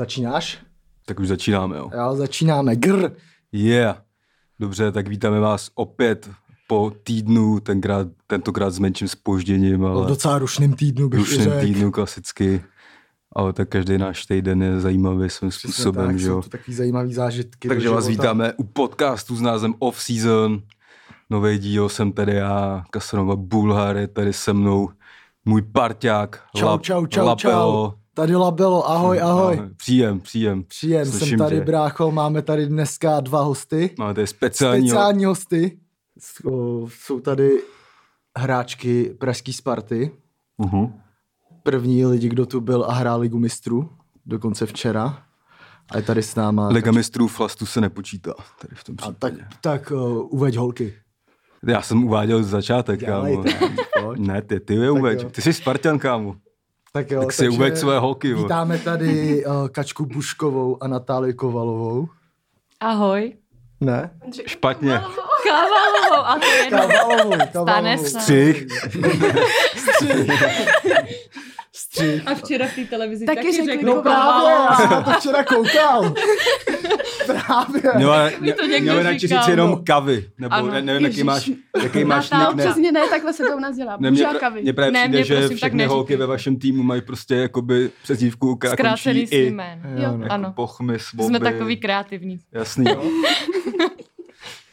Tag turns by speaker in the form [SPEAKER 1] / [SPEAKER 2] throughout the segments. [SPEAKER 1] Začínáš?
[SPEAKER 2] Tak už začínáme, jo.
[SPEAKER 1] Jo, začínáme. Grr.
[SPEAKER 2] Yeah. Dobře, tak vítáme vás opět po týdnu, tenkrát, tentokrát s menším spožděním,
[SPEAKER 1] V
[SPEAKER 2] ale
[SPEAKER 1] docela rušným týdnu bych
[SPEAKER 2] rušným
[SPEAKER 1] řekl.
[SPEAKER 2] týdnu klasicky. Ale tak každý náš týden je zajímavý svým
[SPEAKER 1] Přesně
[SPEAKER 2] způsobem,
[SPEAKER 1] tak,
[SPEAKER 2] že
[SPEAKER 1] jsou
[SPEAKER 2] jo.
[SPEAKER 1] to takový zajímavý zážitky. do
[SPEAKER 2] Takže vás
[SPEAKER 1] života.
[SPEAKER 2] vítáme u podcastu s názvem Off Season. Nový díl jsem tady já, Kasranova Bulhar je tady se mnou můj parťák,
[SPEAKER 1] Čau,
[SPEAKER 2] Lap-
[SPEAKER 1] čau, čau,
[SPEAKER 2] Lapelo.
[SPEAKER 1] čau. Tady Labelo, ahoj, ahoj.
[SPEAKER 2] Příjem, příjem.
[SPEAKER 1] Příjem, jsem
[SPEAKER 2] Slyším
[SPEAKER 1] tady,
[SPEAKER 2] tě.
[SPEAKER 1] brácho, máme tady dneska dva hosty.
[SPEAKER 2] Máme tady speciální,
[SPEAKER 1] Speciální hosty. S- o, Jsou tady hráčky Pražský Sparty.
[SPEAKER 2] Uh-huh.
[SPEAKER 1] První lidi, kdo tu byl a hrál Ligu mistrů, dokonce včera. A je tady s náma.
[SPEAKER 2] Liga mistrů Flastu se nepočítá. Tady v tom
[SPEAKER 1] A
[SPEAKER 2] případě.
[SPEAKER 1] tak, tak o, uveď holky.
[SPEAKER 2] Já jsem uváděl začátek, kámo.
[SPEAKER 1] Dělejte. pojď.
[SPEAKER 2] Ne, ty, ty je
[SPEAKER 1] jo.
[SPEAKER 2] uveď. Ty jsi Spartan, kámo.
[SPEAKER 1] Tak jo,
[SPEAKER 2] Tak si
[SPEAKER 1] takže
[SPEAKER 2] uveď své holky, jo.
[SPEAKER 1] Vítáme tady uh, Kačku Buškovou a Natálii Kovalovou.
[SPEAKER 3] Ahoj.
[SPEAKER 1] Ne?
[SPEAKER 2] Špatně.
[SPEAKER 4] No,
[SPEAKER 3] Kávalovou. A to je jedno.
[SPEAKER 1] Kovalovou,
[SPEAKER 3] Stane
[SPEAKER 1] Kovalovou.
[SPEAKER 4] no.
[SPEAKER 3] se.
[SPEAKER 2] Střih.
[SPEAKER 1] Střih.
[SPEAKER 4] A včera v té televizi
[SPEAKER 3] Taky
[SPEAKER 4] taky,
[SPEAKER 3] řekli
[SPEAKER 4] řekli,
[SPEAKER 1] No právě, já jsem na to včera koukal. Právě.
[SPEAKER 2] Měla,
[SPEAKER 4] Mi to někdo
[SPEAKER 2] měla radši
[SPEAKER 4] říkal,
[SPEAKER 2] říct
[SPEAKER 4] no.
[SPEAKER 2] jenom kavy. Nebo
[SPEAKER 4] Ano.
[SPEAKER 2] ne, nevím, jaký
[SPEAKER 4] Ježiš.
[SPEAKER 2] máš, jaký máš
[SPEAKER 4] Natál,
[SPEAKER 2] nick, ne,
[SPEAKER 5] Přesně ne, takhle se to u nás dělá.
[SPEAKER 2] ne, mě,
[SPEAKER 5] Bužáka,
[SPEAKER 2] mě právě
[SPEAKER 4] Ne,
[SPEAKER 2] přijde,
[SPEAKER 4] mě
[SPEAKER 2] že
[SPEAKER 4] prosím, tak
[SPEAKER 2] všechny
[SPEAKER 4] neříkej.
[SPEAKER 2] holky ve vašem týmu mají prostě jakoby přezdívku, která Jako končí
[SPEAKER 3] Zkrácený
[SPEAKER 2] i.
[SPEAKER 3] jméno.
[SPEAKER 1] Jo, no.
[SPEAKER 2] Jako
[SPEAKER 3] Ano.
[SPEAKER 2] Pochmy, svoby.
[SPEAKER 3] Jsme takový kreativní.
[SPEAKER 2] Jasný.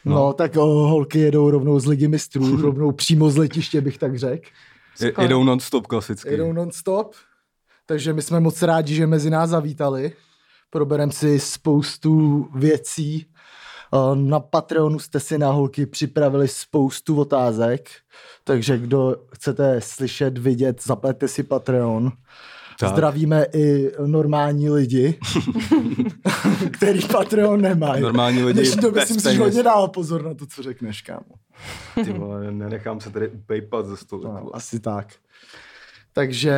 [SPEAKER 1] No, tak o, holky jedou rovnou z Ligy mistrů, rovnou přímo z letiště, bych tak řekl.
[SPEAKER 2] Je- Jedou non-stop klasicky.
[SPEAKER 1] Jedou non-stop, takže my jsme moc rádi, že mezi nás zavítali. Proberem si spoustu věcí. Eh, Na Patreonu jste si na holky připravili spoustu otázek, takže kdo chcete slyšet, vidět, zaplete si Patreon.
[SPEAKER 2] Tak.
[SPEAKER 1] Tak. Zdravíme i normální lidi, který Patreon nemají.
[SPEAKER 2] Normální lidi
[SPEAKER 1] Dnešní době
[SPEAKER 2] bez
[SPEAKER 1] si musíš
[SPEAKER 2] peněz.
[SPEAKER 1] hodně dál pozor na to, co řekneš, kámo.
[SPEAKER 2] Ty vole, nenechám se tady upejpat ze stolu. ty
[SPEAKER 1] No,
[SPEAKER 2] vole.
[SPEAKER 1] asi tak. Takže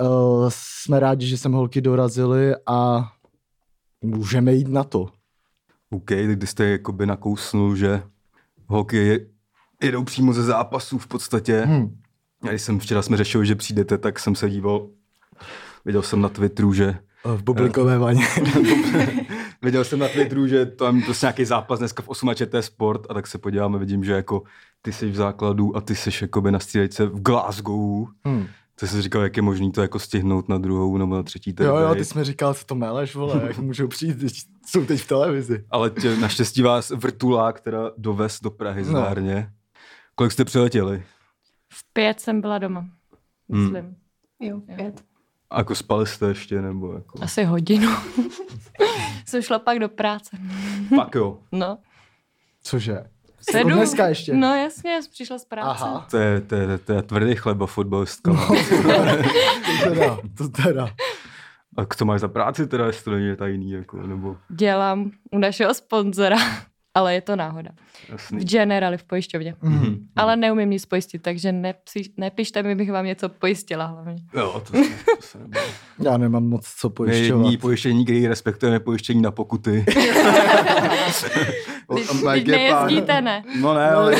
[SPEAKER 1] uh, jsme rádi, že sem holky dorazily a můžeme jít na to.
[SPEAKER 2] OK, tak když jste jakoby nakousnul, že holky je- jedou přímo ze zápasů v podstatě.
[SPEAKER 1] Hmm.
[SPEAKER 2] A když jsem včera jsme řešili, že přijdete, tak jsem se díval, viděl jsem na Twitteru, že
[SPEAKER 1] V bublinkové vaně.
[SPEAKER 2] viděl jsem na Twitteru, že tam je prostě nějaký zápas dneska v 8 čt sport a tak se podíváme, vidím, že jako ty jsi v základu a ty jsi jakoby na střídejce v Glasgow.
[SPEAKER 1] Hmm.
[SPEAKER 2] To jsi říkal, jak je možný to jako stihnout na druhou nebo na třetí ten
[SPEAKER 1] Jo, jo,
[SPEAKER 2] dej.
[SPEAKER 1] ty jsi mi říkal, co to meleš, vole, jak můžou přijít, teď, jsou teď v televizi.
[SPEAKER 2] Ale tě, naštěstí vás vrtulák teda dovez do Prahy
[SPEAKER 1] No.
[SPEAKER 2] zdárně. Kolik jste přiletěli?
[SPEAKER 3] V pět jsem byla doma. Myslím. Hmm.
[SPEAKER 5] Jo, pět.
[SPEAKER 2] A jako spali jste ještě, nebo jako...
[SPEAKER 3] Asi hodinu. jsem šla pak do práce.
[SPEAKER 2] Pak jo.
[SPEAKER 3] No.
[SPEAKER 1] Cože?
[SPEAKER 3] Sedu.
[SPEAKER 1] dneska ještě?
[SPEAKER 3] No jasně, jsem přišla z práce.
[SPEAKER 1] Aha,
[SPEAKER 2] To je, to, je, to je tvrdý chleba fotbalistka. No.
[SPEAKER 1] to teda, to teda.
[SPEAKER 2] A co máš za práci teda, jestli to není tajný, jako, nebo
[SPEAKER 3] Dělám u našeho sponzora. Ale je to náhoda.
[SPEAKER 2] jasný.
[SPEAKER 3] V Generali v pojišťovně.
[SPEAKER 1] Mm.
[SPEAKER 2] Mhm.
[SPEAKER 3] Ale neumím nic pojistit, takže nepsi, nepište mi, bych vám něco pojistila hlavně.
[SPEAKER 2] Jo, to se, to se nebude.
[SPEAKER 1] Já nemám moc co
[SPEAKER 2] My jediní
[SPEAKER 1] pojišťovat.
[SPEAKER 2] pojištění, který respektujeme, je pojištění na pokuty.
[SPEAKER 3] Když,
[SPEAKER 2] A Mike
[SPEAKER 3] když
[SPEAKER 2] je pán.
[SPEAKER 3] nejezdíte, ne.
[SPEAKER 2] No ne, ale,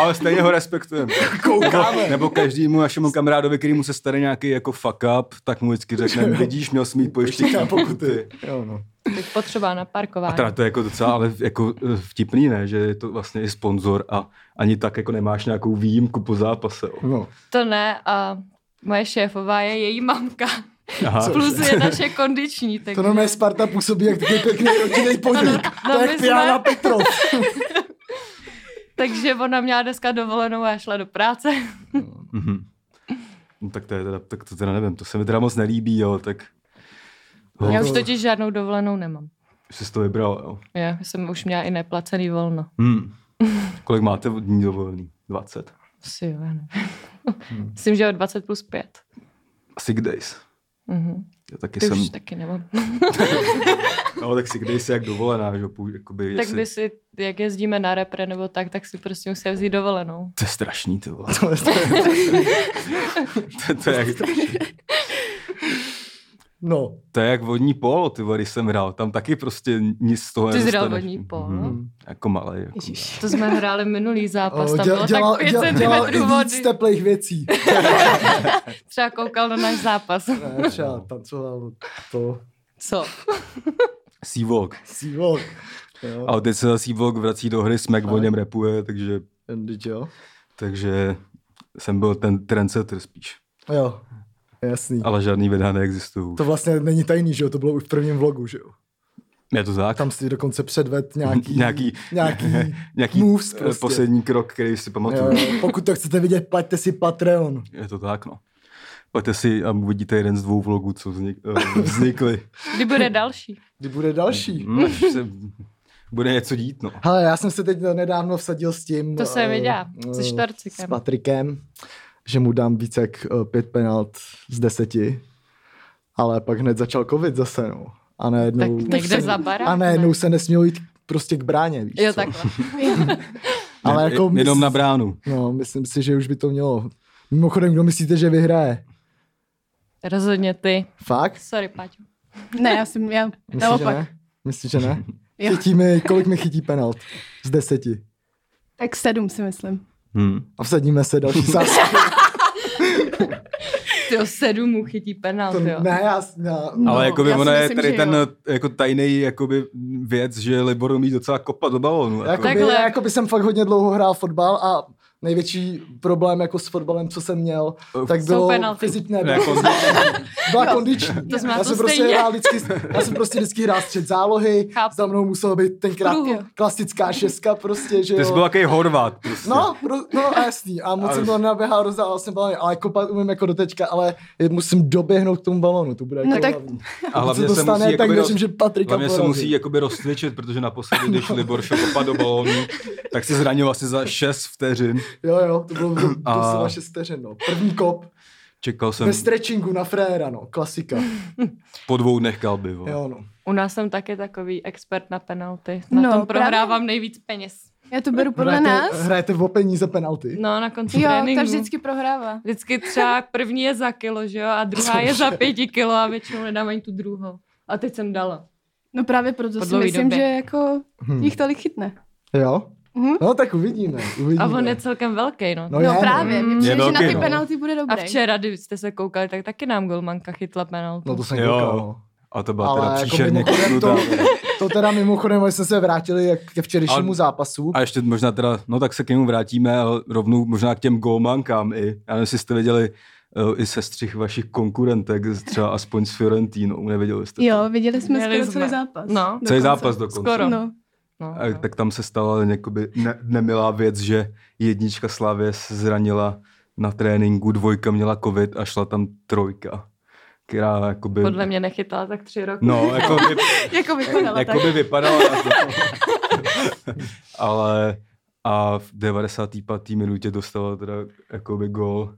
[SPEAKER 2] ale stejně ho respektujeme.
[SPEAKER 1] Koukáme.
[SPEAKER 2] Nebo každému našemu kamarádovi, který mu se stane nějaký jako fuck up, tak mu vždycky řekne, vidíš, měl smít pojištění na pokuty.
[SPEAKER 1] Jo, no.
[SPEAKER 3] Bych potřeba na
[SPEAKER 2] A
[SPEAKER 3] parkování.
[SPEAKER 2] teda to je jako docela ale jako eh, vtipný, ne? Že je to vlastně i sponzor a ani tak jako nemáš nějakou výjimku po zápase. Jo.
[SPEAKER 1] no.
[SPEAKER 3] To ne a moje šéfová je její mamka.
[SPEAKER 2] Aha.
[SPEAKER 3] Plus je naše kondiční. Tak...
[SPEAKER 1] To normálně Sparta působí jak takový pěkný rodinný podnik.
[SPEAKER 3] no,
[SPEAKER 1] To
[SPEAKER 3] my
[SPEAKER 1] je
[SPEAKER 3] jsme-
[SPEAKER 1] Piana Petrov.
[SPEAKER 3] Takže ona měla dneska dovolenou a já šla do práce.
[SPEAKER 2] Mhm. No, tak to je teda, tak to teda nevím, to se mi teda moc nelíbí, jo, tak
[SPEAKER 1] No,
[SPEAKER 3] Já
[SPEAKER 1] to-
[SPEAKER 3] už totiž žádnou dovolenou nemám.
[SPEAKER 2] jsi si to vybral, jo.
[SPEAKER 3] Já jsem už měla i neplacený volno.
[SPEAKER 2] Hmm. Kolik máte dní dovolený? 20?
[SPEAKER 3] Asi jo, já nevím.
[SPEAKER 1] Hmm.
[SPEAKER 3] Myslím, že o 20 plus 5.
[SPEAKER 2] Sick days.
[SPEAKER 3] Mhm.
[SPEAKER 2] Já taky
[SPEAKER 3] Ty
[SPEAKER 2] jsem,
[SPEAKER 3] už taky nemám.
[SPEAKER 2] no tak sick days je jak dovolená, že jo, půj- jakoby,
[SPEAKER 3] Tak by si, jak jezdíme na repre nebo tak, tak si prostě musí vzít dovolenou.
[SPEAKER 2] To je strašný, ty vole.
[SPEAKER 1] To je-
[SPEAKER 2] to, to, je jak,
[SPEAKER 1] No,
[SPEAKER 2] to je jak vodní polo, ty vole, když jsem hrál, tam taky prostě nic z toho
[SPEAKER 3] Ty jsi hrál
[SPEAKER 2] nedostaneš.
[SPEAKER 3] vodní polo?
[SPEAKER 1] Hmm.
[SPEAKER 2] Mhm. Jako malý. Jako
[SPEAKER 3] To jsme hráli minulý zápas,
[SPEAKER 1] o,
[SPEAKER 3] tam
[SPEAKER 1] děl,
[SPEAKER 3] bylo
[SPEAKER 1] dělal,
[SPEAKER 3] tak 5
[SPEAKER 1] dělal, dělal
[SPEAKER 3] cm
[SPEAKER 1] i
[SPEAKER 3] vody.
[SPEAKER 1] víc teplých věcí.
[SPEAKER 3] Třeba koukal na náš zápas.
[SPEAKER 1] Ne, třeba tancoval to.
[SPEAKER 3] Co?
[SPEAKER 2] Seawalk.
[SPEAKER 1] Sívok. Jo,
[SPEAKER 2] A teď se Seawalk vrací do hry, Smack o
[SPEAKER 1] Ale-
[SPEAKER 2] něm repuje, takže,
[SPEAKER 1] vždyť jo.
[SPEAKER 2] takže jsem byl ten trendsetter spíš.
[SPEAKER 1] Jo, jasný.
[SPEAKER 2] Ale žádný videa neexistují.
[SPEAKER 1] To vlastně není tajný, že jo, to bylo už v prvním vlogu, že jo.
[SPEAKER 2] Je to tak?
[SPEAKER 1] Tam si dokonce předved nějaký,
[SPEAKER 2] Nějaký-
[SPEAKER 1] nějaký,
[SPEAKER 2] Nějaký
[SPEAKER 1] moves
[SPEAKER 2] eh,
[SPEAKER 1] prostě.
[SPEAKER 2] poslední krok, který si pamatuju.
[SPEAKER 1] jo, jo. pokud to chcete vidět, plaťte si Patreon.
[SPEAKER 2] Je to tak, no. Pojďte si a uvidíte jeden z dvou vlogů, co vznik, eh, vznikly.
[SPEAKER 3] Kdy bude další?
[SPEAKER 1] Kdy bude další?
[SPEAKER 2] Hm, až se bude něco dít, no.
[SPEAKER 1] Hele, já jsem se teď nedávno vsadil s tím...
[SPEAKER 3] To jsem
[SPEAKER 1] eh,
[SPEAKER 3] viděla, se
[SPEAKER 1] eh,
[SPEAKER 3] Štorcikem.
[SPEAKER 1] S Patrikem, že mu dám více jak eh, pět penalt z deseti. Ale pak hned začal covid zase, no. A najednou...
[SPEAKER 3] Tak někde
[SPEAKER 1] se,
[SPEAKER 3] za barák,
[SPEAKER 1] A najednou
[SPEAKER 3] ne?
[SPEAKER 1] se nesměl jít prostě k bráně, víš
[SPEAKER 3] Jo,
[SPEAKER 1] co?
[SPEAKER 3] takhle.
[SPEAKER 1] Ale
[SPEAKER 2] Ne,
[SPEAKER 1] jako...
[SPEAKER 2] je- Jenom
[SPEAKER 1] mys-
[SPEAKER 2] na bránu.
[SPEAKER 1] No, myslím si, že už by to mělo. Mimochodem, kdo myslíte, že vyhraje?
[SPEAKER 3] Rozhodně ty.
[SPEAKER 1] Fakt?
[SPEAKER 3] Sorry, Paťo.
[SPEAKER 5] Ne, já jsem, já,
[SPEAKER 1] Myslíš, že
[SPEAKER 5] naopak.
[SPEAKER 1] ne? Myslíš, že ne?
[SPEAKER 5] Jo.
[SPEAKER 1] Chytí mi, kolik mi chytí penalt? Z deseti.
[SPEAKER 5] Tak sedm si myslím.
[SPEAKER 2] Hm.
[SPEAKER 1] A vsadíme se další sásku.
[SPEAKER 3] Ty o sedm mu chytí penalt,
[SPEAKER 1] To-
[SPEAKER 3] jo.
[SPEAKER 1] ne, já, já,
[SPEAKER 5] No,
[SPEAKER 2] Ale jakoby
[SPEAKER 5] já si
[SPEAKER 2] ona je
[SPEAKER 5] myslím,
[SPEAKER 2] tady
[SPEAKER 5] že
[SPEAKER 2] ten
[SPEAKER 5] jo.
[SPEAKER 2] eh, jako tajný jakoby věc, že Libor umí docela kopat do balónu. Jako,
[SPEAKER 1] No, Jakoby,
[SPEAKER 3] Takhle.
[SPEAKER 1] jakoby jsem fakt hodně dlouho hrál fotbal a největší problém jako s fotbalem, co jsem měl, tak
[SPEAKER 3] Jsou
[SPEAKER 1] bylo
[SPEAKER 3] penalty.
[SPEAKER 1] fyzicky ne,
[SPEAKER 2] jako,
[SPEAKER 1] byla kondiční.
[SPEAKER 3] To jsme
[SPEAKER 1] já,
[SPEAKER 3] na
[SPEAKER 1] jsem
[SPEAKER 3] to
[SPEAKER 1] prostě
[SPEAKER 3] stejně.
[SPEAKER 1] hrál vždycky, já jsem prostě vždycky hrál střed zálohy,
[SPEAKER 3] Chápu.
[SPEAKER 1] za mnou muselo být tenkrát
[SPEAKER 3] Kruhu.
[SPEAKER 1] klasická šestka prostě, že
[SPEAKER 2] ty jsi byl
[SPEAKER 1] jo.
[SPEAKER 2] takový Horvát. Prostě.
[SPEAKER 1] No, pro, no a jasný, a moc
[SPEAKER 2] Ale-
[SPEAKER 1] jsem to naběhal, rozdával jsem balony, ale kopat umím jako do tečka, ale musím doběhnout k tomu balonu, to bude
[SPEAKER 5] No
[SPEAKER 1] jako
[SPEAKER 5] tak-
[SPEAKER 1] hlavní.
[SPEAKER 2] a
[SPEAKER 1] Pokud
[SPEAKER 2] hlavně
[SPEAKER 1] se to
[SPEAKER 2] se
[SPEAKER 1] stane,
[SPEAKER 2] musí
[SPEAKER 1] tak
[SPEAKER 2] jakoby
[SPEAKER 1] věřím,
[SPEAKER 2] roz-
[SPEAKER 1] že Patrika
[SPEAKER 2] Hlavně se
[SPEAKER 1] porazí.
[SPEAKER 2] musí jakoby rozcvičit, protože naposledy, když Libor šel kopat do balónu, tak se zranil asi za 6 vteřin.
[SPEAKER 1] Jo, jo, to bylo to, to
[SPEAKER 2] A-
[SPEAKER 1] a... vaše steřen, no. První kop,
[SPEAKER 2] Čekal jsem
[SPEAKER 1] ve stretchingu na fréra, no, klasika.
[SPEAKER 2] Hm. po dvou dnech kalby. vole.
[SPEAKER 1] Jo, no.
[SPEAKER 3] U nás jsem taky takový expert na penalty. Na
[SPEAKER 5] No,
[SPEAKER 3] tom prohrávám
[SPEAKER 5] právě.
[SPEAKER 3] nejvíc peněz.
[SPEAKER 5] Já to beru podle
[SPEAKER 1] hrajete,
[SPEAKER 5] nás.
[SPEAKER 1] Hrajete v peníze penalty.
[SPEAKER 3] No, na konci
[SPEAKER 5] Jo,
[SPEAKER 3] tréninku.
[SPEAKER 5] ta vždycky prohrává.
[SPEAKER 3] Vždycky třeba první je za kilo, že jo, a druhá je za pěti kilo a většinou nedám ani tu druhou. A teď jsem dala.
[SPEAKER 5] No právě proto
[SPEAKER 3] Po
[SPEAKER 5] si
[SPEAKER 3] dlouhý
[SPEAKER 5] myslím,
[SPEAKER 3] době. Hmm.
[SPEAKER 5] že jako
[SPEAKER 1] Hm.
[SPEAKER 5] jich tolik chytne.
[SPEAKER 1] Jo?
[SPEAKER 5] Mhm.
[SPEAKER 1] No tak uvidíme, uvidíme.
[SPEAKER 3] A on je celkem velký, no.
[SPEAKER 1] No,
[SPEAKER 5] No,
[SPEAKER 1] je, no.
[SPEAKER 5] právě,
[SPEAKER 3] Je
[SPEAKER 5] mě přijde, že na
[SPEAKER 2] velký,
[SPEAKER 5] ty
[SPEAKER 2] no.
[SPEAKER 5] penalty bude
[SPEAKER 3] A
[SPEAKER 5] dobrý.
[SPEAKER 3] včera, když jste se koukali, tak taky nám golmanka chytla penaltu.
[SPEAKER 1] No to jsem
[SPEAKER 2] Jo.
[SPEAKER 1] koukal. no.
[SPEAKER 2] A to byla
[SPEAKER 1] Ale
[SPEAKER 2] teda
[SPEAKER 1] jako
[SPEAKER 2] příšerně
[SPEAKER 1] mimochodem to-
[SPEAKER 2] kopnutá.
[SPEAKER 1] To teda mimochodem, když jsme se vrátili jak ke včerejšímu
[SPEAKER 2] Ale-
[SPEAKER 1] zápasu.
[SPEAKER 2] A ještě možná teda, no tak se k němu vrátíme, ale rovnou možná k těm golmankám i. Já nevím, jestli jste viděli uh, i sestřih vašich konkurentek, z- třeba aspoň s Fiorentinou, neviděli jste to?
[SPEAKER 5] Jo, viděli jsme
[SPEAKER 3] Měli
[SPEAKER 5] skoro
[SPEAKER 3] jsme.
[SPEAKER 5] celý zápas.
[SPEAKER 3] No.
[SPEAKER 5] Dokonce.
[SPEAKER 2] Celý zápas dokonce.
[SPEAKER 3] Skoro.
[SPEAKER 5] No.
[SPEAKER 3] No,
[SPEAKER 2] A,
[SPEAKER 3] no.
[SPEAKER 2] tak tam se stala jakoby ne, nemilá věc, že jednička Slavě se zranila na tréninku, dvojka měla covid a šla tam trojka, která jakoby...
[SPEAKER 3] Podle mě nechytala tak tři roky.
[SPEAKER 2] No, jako vy,
[SPEAKER 5] Jako vypadala tak.
[SPEAKER 2] Jakoby vypadala na to. Ale a v 95. minutě dostala teda jakoby gol,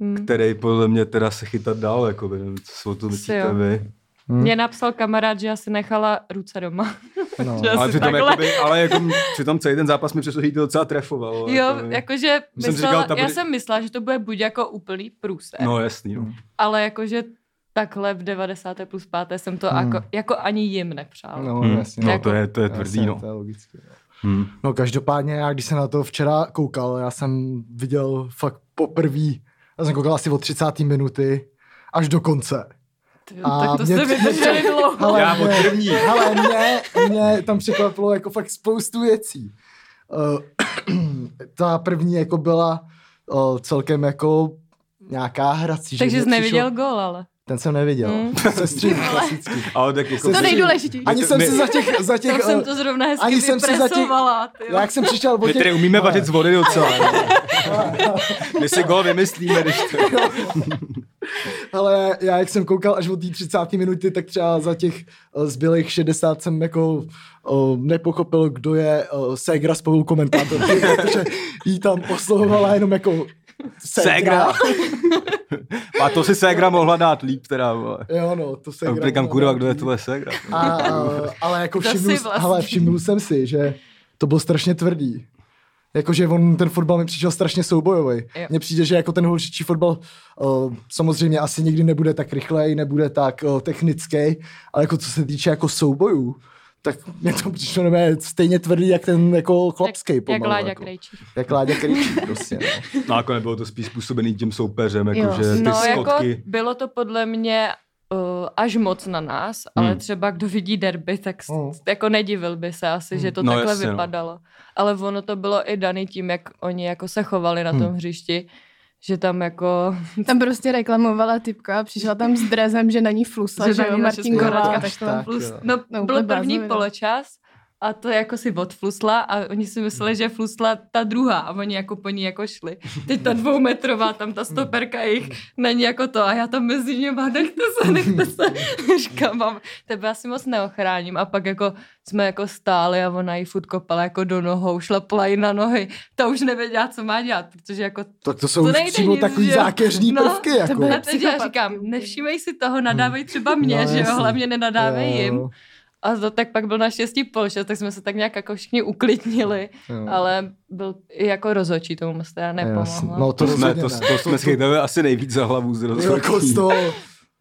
[SPEAKER 3] Hmm.
[SPEAKER 2] který podle mě teda se chytat dál, jakoby, nevím, co si o to
[SPEAKER 3] Asi
[SPEAKER 2] myslíte
[SPEAKER 3] jo.
[SPEAKER 2] vy.
[SPEAKER 1] Hm.
[SPEAKER 3] Mě napsal kamarád, že asi nechala ruce doma.
[SPEAKER 1] No.
[SPEAKER 3] že- Asi
[SPEAKER 2] Ale přitom,
[SPEAKER 3] takhle.
[SPEAKER 2] jakoby, ale jako, přitom celý ten zápas mi přišlo, že jí to docela trefovalo.
[SPEAKER 3] Jo,
[SPEAKER 1] jako
[SPEAKER 3] jako-
[SPEAKER 2] jakoby.
[SPEAKER 3] jakože
[SPEAKER 2] jsem
[SPEAKER 3] myslela,
[SPEAKER 2] říkal, ta
[SPEAKER 3] já
[SPEAKER 2] bude-
[SPEAKER 3] jsem myslela, že to bude buď jako úplný průser,
[SPEAKER 2] No jasný, no.
[SPEAKER 3] ale jakože takhle v 90. plus 5. jsem to
[SPEAKER 1] Hmm.
[SPEAKER 3] jako, jako ani jim nepřál.
[SPEAKER 1] No,
[SPEAKER 2] Hm.
[SPEAKER 1] jasně.
[SPEAKER 2] no
[SPEAKER 3] Jako-
[SPEAKER 2] to je, to je
[SPEAKER 1] Jasně,
[SPEAKER 2] tvrdý, no.
[SPEAKER 1] To je logické. no.
[SPEAKER 2] Hm.
[SPEAKER 1] No každopádně, já když jsem na to včera koukal, já jsem viděl fakt poprvé, já jsem koukal asi od 30. minuty až do konce.
[SPEAKER 3] Ty,
[SPEAKER 1] A
[SPEAKER 3] tak to
[SPEAKER 1] mě-
[SPEAKER 3] jste vydrželi dlouho.
[SPEAKER 1] Hele,
[SPEAKER 2] Já od
[SPEAKER 1] mě-
[SPEAKER 2] první.
[SPEAKER 1] Hele, mě, mě tam překvapilo jako fakt spoustu věcí. Uh, ta první jako byla uh, celkem jako nějaká hrací. že
[SPEAKER 3] Takže
[SPEAKER 1] mě
[SPEAKER 3] jsi
[SPEAKER 1] přišlo-
[SPEAKER 3] neviděl gól, ale.
[SPEAKER 1] Ten jsem neviděl.
[SPEAKER 3] Mm.
[SPEAKER 1] Mm. Sestřím klasicky.
[SPEAKER 2] Ale tak jako...
[SPEAKER 5] To
[SPEAKER 1] Sestři-
[SPEAKER 5] nejdůležitější.
[SPEAKER 1] Ani
[SPEAKER 2] My-
[SPEAKER 1] jsem
[SPEAKER 2] my-
[SPEAKER 1] si za těch... Za těch
[SPEAKER 3] Tak jsem
[SPEAKER 1] eh,
[SPEAKER 3] to zrovna hezky
[SPEAKER 1] ani
[SPEAKER 3] ani
[SPEAKER 1] jsem se zatím-
[SPEAKER 3] vypresovala. Jsem
[SPEAKER 1] jak jsem přišel o
[SPEAKER 2] My
[SPEAKER 1] těch...
[SPEAKER 2] tady umíme
[SPEAKER 1] Hele,
[SPEAKER 2] vařit z vody docela. no. My si gol vymyslíme, když to...
[SPEAKER 1] Ale já, jak jsem koukal až od té 30. minuty, tak třeba za těch eh, zbylých 60 jsem jako eh, nepochopil, kdo je eh, Segra spolu komentátor, protože jí tam oslovovala jenom jako Segra.
[SPEAKER 2] Ségra. A to si Ségra mohla dát líp teda, vole.
[SPEAKER 1] Jo, no, to
[SPEAKER 2] A
[SPEAKER 1] Segra.
[SPEAKER 2] Říkám,
[SPEAKER 1] mohla
[SPEAKER 2] kurva,
[SPEAKER 1] dát
[SPEAKER 2] kdo je
[SPEAKER 1] líp.
[SPEAKER 2] tohle Ségra?
[SPEAKER 1] A, a, ale jako
[SPEAKER 3] Kdo vlastně? si
[SPEAKER 1] všimnul,
[SPEAKER 3] vlastní?
[SPEAKER 1] ale všimnul jsem si, že to bylo strašně tvrdý. Jakože on, ten fotbal mi přišel strašně soubojový.
[SPEAKER 3] Jo.
[SPEAKER 1] Mně přijde, že jako ten holčičí fotbal uh, samozřejmě asi nikdy nebude tak rychlej, nebude tak uh, technický, ale jako co se týče jako soubojů, tak mě to přišlo nevím, stejně tvrdý, jak ten jako chlapský
[SPEAKER 3] Jak
[SPEAKER 1] pomalu.
[SPEAKER 3] Láďa
[SPEAKER 1] jako.
[SPEAKER 3] Krejčí.
[SPEAKER 1] Jak Láďa Krejčí, prostě. No.
[SPEAKER 2] No jako nebylo to spíš způsobený tím soupeřem,
[SPEAKER 5] Jo.
[SPEAKER 2] jakože ty
[SPEAKER 3] No, jako
[SPEAKER 2] skotky.
[SPEAKER 3] bylo to podle mě uh, až moc na nás, ale
[SPEAKER 2] Hmm.
[SPEAKER 3] třeba kdo vidí derby, tak s,
[SPEAKER 1] Mm.
[SPEAKER 3] jako nedivil by se asi, že to
[SPEAKER 2] No,
[SPEAKER 3] takhle
[SPEAKER 2] jasně, no.
[SPEAKER 3] vypadalo. Ale ono to bylo i daný tím, jak oni jako se chovali na tom
[SPEAKER 2] Hmm.
[SPEAKER 3] hřišti, že tam jako...
[SPEAKER 5] Tam prostě reklamovala typka a přišla tam s drezem, že na ní flusla,
[SPEAKER 3] Že
[SPEAKER 5] že,
[SPEAKER 3] na
[SPEAKER 5] jo,
[SPEAKER 3] ní naše
[SPEAKER 5] Martinková.
[SPEAKER 3] spoluhráčka
[SPEAKER 1] Až tak,
[SPEAKER 3] Flus,
[SPEAKER 1] jo.
[SPEAKER 3] no,
[SPEAKER 5] No,
[SPEAKER 3] no,
[SPEAKER 5] úplně
[SPEAKER 3] byl první
[SPEAKER 5] bláznivina.
[SPEAKER 3] poločas a to jako si odflusla a oni si
[SPEAKER 1] Mm.
[SPEAKER 3] mysleli, že flusla ta druhá a oni jako po ní jako šli. Teď ta dvoumetrová, tam ta stoperka
[SPEAKER 1] Mm.
[SPEAKER 3] jich na ní jako to a já tam mezi něma, nechte se, nechte se. Říkám, mám, tebe asi moc neochráním a pak jako jsme jako stáli a ona jí furt kopala jako do nohou, šlapla jí na nohy. Ta už nevěděla, co má dělat, protože jako
[SPEAKER 1] Tak to jsou
[SPEAKER 3] To
[SPEAKER 1] už
[SPEAKER 3] nejde
[SPEAKER 1] přímo
[SPEAKER 3] nic,
[SPEAKER 1] takový
[SPEAKER 3] že jo.
[SPEAKER 1] zákeřní
[SPEAKER 3] No,
[SPEAKER 1] prvky, jako.
[SPEAKER 5] bylo
[SPEAKER 3] a teď já
[SPEAKER 5] psychopat.
[SPEAKER 3] říkám, nevšímej si toho, nadávej třeba
[SPEAKER 1] No,
[SPEAKER 3] mě, že
[SPEAKER 1] jasně.
[SPEAKER 3] jo, hlavně nenadávej
[SPEAKER 1] Jo,
[SPEAKER 3] jim.
[SPEAKER 1] jo,
[SPEAKER 3] A to tak pak byl naštěstí polšet, tak jsme se tak nějak jako všichni uklidnili,
[SPEAKER 1] jo.
[SPEAKER 3] ale byl i jako rozhodčí tomu mostu, já
[SPEAKER 1] No, Jasně.
[SPEAKER 3] nepomohla.
[SPEAKER 1] No
[SPEAKER 2] To,
[SPEAKER 1] to,
[SPEAKER 2] to, jsme, to,
[SPEAKER 1] rozhodně
[SPEAKER 2] to jsme schytali asi nejvíc za hlavu z
[SPEAKER 1] ne. Jako
[SPEAKER 2] rozhodčí.
[SPEAKER 1] z toho,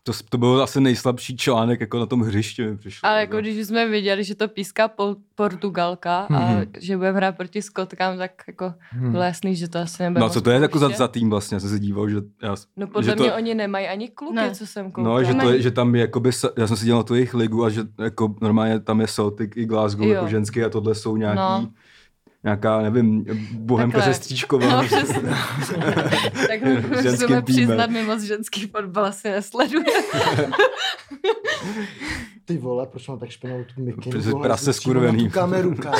[SPEAKER 2] To, s- to byl asi nejslabší článek jako na tom hřišti mi přišlo.
[SPEAKER 3] ale jako když jsme viděli, že to píská pol- Portugalka a
[SPEAKER 2] Mhm.
[SPEAKER 3] že budeme hrát proti Skotkám, tak jako
[SPEAKER 1] Hmm.
[SPEAKER 3] bylo jasný, že to asi nebude.
[SPEAKER 2] No a
[SPEAKER 3] moc
[SPEAKER 2] co to je jako za,
[SPEAKER 3] příště.
[SPEAKER 2] za tým vlastně, já jsem se díval, že, já, s-
[SPEAKER 3] No
[SPEAKER 2] že
[SPEAKER 3] podle
[SPEAKER 2] to,
[SPEAKER 3] mě oni nemají ani kluky,
[SPEAKER 5] Ne.
[SPEAKER 3] co jsem koukal.
[SPEAKER 2] No, že, to je,
[SPEAKER 5] Nemají.
[SPEAKER 2] že tam je, jakoby, se- já jsem si dělal tu jejich ligu a že jako normálně tam je Celtic i Glasgow
[SPEAKER 3] Jo.
[SPEAKER 2] jako ženský a tohle jsou nějaký,
[SPEAKER 3] No.
[SPEAKER 2] nějaká, nevím, bohemka
[SPEAKER 3] Takhle.
[SPEAKER 2] se stříčková.
[SPEAKER 3] No, přesně. tak
[SPEAKER 2] Ženským
[SPEAKER 3] musíme
[SPEAKER 2] týmem.
[SPEAKER 3] přiznat, my moc ženský fotbal asi nesledujeme.
[SPEAKER 1] Ty vole, proč mám tak špinavou tu mikinu?
[SPEAKER 2] Protože
[SPEAKER 1] vole,
[SPEAKER 2] prase
[SPEAKER 1] jsi přímo na tu
[SPEAKER 2] skurvený.
[SPEAKER 1] kameru, kámo.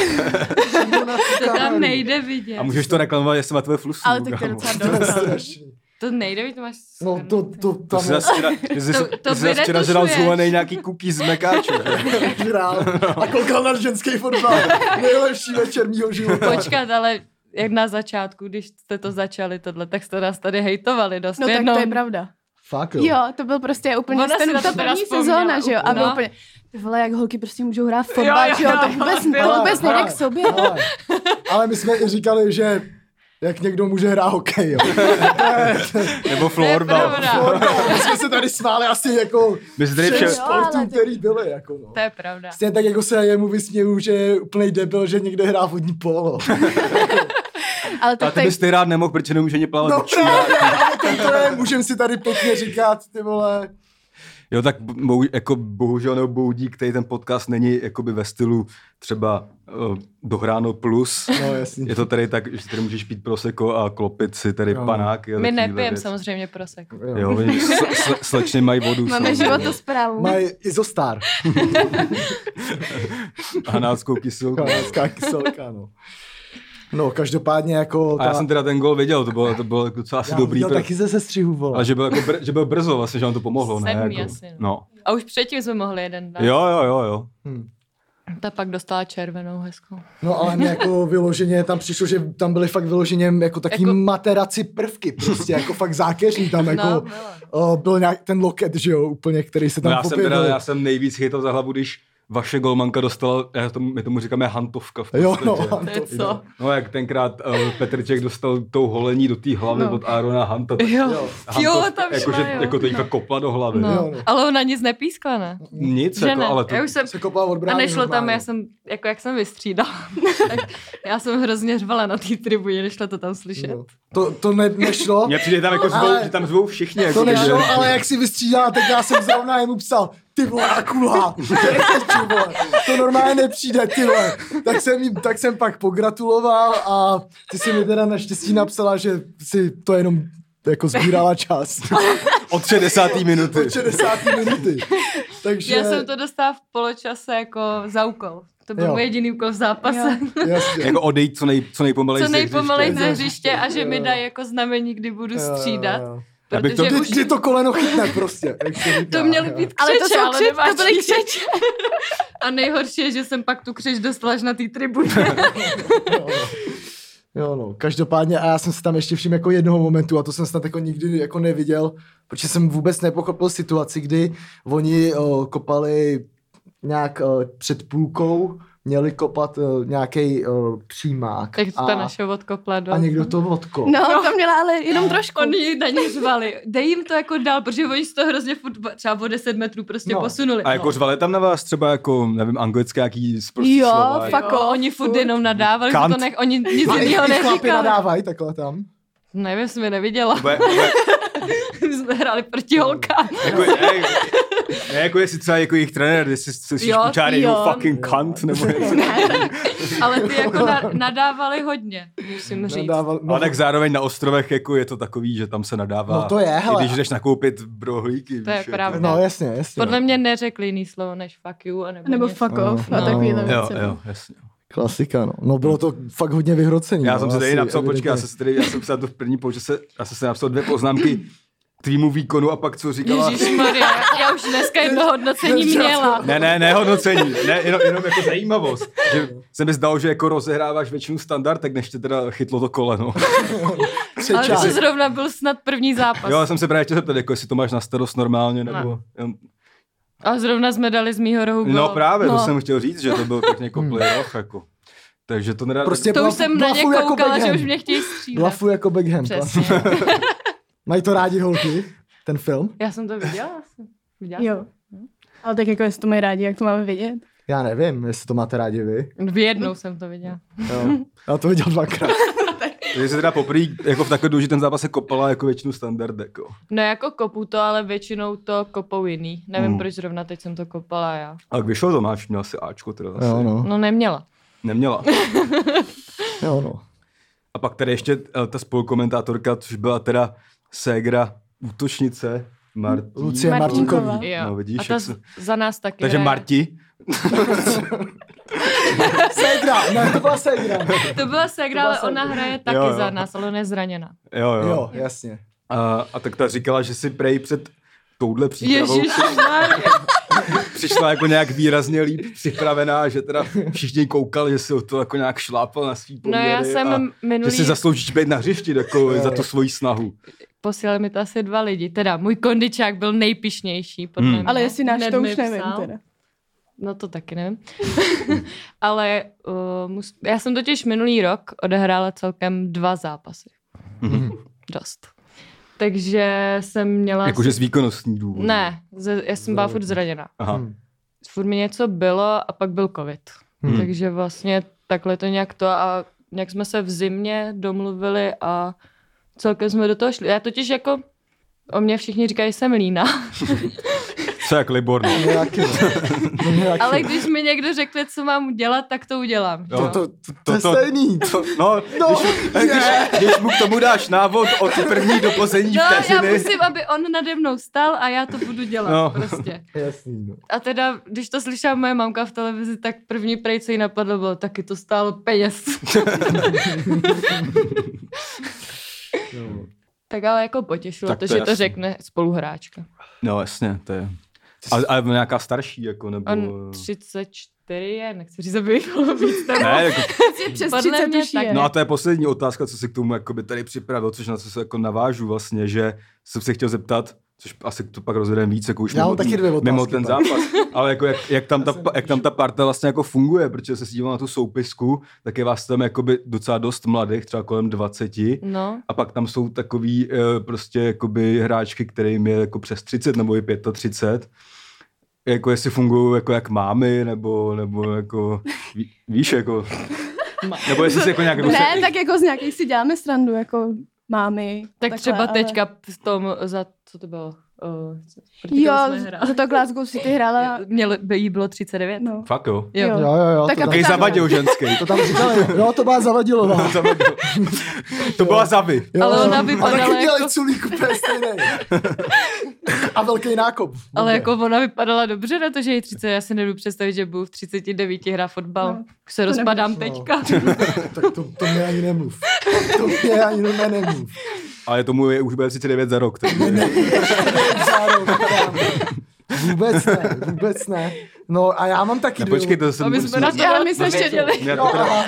[SPEAKER 1] Přímo na tu
[SPEAKER 3] To
[SPEAKER 1] kameru.
[SPEAKER 3] tam nejde vidět.
[SPEAKER 2] a můžeš to reklamovat, jestli má tvoje flusu.
[SPEAKER 5] Ale tak to je docela
[SPEAKER 1] To je
[SPEAKER 5] dobré.
[SPEAKER 1] strašný.
[SPEAKER 3] To nejde vidět, to máš...
[SPEAKER 1] No to, to
[SPEAKER 2] To
[SPEAKER 1] tam
[SPEAKER 2] jsi zase včera, ty jsi,
[SPEAKER 3] To- to
[SPEAKER 2] ty jsi zase
[SPEAKER 3] vy
[SPEAKER 2] včera žral
[SPEAKER 3] netušuješ.
[SPEAKER 2] zvolený nějaký cookies z mekáču.
[SPEAKER 1] hrál
[SPEAKER 2] No.
[SPEAKER 1] a koukal na ženský fotbal. Nejlepší večer mýho života.
[SPEAKER 3] Počkat, ale jak na začátku, když jste to začali tohle, tak jste nás tady hejtovali dost.
[SPEAKER 5] No tak
[SPEAKER 3] Jednou-
[SPEAKER 5] to je pravda.
[SPEAKER 1] Fakt
[SPEAKER 5] Jo, to byl prostě úplně
[SPEAKER 3] Ona si
[SPEAKER 5] ten,
[SPEAKER 3] na to
[SPEAKER 5] ta
[SPEAKER 3] teda
[SPEAKER 5] první
[SPEAKER 3] vzpomněla
[SPEAKER 5] sezóna, že jo? A
[SPEAKER 3] úplně.
[SPEAKER 5] byl
[SPEAKER 3] No.
[SPEAKER 5] úplně, ty vole, jak holky prostě můžou hrát fotbal,
[SPEAKER 3] Jo,
[SPEAKER 5] že jo?
[SPEAKER 3] jo,
[SPEAKER 5] To
[SPEAKER 3] jo,
[SPEAKER 5] vůbec,
[SPEAKER 3] bylo,
[SPEAKER 5] to vůbec nejde
[SPEAKER 1] ale-
[SPEAKER 5] k sobě.
[SPEAKER 1] Ale, ale my jsme i říkali, že jak někdo může hrát hokej, jo.
[SPEAKER 2] Nebo
[SPEAKER 3] To je
[SPEAKER 2] florbal.
[SPEAKER 3] pravda.
[SPEAKER 1] Fotbal, my jsme se tady smáli asi jako
[SPEAKER 2] My jsme tady
[SPEAKER 1] všem
[SPEAKER 2] včera-
[SPEAKER 5] Jo, ale
[SPEAKER 1] sportům,
[SPEAKER 5] ty-
[SPEAKER 1] který byly, jako no.
[SPEAKER 3] To je pravda.
[SPEAKER 1] Stejně tak jako se jemu vysměju, že je úplnej debil, že někde hrá vodní polo.
[SPEAKER 5] Ale
[SPEAKER 2] A
[SPEAKER 5] tak
[SPEAKER 2] ty
[SPEAKER 5] tady,
[SPEAKER 2] bys ty rád nemohl, protože nemůže ani
[SPEAKER 1] No
[SPEAKER 2] plavat.
[SPEAKER 1] právě, ale to, to je, můžem si tady pěkně říkat, ty vole.
[SPEAKER 2] Jo, tak bo, jako bohužel nebo boudí, který ten podcast není jakoby ve stylu třeba uh, dohráno plus.
[SPEAKER 1] No jasně.
[SPEAKER 2] Je to tady tak, že tady můžeš pít proseko a klopit si tady
[SPEAKER 1] Jo.
[SPEAKER 2] panáky. a
[SPEAKER 3] My
[SPEAKER 2] takovýhle
[SPEAKER 3] nepijeme
[SPEAKER 2] věci.
[SPEAKER 3] samozřejmě prosek.
[SPEAKER 2] Jo, oni s, s, slečny mají vodu.
[SPEAKER 5] máme
[SPEAKER 2] samozřejmě.
[SPEAKER 5] životosprávu.
[SPEAKER 1] Mají izostar.
[SPEAKER 2] Hanáckou kyselku.
[SPEAKER 1] Kanelská kyselka, no. No, každopádně jako...
[SPEAKER 2] A já jsem teda ten gol viděl, to bylo, to bylo jako docela asi
[SPEAKER 1] já
[SPEAKER 2] dobrý.
[SPEAKER 1] viděl
[SPEAKER 2] Pro...
[SPEAKER 1] taky ze sestřihu, vole.
[SPEAKER 2] Ale že byl, jako br- že byl brzo vlastně, že nám to pomohlo. Ne?
[SPEAKER 3] Sedmý
[SPEAKER 2] Jako,
[SPEAKER 3] asi,
[SPEAKER 2] no.
[SPEAKER 3] A už předtím jsme mohli jeden dát.
[SPEAKER 2] Jo, jo, jo, jo.
[SPEAKER 1] Hm.
[SPEAKER 3] Ta pak dostala červenou hezkou.
[SPEAKER 1] No ale mě jako vyloženě tam přišlo, že tam byly fakt vyloženě jako takový
[SPEAKER 3] Jako-
[SPEAKER 1] jako... materaci prvky, prostě jako fakt zákeřní tam jako...
[SPEAKER 3] No,
[SPEAKER 1] No.
[SPEAKER 3] byla.
[SPEAKER 1] O, byl nějak ten loket, že jo, úplně, který se
[SPEAKER 2] No
[SPEAKER 1] tam
[SPEAKER 2] já, jsem
[SPEAKER 1] objevil.
[SPEAKER 2] teda, já jsem nejvíc chytal za hlavu, když vaše golmanka dostala, já tomu, my tomu říkáme hantovka v
[SPEAKER 1] Jo,
[SPEAKER 2] podstatě.
[SPEAKER 1] no.
[SPEAKER 3] To je co?
[SPEAKER 2] No jak tenkrát uh, Petrček dostal tou holení do té hlavy no.
[SPEAKER 5] No.
[SPEAKER 2] od Arona Hanta. tak-
[SPEAKER 3] Jo,
[SPEAKER 2] Hantov-
[SPEAKER 3] jo tam
[SPEAKER 2] jako,
[SPEAKER 3] šla,
[SPEAKER 2] že,
[SPEAKER 3] jo.
[SPEAKER 2] jako to jí fakt kopla do hlavy.
[SPEAKER 3] No.
[SPEAKER 1] Jo, no.
[SPEAKER 3] Ale ona nic nepískla, ne?
[SPEAKER 2] Nic,
[SPEAKER 3] Že
[SPEAKER 2] jako,
[SPEAKER 3] ne?
[SPEAKER 2] ale to,
[SPEAKER 3] Já už jsem
[SPEAKER 1] Se kopal od
[SPEAKER 3] A
[SPEAKER 1] brány
[SPEAKER 3] nešlo tam,
[SPEAKER 1] normálně.
[SPEAKER 3] já jsem, jako jak jsem vystřídala. tak já jsem hrozně řvala na té tribuně, nešlo to tam slyšet.
[SPEAKER 1] No. To, to ne, nešlo,
[SPEAKER 2] Mně přijde tam jako zvou,
[SPEAKER 1] Ale-
[SPEAKER 2] že tam zvou všichni. Jako,
[SPEAKER 1] to
[SPEAKER 2] takže-
[SPEAKER 1] nešlo, ale jak si vystřídala, tak já jsem zrovna jemu psal, ty vole, a kulha, Ty vole, to normálně nepřijde, ty vole. Tak jsem, jim, tak jsem pak pogratuloval a ty si mi teda naštěstí napsala, že si to jenom jako sbírala čas.
[SPEAKER 2] Od 60. minuty.
[SPEAKER 1] Od 60. minuty. Takže...
[SPEAKER 3] Já jsem to dostala v poločase jako za úkol. To byl
[SPEAKER 1] Jo.
[SPEAKER 3] můj jediný úkol v zápase.
[SPEAKER 5] Jo.
[SPEAKER 1] Jasně.
[SPEAKER 2] Jako odejít co, nej, co nejpomalej.
[SPEAKER 3] co
[SPEAKER 2] z těch
[SPEAKER 3] nejpomalej
[SPEAKER 2] hřiště.
[SPEAKER 3] ze hřiště a že mi
[SPEAKER 1] Jo.
[SPEAKER 3] dají jako znamení, kdy budu střídat.
[SPEAKER 1] Jo, jo, jo.
[SPEAKER 2] Já bych to-
[SPEAKER 3] Protože
[SPEAKER 1] Kdy,
[SPEAKER 3] už
[SPEAKER 1] kdy to koleno chytne prostě. jak se říká,
[SPEAKER 3] to měly
[SPEAKER 1] jo.
[SPEAKER 3] být
[SPEAKER 5] Ale to
[SPEAKER 3] křeče,
[SPEAKER 5] jsou
[SPEAKER 3] ale
[SPEAKER 5] křeč, to
[SPEAKER 3] nemáš
[SPEAKER 5] byly
[SPEAKER 3] křeče.
[SPEAKER 5] křeč.
[SPEAKER 3] A nejhorší je, že jsem pak tu křeč dostala až na té tribuně.
[SPEAKER 1] Jo, no. Jo, no. Každopádně a já jsem se tam ještě všiml jako jednoho momentu a to jsem snad jako nikdy jako neviděl, protože jsem vůbec nepochopil situaci, kdy oni o, kopali nějak o, před půlkou, měli kopat nějaký přímák.
[SPEAKER 3] tak to
[SPEAKER 1] a,
[SPEAKER 3] ta naše odkopla do...
[SPEAKER 1] a někdo to vodko.
[SPEAKER 5] No, to měla ale jenom trošku.
[SPEAKER 3] Oni na ně řvali. Dej jim to jako dál, protože oni si to hrozně furt, třeba o 10 metrů prostě
[SPEAKER 1] No.
[SPEAKER 3] posunuli.
[SPEAKER 2] A jako řvali tam na vás třeba jako, nevím, anglické jaký prostě
[SPEAKER 5] Jo,
[SPEAKER 2] slova.
[SPEAKER 5] fakt.
[SPEAKER 3] Fakt, jo, oni furt jenom nadávali, že
[SPEAKER 2] Kant.
[SPEAKER 3] to nech, oni nic
[SPEAKER 1] A i,
[SPEAKER 3] jiného
[SPEAKER 1] i chlapi
[SPEAKER 3] neříkali.
[SPEAKER 1] nadávají takhle tam.
[SPEAKER 3] Nevím, jsem je neviděla.
[SPEAKER 2] Jako, je- No.
[SPEAKER 3] My jsme hráli proti holkám.
[SPEAKER 2] jako, je- Ne, jako jestli třeba jako jejich trenér, jestli jsi
[SPEAKER 3] Jo,
[SPEAKER 2] škučáry,
[SPEAKER 3] jo.
[SPEAKER 2] jo, fucking cunt, nebo něco.
[SPEAKER 3] Ne, tak, ale ty jako na, nadávali hodně, musím říct.
[SPEAKER 1] Nadával-
[SPEAKER 2] No. Ale tak zároveň na ostrovech jako je to takový, že tam se nadává.
[SPEAKER 1] No to je, hele.
[SPEAKER 2] I když jdeš nakoupit brohlíky.
[SPEAKER 3] To je
[SPEAKER 2] víš, jako.
[SPEAKER 3] pravda.
[SPEAKER 1] No jasně, jasně.
[SPEAKER 3] Podle mě neřekli jiný slovo než fuck you, anebo
[SPEAKER 5] Nebo
[SPEAKER 3] něco.
[SPEAKER 5] fuck off a
[SPEAKER 3] No.
[SPEAKER 5] takovýhle
[SPEAKER 2] Jako. Jo,
[SPEAKER 5] věci. no.
[SPEAKER 2] jo, jasně.
[SPEAKER 1] Klasika, no. No bylo to fakt hodně vyhrocení.
[SPEAKER 2] Já
[SPEAKER 1] no,
[SPEAKER 2] jsem se tady
[SPEAKER 1] asi,
[SPEAKER 2] napsal, počkej, já
[SPEAKER 1] evidentně.
[SPEAKER 2] jsem se tady, já jsem psal to v první poločase, já jsem se napsal dvě poznámky k tvýmu výkonu a pak co říkala.
[SPEAKER 3] Ježišmarja, já už dneska jedno hodnocení měla.
[SPEAKER 2] Ne, ne, ne hodnocení, ne, jenom, jenom jako zajímavost. Že se mi zdalo, že jako rozehráváš většinu standard, tak než tě teda chytlo to no. koleno.
[SPEAKER 3] Ale to
[SPEAKER 1] Přečást.
[SPEAKER 3] zrovna byl snad první zápas.
[SPEAKER 2] Jo, já jsem se právě chtěl zeptat, jako jestli to máš na starost normálně, nebo... Ne.
[SPEAKER 3] A zrovna jsme dali z mýho rohu
[SPEAKER 2] No
[SPEAKER 3] gól.
[SPEAKER 2] právě,
[SPEAKER 3] no.
[SPEAKER 2] to jsem chtěl říct, že to byl tak jako playoff, jako. Takže to nedá...
[SPEAKER 1] Hmm. Prostě
[SPEAKER 3] To
[SPEAKER 1] blaf-
[SPEAKER 3] už jsem na ně
[SPEAKER 1] blafuju jako
[SPEAKER 3] koukala, že
[SPEAKER 1] Beckham.
[SPEAKER 3] už mě chtějí střílet.
[SPEAKER 1] Blafu jako Beckham.
[SPEAKER 3] Přesně.
[SPEAKER 1] Mají to rádi holky, ten film?
[SPEAKER 3] Já jsem to viděla. jsem- Viděla
[SPEAKER 5] Jo. Ale tak jako jestli to mají rádi, jak to máme vědět.
[SPEAKER 3] No.
[SPEAKER 1] Já nevím, jestli to máte rádi vy.
[SPEAKER 3] jsem. V jednou jsem to viděla.
[SPEAKER 1] Jo. Já to viděl dvakrát.
[SPEAKER 2] Takže se teda poprvé jako v takhle důležitém zápase kopala jako většinu standard, jako.
[SPEAKER 3] No jako kopu to, ale většinou to kopou jiný. Nevím,
[SPEAKER 2] Hmm.
[SPEAKER 3] proč zrovna teď jsem to kopala já.
[SPEAKER 2] A jak vyšel Tomáš, měl si Ačko teda zase.
[SPEAKER 1] Jo, no.
[SPEAKER 3] No neměla.
[SPEAKER 2] Neměla.
[SPEAKER 1] Jo, no.
[SPEAKER 2] A pak tady ještě eh, ta spolukomentátorka, což byla teda ségra útočnice Martí.
[SPEAKER 1] Lucie
[SPEAKER 5] Martinková.
[SPEAKER 1] Martinková.
[SPEAKER 3] Jo.
[SPEAKER 2] No, vidíš,
[SPEAKER 3] A
[SPEAKER 2] jak
[SPEAKER 3] ta
[SPEAKER 2] se-
[SPEAKER 3] z- za nás taky
[SPEAKER 2] Takže
[SPEAKER 3] hraje.
[SPEAKER 2] Marti.
[SPEAKER 1] Segra, ne, to byla Segra.
[SPEAKER 3] To byla Segra,
[SPEAKER 1] To byla
[SPEAKER 3] ale ona
[SPEAKER 1] Segra.
[SPEAKER 3] hraje taky
[SPEAKER 2] Jo, jo.
[SPEAKER 3] za nás, ale ona je zraněna.
[SPEAKER 2] Jo, jo.
[SPEAKER 1] Jo, jasně.
[SPEAKER 2] A, a tak ta říkala, že si prej před touhle přípravou
[SPEAKER 3] Ježíš,
[SPEAKER 2] přišla jako nějak výrazně líp připravená, že teda všichni koukali, že si o to jako nějak šlápal na svý
[SPEAKER 3] No
[SPEAKER 2] poměry.
[SPEAKER 3] já jsem
[SPEAKER 2] a, že
[SPEAKER 3] minulý...
[SPEAKER 2] si zasloužíš být na hřišti jako,
[SPEAKER 1] Jo.
[SPEAKER 2] za tu svoji snahu.
[SPEAKER 3] Posílali mi to asi dva lidi. Teda můj kondičák byl nejpišnější. Podle
[SPEAKER 2] Hmm.
[SPEAKER 3] mě.
[SPEAKER 5] Ale jestli náš
[SPEAKER 3] Hned
[SPEAKER 5] to
[SPEAKER 3] mi
[SPEAKER 5] už nevím
[SPEAKER 3] psal.
[SPEAKER 5] teda.
[SPEAKER 3] No to taky nevím. Ale uh, mus... já jsem totiž minulý rok odehrála celkem dva zápasy.
[SPEAKER 2] Mhm.
[SPEAKER 3] Dost. Takže jsem měla...
[SPEAKER 2] Jakože z výkonnostní důvod.
[SPEAKER 3] No, Ne, ze, já jsem byla furt zraněna.
[SPEAKER 2] Aha.
[SPEAKER 1] Hm.
[SPEAKER 3] Furt mi něco bylo a pak byl covid.
[SPEAKER 2] Hmm.
[SPEAKER 3] Takže vlastně takhle to nějak to a nějak jsme se v zimě domluvili a celkem jsme do toho šli. Já totiž jako o mě všichni říkají, že jsem lína,
[SPEAKER 2] Co jak Libor, no.
[SPEAKER 1] No Nějaký, no nějaký.
[SPEAKER 3] ale když mi někdo řekne, co mám udělat, tak to udělám. že
[SPEAKER 2] Jo,
[SPEAKER 3] jo?
[SPEAKER 1] to, to, to, to
[SPEAKER 2] To-
[SPEAKER 1] je
[SPEAKER 2] to-
[SPEAKER 1] stejný.
[SPEAKER 2] To, no,
[SPEAKER 1] No,
[SPEAKER 2] když, když, když mu k tomu dáš návod od první do poslední
[SPEAKER 3] No, já
[SPEAKER 2] vteřiny.
[SPEAKER 3] musím, aby on nade mnou stál a já to budu dělat no.
[SPEAKER 2] No.
[SPEAKER 3] prostě.
[SPEAKER 1] Jasný, no.
[SPEAKER 3] A teda, když to slyšela moje mamka v televizi, tak první prej, co jí napadlo, bylo, taky to stálo peněz.
[SPEAKER 1] Jo.
[SPEAKER 3] tak ale jako potěšilo
[SPEAKER 2] Tak
[SPEAKER 3] to,
[SPEAKER 2] to
[SPEAKER 3] že to
[SPEAKER 2] jasný.
[SPEAKER 3] řekne spoluhráčka.
[SPEAKER 2] No, jasně, to je. A, a nějaká starší, jako, nebo...
[SPEAKER 3] On 34 je, nechci říct, aby jich bylo víc. Nebo...
[SPEAKER 2] Ne, jako,
[SPEAKER 5] Přes
[SPEAKER 3] Podle
[SPEAKER 5] 30
[SPEAKER 3] mě
[SPEAKER 5] už
[SPEAKER 3] tak.
[SPEAKER 5] je.
[SPEAKER 2] no a to je poslední otázka, co si k tomu jakoby, tady připravil, což na co se jako navážu vlastně, že jsem se chtěl zeptat, což asi to pak rozvedeme víc, jako už
[SPEAKER 1] Já mám taky dvě otázky,
[SPEAKER 2] mimo ten
[SPEAKER 1] pak.
[SPEAKER 2] zápas, ale jako jak, jak, tam
[SPEAKER 1] Já
[SPEAKER 2] ta,
[SPEAKER 1] jsem
[SPEAKER 2] pa- jak tam ta parta vlastně jako funguje, protože se díval na tu soupisku, tak je vás tam jakoby docela dost mladých, třeba kolem 20,
[SPEAKER 3] No,
[SPEAKER 2] a pak tam jsou takový eh, prostě jakoby hráčky, kterým je jako přes 30 nebo je 35. Jako jestli fungují jako jak mámy, nebo, nebo jako, ví, víš, jako... Nebo jestli se jako nějak...
[SPEAKER 5] Ne, tak jako z nějakých si děláme srandu, jako mámy.
[SPEAKER 3] tak
[SPEAKER 5] takhle,
[SPEAKER 3] třeba
[SPEAKER 5] ale-
[SPEAKER 3] teďka v tom, za, co to bylo? Uh,
[SPEAKER 5] Jo, za to Glasgow City hrála.
[SPEAKER 3] Mělo, by jí bylo 39.
[SPEAKER 5] No.
[SPEAKER 2] Fakt jo.
[SPEAKER 3] Jo.
[SPEAKER 1] Jo, jo, jo.
[SPEAKER 5] Tak
[SPEAKER 1] to
[SPEAKER 5] a
[SPEAKER 1] tam-
[SPEAKER 2] Takový
[SPEAKER 5] tak-
[SPEAKER 2] zavadil ženský.
[SPEAKER 1] To tam říkali. Jo, to byla zavadilová.
[SPEAKER 2] Zavadil. to byla zavy.
[SPEAKER 1] Jo,
[SPEAKER 3] Ale
[SPEAKER 1] jo.
[SPEAKER 3] ona vypadala
[SPEAKER 1] A taky dělají
[SPEAKER 3] jako-
[SPEAKER 1] culíku, to je stejný. A velký nákop.
[SPEAKER 3] Ale
[SPEAKER 1] Dobře.
[SPEAKER 3] jako ona vypadala dobře na to, že je 30, já si nedu představit, že budu v 39 hrát fotbal.
[SPEAKER 5] No,
[SPEAKER 3] Už se rozpadám
[SPEAKER 1] nebudu.
[SPEAKER 3] teďka.
[SPEAKER 1] Tak to, to mě ani nemluv. To mě ani ne, nemluv.
[SPEAKER 2] Ale tomu je už bude 39 za rok. takže-
[SPEAKER 1] Zároveň, kámo. Vůbec ne, vůbec ne. No a já mám taky
[SPEAKER 2] Ne,
[SPEAKER 1] dvě...
[SPEAKER 2] počkej, to
[SPEAKER 3] A
[SPEAKER 2] jsem...
[SPEAKER 3] my jsme na to
[SPEAKER 5] Ale my jsme
[SPEAKER 3] dali-
[SPEAKER 5] ještě dělali.
[SPEAKER 2] Já to
[SPEAKER 1] No,
[SPEAKER 2] teda,
[SPEAKER 1] aha.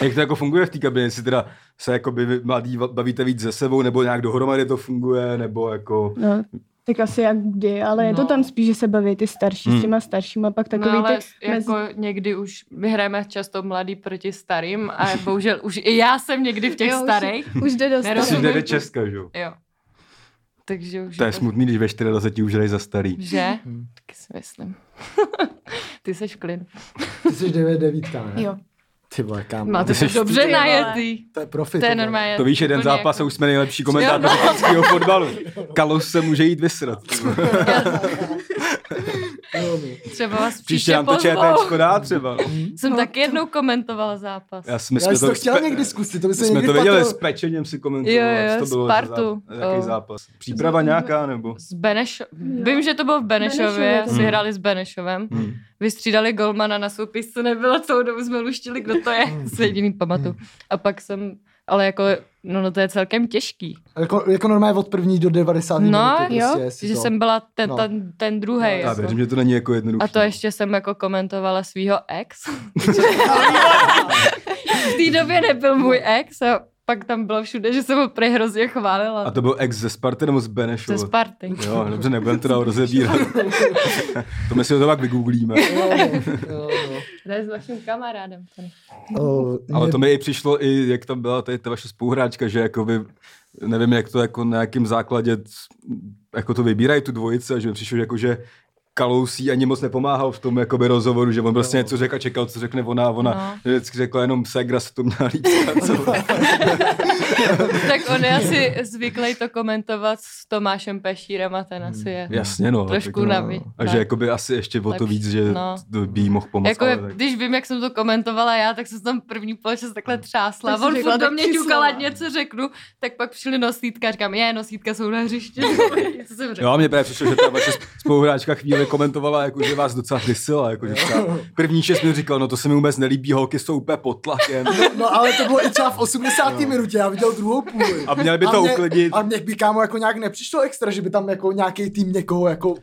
[SPEAKER 2] jak to jako funguje v té kabině, jestli teda se jako by mladí va- bavíte víc ze sebou, nebo nějak dohromady to funguje, nebo jako...
[SPEAKER 5] No, tak asi jak kdy, ale je
[SPEAKER 3] No.
[SPEAKER 5] to tam spíš, že se baví ty starší
[SPEAKER 2] Hmm.
[SPEAKER 5] s těma staršíma, pak
[SPEAKER 3] No
[SPEAKER 5] takový
[SPEAKER 3] ale
[SPEAKER 5] ty...
[SPEAKER 3] jako někdy už, my hrajeme často mladý proti starým a bohužel už i já jsem někdy v těch
[SPEAKER 5] Jo, už-
[SPEAKER 3] starých.
[SPEAKER 5] Už jde do
[SPEAKER 3] Nerozumím.
[SPEAKER 5] starých.
[SPEAKER 2] 39 Česka, že jo?
[SPEAKER 3] Jo. Takže už
[SPEAKER 2] To je smutný, když ve 24 už jdeš za starý.
[SPEAKER 3] Že? Taky si myslím. Ty seš klin.
[SPEAKER 1] Ty jsi 9 devítka, ne?
[SPEAKER 5] Jo.
[SPEAKER 1] Ty vole, kámo.
[SPEAKER 3] Máte to
[SPEAKER 2] Jsi-
[SPEAKER 3] dobře
[SPEAKER 5] Ty vole.
[SPEAKER 3] najetý.
[SPEAKER 1] To je profit.
[SPEAKER 3] To je normálně.
[SPEAKER 2] To víš, jeden
[SPEAKER 3] úplně
[SPEAKER 2] zápas a
[SPEAKER 3] jako-
[SPEAKER 2] už jsme nejlepší komentátor
[SPEAKER 3] no.
[SPEAKER 2] českého fotbalu. Kalos se může jít vysrat.
[SPEAKER 3] jako Třeba vás
[SPEAKER 2] Příště
[SPEAKER 3] příště
[SPEAKER 2] nám to ČT
[SPEAKER 3] pozvou.
[SPEAKER 2] dá třeba. no.
[SPEAKER 3] Jsem taky jednou komentovala zápas.
[SPEAKER 2] Já, s- my
[SPEAKER 1] Já
[SPEAKER 2] jsme
[SPEAKER 1] jsem to chtěl
[SPEAKER 2] spe-
[SPEAKER 1] někdy zkusit, to by
[SPEAKER 2] My
[SPEAKER 1] se
[SPEAKER 2] jsme
[SPEAKER 1] někdy
[SPEAKER 2] to viděli s
[SPEAKER 1] patřilo.
[SPEAKER 2] Pečeněm si komentovali.
[SPEAKER 3] Jo, jo,
[SPEAKER 2] co to bylo za
[SPEAKER 3] Spartu.
[SPEAKER 2] záp- Jaký
[SPEAKER 3] Jo.
[SPEAKER 2] zápas? Příprava nějaká nebo?
[SPEAKER 3] Z Beneš... Vím, že to bylo v Benešově,
[SPEAKER 5] Benešově
[SPEAKER 3] asi
[SPEAKER 5] to
[SPEAKER 3] si
[SPEAKER 2] bylo.
[SPEAKER 3] hrali s Benešovem.
[SPEAKER 2] Hmm.
[SPEAKER 3] Vystřídali golmana na soupisce, nebyla celou dobu, jsme luštili, kdo to je, se jediný pamatu. A pak jsem, ale jako, no, no to je celkem těžký.
[SPEAKER 1] Jako, jako normálně od první do 90.
[SPEAKER 3] No,
[SPEAKER 1] minuty,
[SPEAKER 5] jo,
[SPEAKER 1] prostě, jestli
[SPEAKER 3] Že
[SPEAKER 1] to-
[SPEAKER 3] jsem byla ten,
[SPEAKER 1] No.
[SPEAKER 3] ten, ten druhý.
[SPEAKER 1] No,
[SPEAKER 2] Já
[SPEAKER 3] jako.
[SPEAKER 2] věřím, že to není jako jednoduché.
[SPEAKER 3] A to ještě jsem jako komentovala svého ex. v té době nebyl můj ex a pak tam bylo všude, že jsem ho prej hrozně chválila.
[SPEAKER 2] A to byl ex ze Sparty nebo z Benešova?
[SPEAKER 3] ze Sparty.
[SPEAKER 2] Jo, dobře, nebudeme to dál rozebírat. to my si to pak vygooglíme.
[SPEAKER 1] Jo, jo, jo.
[SPEAKER 3] To je s vaším kamarádem. Tady.
[SPEAKER 1] O,
[SPEAKER 2] Ale
[SPEAKER 1] mě-
[SPEAKER 2] to mi i přišlo, i jak tam byla tady ta vaše spouhráčka, že jako vy, nevím, jak to jako na nějakém základě, jako to vybírají tu dvojici, a že mi přišlo, že jako, že Kalous jí ani moc nepomáhal v tom jakoby, rozhovoru, že on prostě něco řekl a čekal, co řekne ona a ona no. vždycky řekla jenom Segra se to měla líp. zkracovat."
[SPEAKER 3] tak on je asi zvyklý to komentovat s Tomášem Pešírem a ten asi je.
[SPEAKER 2] Jasně, no.
[SPEAKER 3] Trošku
[SPEAKER 2] Hmm. tak, no.
[SPEAKER 3] navi-
[SPEAKER 2] A že jakoby asi ještě o to
[SPEAKER 3] Lepší,
[SPEAKER 2] víc, že
[SPEAKER 3] no.
[SPEAKER 2] to by jí mohl pomoct.
[SPEAKER 3] Jako,
[SPEAKER 2] ale tak-
[SPEAKER 3] když vím, jak jsem to komentovala já, tak jsem tam první poločas takhle
[SPEAKER 2] Hmm.
[SPEAKER 3] třásla.
[SPEAKER 5] Tak jsi
[SPEAKER 3] On
[SPEAKER 5] řekla
[SPEAKER 3] furt do
[SPEAKER 5] tak
[SPEAKER 3] mě
[SPEAKER 5] tři
[SPEAKER 3] ťukal, ať
[SPEAKER 5] slova.
[SPEAKER 3] něco řeknu, tak pak přišly nosítka a říkám, je, nosítka jsou na hřišti. Co jsem řekla?
[SPEAKER 2] Jo, a mně právě přišlo, že ta vaše spoluhráčka chvíli komentovala, jako, že vás docela vysila. Jako, že třeba první šest mi říkal, no to se mi vůbec nelíbí, holky jsou úplně pod tlakem.
[SPEAKER 1] No ale to bylo i třeba v 80. minutě, já viděl druhou půli.
[SPEAKER 2] A měli by to
[SPEAKER 1] mě,
[SPEAKER 2] uklidit.
[SPEAKER 1] A mě by kámo jako nějak nepřišlo extra, že by tam jako nějaký tým někoho jako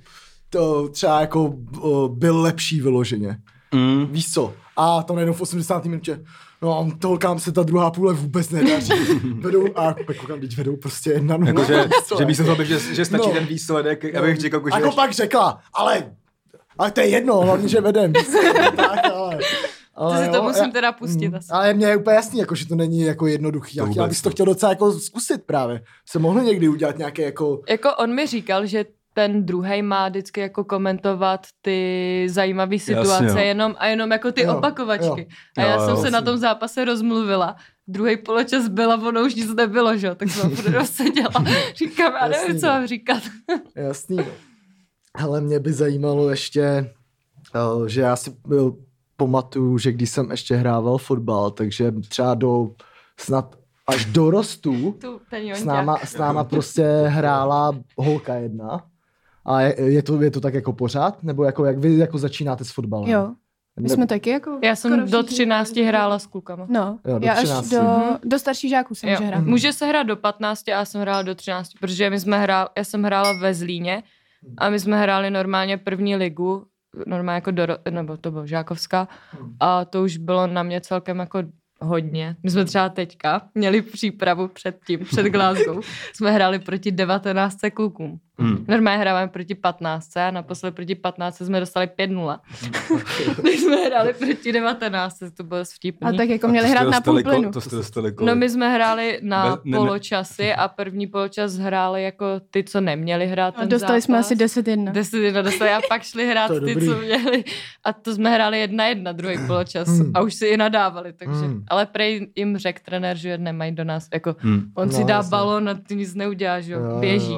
[SPEAKER 1] to třeba jako o, byl lepší vyloženě.
[SPEAKER 2] Mm.
[SPEAKER 1] Víš co? A to najednou v 80. minutě. No a to holkám se ta druhá půle vůbec nedaří. Vedou a pak koukám, teď vedou prostě jedna nula.
[SPEAKER 2] Jako, že,
[SPEAKER 1] Víš co,
[SPEAKER 2] že
[SPEAKER 1] jako?
[SPEAKER 2] místo toho, že, že stačí
[SPEAKER 1] No.
[SPEAKER 2] no. ten výsledek, abych říkal, jako, že...
[SPEAKER 1] Jako pak řekla, ale, ale to je jedno, hlavně, že vedem. víš co, tak, ale, ale
[SPEAKER 3] To si to
[SPEAKER 1] jo,
[SPEAKER 3] musím
[SPEAKER 1] já- Mm,
[SPEAKER 3] teda pustit asi.
[SPEAKER 1] Ale mě je úplně jasný, jako, že to není jako jednoduchý.
[SPEAKER 2] To
[SPEAKER 1] To já
[SPEAKER 2] vůbec
[SPEAKER 1] bych to
[SPEAKER 2] ne.
[SPEAKER 1] chtěl docela jako zkusit právě. Se mohl někdy udělat nějaké jako...
[SPEAKER 3] Jako on mi říkal, že ten druhý má vždycky jako komentovat ty zajímavé situace
[SPEAKER 2] jo.
[SPEAKER 3] jenom a jenom jako ty
[SPEAKER 1] Jo,
[SPEAKER 3] jo, opakovačky.
[SPEAKER 1] jo.
[SPEAKER 3] Jo. A já
[SPEAKER 2] Jo,
[SPEAKER 3] jsem
[SPEAKER 2] jo.
[SPEAKER 3] se na tom zápase rozmluvila. Druhý poločas byla, ono už nic nebylo, že? jo, tak jsem furt rozseděla. Říkám, já nevím,
[SPEAKER 1] Jasný,
[SPEAKER 3] co
[SPEAKER 1] jo.
[SPEAKER 3] mám říkat.
[SPEAKER 1] Jasný. no. Ale mě by zajímalo ještě, eh, že já si eh, pamatuju, že když jsem ještě hrával fotbal, takže třeba do snad až dorostu,
[SPEAKER 3] Tu, ten
[SPEAKER 1] s
[SPEAKER 3] Jonťák.
[SPEAKER 1] náma, s náma prostě hrála holka jedna. A je, je, to, je to tak jako pořád? Nebo jako, jak vy jako začínáte s fotbalem?
[SPEAKER 5] Jo,
[SPEAKER 1] Ne-
[SPEAKER 5] my jsme taky jako...
[SPEAKER 3] Já jsem
[SPEAKER 5] skoro
[SPEAKER 3] do
[SPEAKER 5] všichni.
[SPEAKER 3] 13 hrála s klukama.
[SPEAKER 5] No,
[SPEAKER 1] Jo, do
[SPEAKER 5] já až
[SPEAKER 1] 13.
[SPEAKER 5] do,
[SPEAKER 3] Mhm.
[SPEAKER 5] do starších žáků jsem
[SPEAKER 3] Jo. Mhm.
[SPEAKER 5] že hrát.
[SPEAKER 3] Může se hrát do 15 a já jsem hrála do 13, protože my jsme hrál, já jsem hrála ve Zlíně a my jsme hráli normálně první ligu, normálně jako do, nebo to bylo Žákovská a to už bylo na mě celkem jako hodně. My jsme třeba teďka měli přípravu před tím, před Glasgow. Jsme hráli proti 19 klukům.
[SPEAKER 2] Mm.
[SPEAKER 3] Normálně hráváme proti 15 a naposledy proti 15 jsme dostali 5-0. Když jsme hráli proti 19, to bylo vtipný.
[SPEAKER 5] A tak jako
[SPEAKER 2] A to
[SPEAKER 5] měli
[SPEAKER 2] jste
[SPEAKER 5] hrát na půl
[SPEAKER 2] dostali ko-
[SPEAKER 5] plynu.
[SPEAKER 2] To jste dostali kolik?
[SPEAKER 3] No my jsme hráli na
[SPEAKER 2] Bez- ne, ne.
[SPEAKER 3] poločasy a první poločas hráli jako ty, co neměli hrát
[SPEAKER 5] A
[SPEAKER 3] ten
[SPEAKER 5] No, dostali
[SPEAKER 3] zápas.
[SPEAKER 5] jsme asi 10-1.
[SPEAKER 3] 10 jedna dostali a pak šli hrát
[SPEAKER 1] To je
[SPEAKER 3] ty,
[SPEAKER 1] dobrý.
[SPEAKER 3] co měli. A to jsme hráli jedna jedna druhý poločas
[SPEAKER 1] Hmm.
[SPEAKER 3] a už si i nadávali, takže.
[SPEAKER 1] Hmm.
[SPEAKER 3] Ale prej jim řekl trenér, že nemají do nás, jako
[SPEAKER 2] Mm.
[SPEAKER 3] on si
[SPEAKER 1] No,
[SPEAKER 3] dá
[SPEAKER 1] jasně.
[SPEAKER 3] balón a ty nic neuděláš, jo, běží.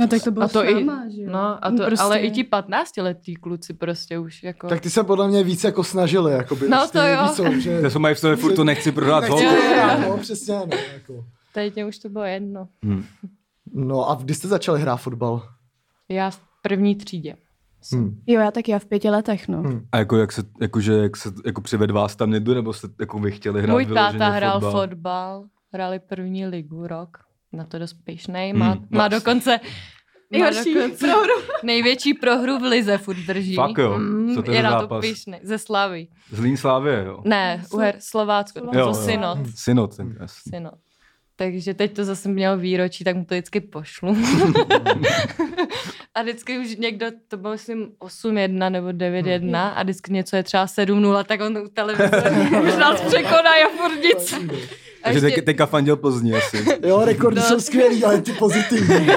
[SPEAKER 5] No tak to bylo
[SPEAKER 3] A to
[SPEAKER 5] s
[SPEAKER 3] i-
[SPEAKER 5] náma, že jo?
[SPEAKER 3] No a
[SPEAKER 5] No
[SPEAKER 3] to,
[SPEAKER 5] prostě.
[SPEAKER 3] ale i ti 15 letí kluci prostě už jako.
[SPEAKER 1] Tak ty se podle mě víc jako snažili, jakoby.
[SPEAKER 3] No,
[SPEAKER 1] už ty
[SPEAKER 3] to jo.
[SPEAKER 1] Víš, co, že...
[SPEAKER 2] To jsou mají v sobě furt, to nechci prohrát
[SPEAKER 3] Jako-
[SPEAKER 1] Nechci
[SPEAKER 2] holku.
[SPEAKER 1] to hrát, no, přesně, no, jako.
[SPEAKER 3] Teď mě už to bylo jedno.
[SPEAKER 2] Mm.
[SPEAKER 1] no a kdy jste začali hrát fotbal?
[SPEAKER 3] Já v první třídě.
[SPEAKER 1] Hmm.
[SPEAKER 5] Jo, já taky, já v pěti letech, no.
[SPEAKER 1] Hmm.
[SPEAKER 2] A jako, jak se, jakože, jak se jako přived vás tam někdo, nebo jste jako vy chtěli hrát
[SPEAKER 3] Můj
[SPEAKER 2] vyloženě
[SPEAKER 3] táta hrál
[SPEAKER 2] fotbal?
[SPEAKER 3] fotbal. hráli první ligu rok, na to dost pišnej,
[SPEAKER 2] Hmm,
[SPEAKER 3] má,
[SPEAKER 2] no.
[SPEAKER 3] má dokonce má
[SPEAKER 5] Nejhorší
[SPEAKER 3] dokonce největší prohru v lize furt drží.
[SPEAKER 2] Fakt jo?
[SPEAKER 3] Mm,
[SPEAKER 2] Co to je
[SPEAKER 3] je
[SPEAKER 2] za
[SPEAKER 3] na to
[SPEAKER 2] zápas?
[SPEAKER 3] pišnej, ze Slavy.
[SPEAKER 2] Zlín Slávě, jo?
[SPEAKER 3] Ne,
[SPEAKER 5] Co?
[SPEAKER 3] Uher, Slovácko,
[SPEAKER 5] Jo,
[SPEAKER 3] to
[SPEAKER 2] jo.
[SPEAKER 3] synot.
[SPEAKER 2] Synod, ten jasný.
[SPEAKER 3] synot. no. Takže teď to zase měl výročí, tak mu to vždycky pošlu. a vždycky už někdo, to bylo myslím 8-1 nebo 9-1 a vždycky něco je třeba 7-0, tak on u televize už nás překoná a furt nic. A
[SPEAKER 2] Takže
[SPEAKER 3] ještě-
[SPEAKER 2] te, teďka fandil pozdě asi.
[SPEAKER 1] Jo, rekordy
[SPEAKER 3] No.
[SPEAKER 1] jsou skvělý, ale ty pozitivní.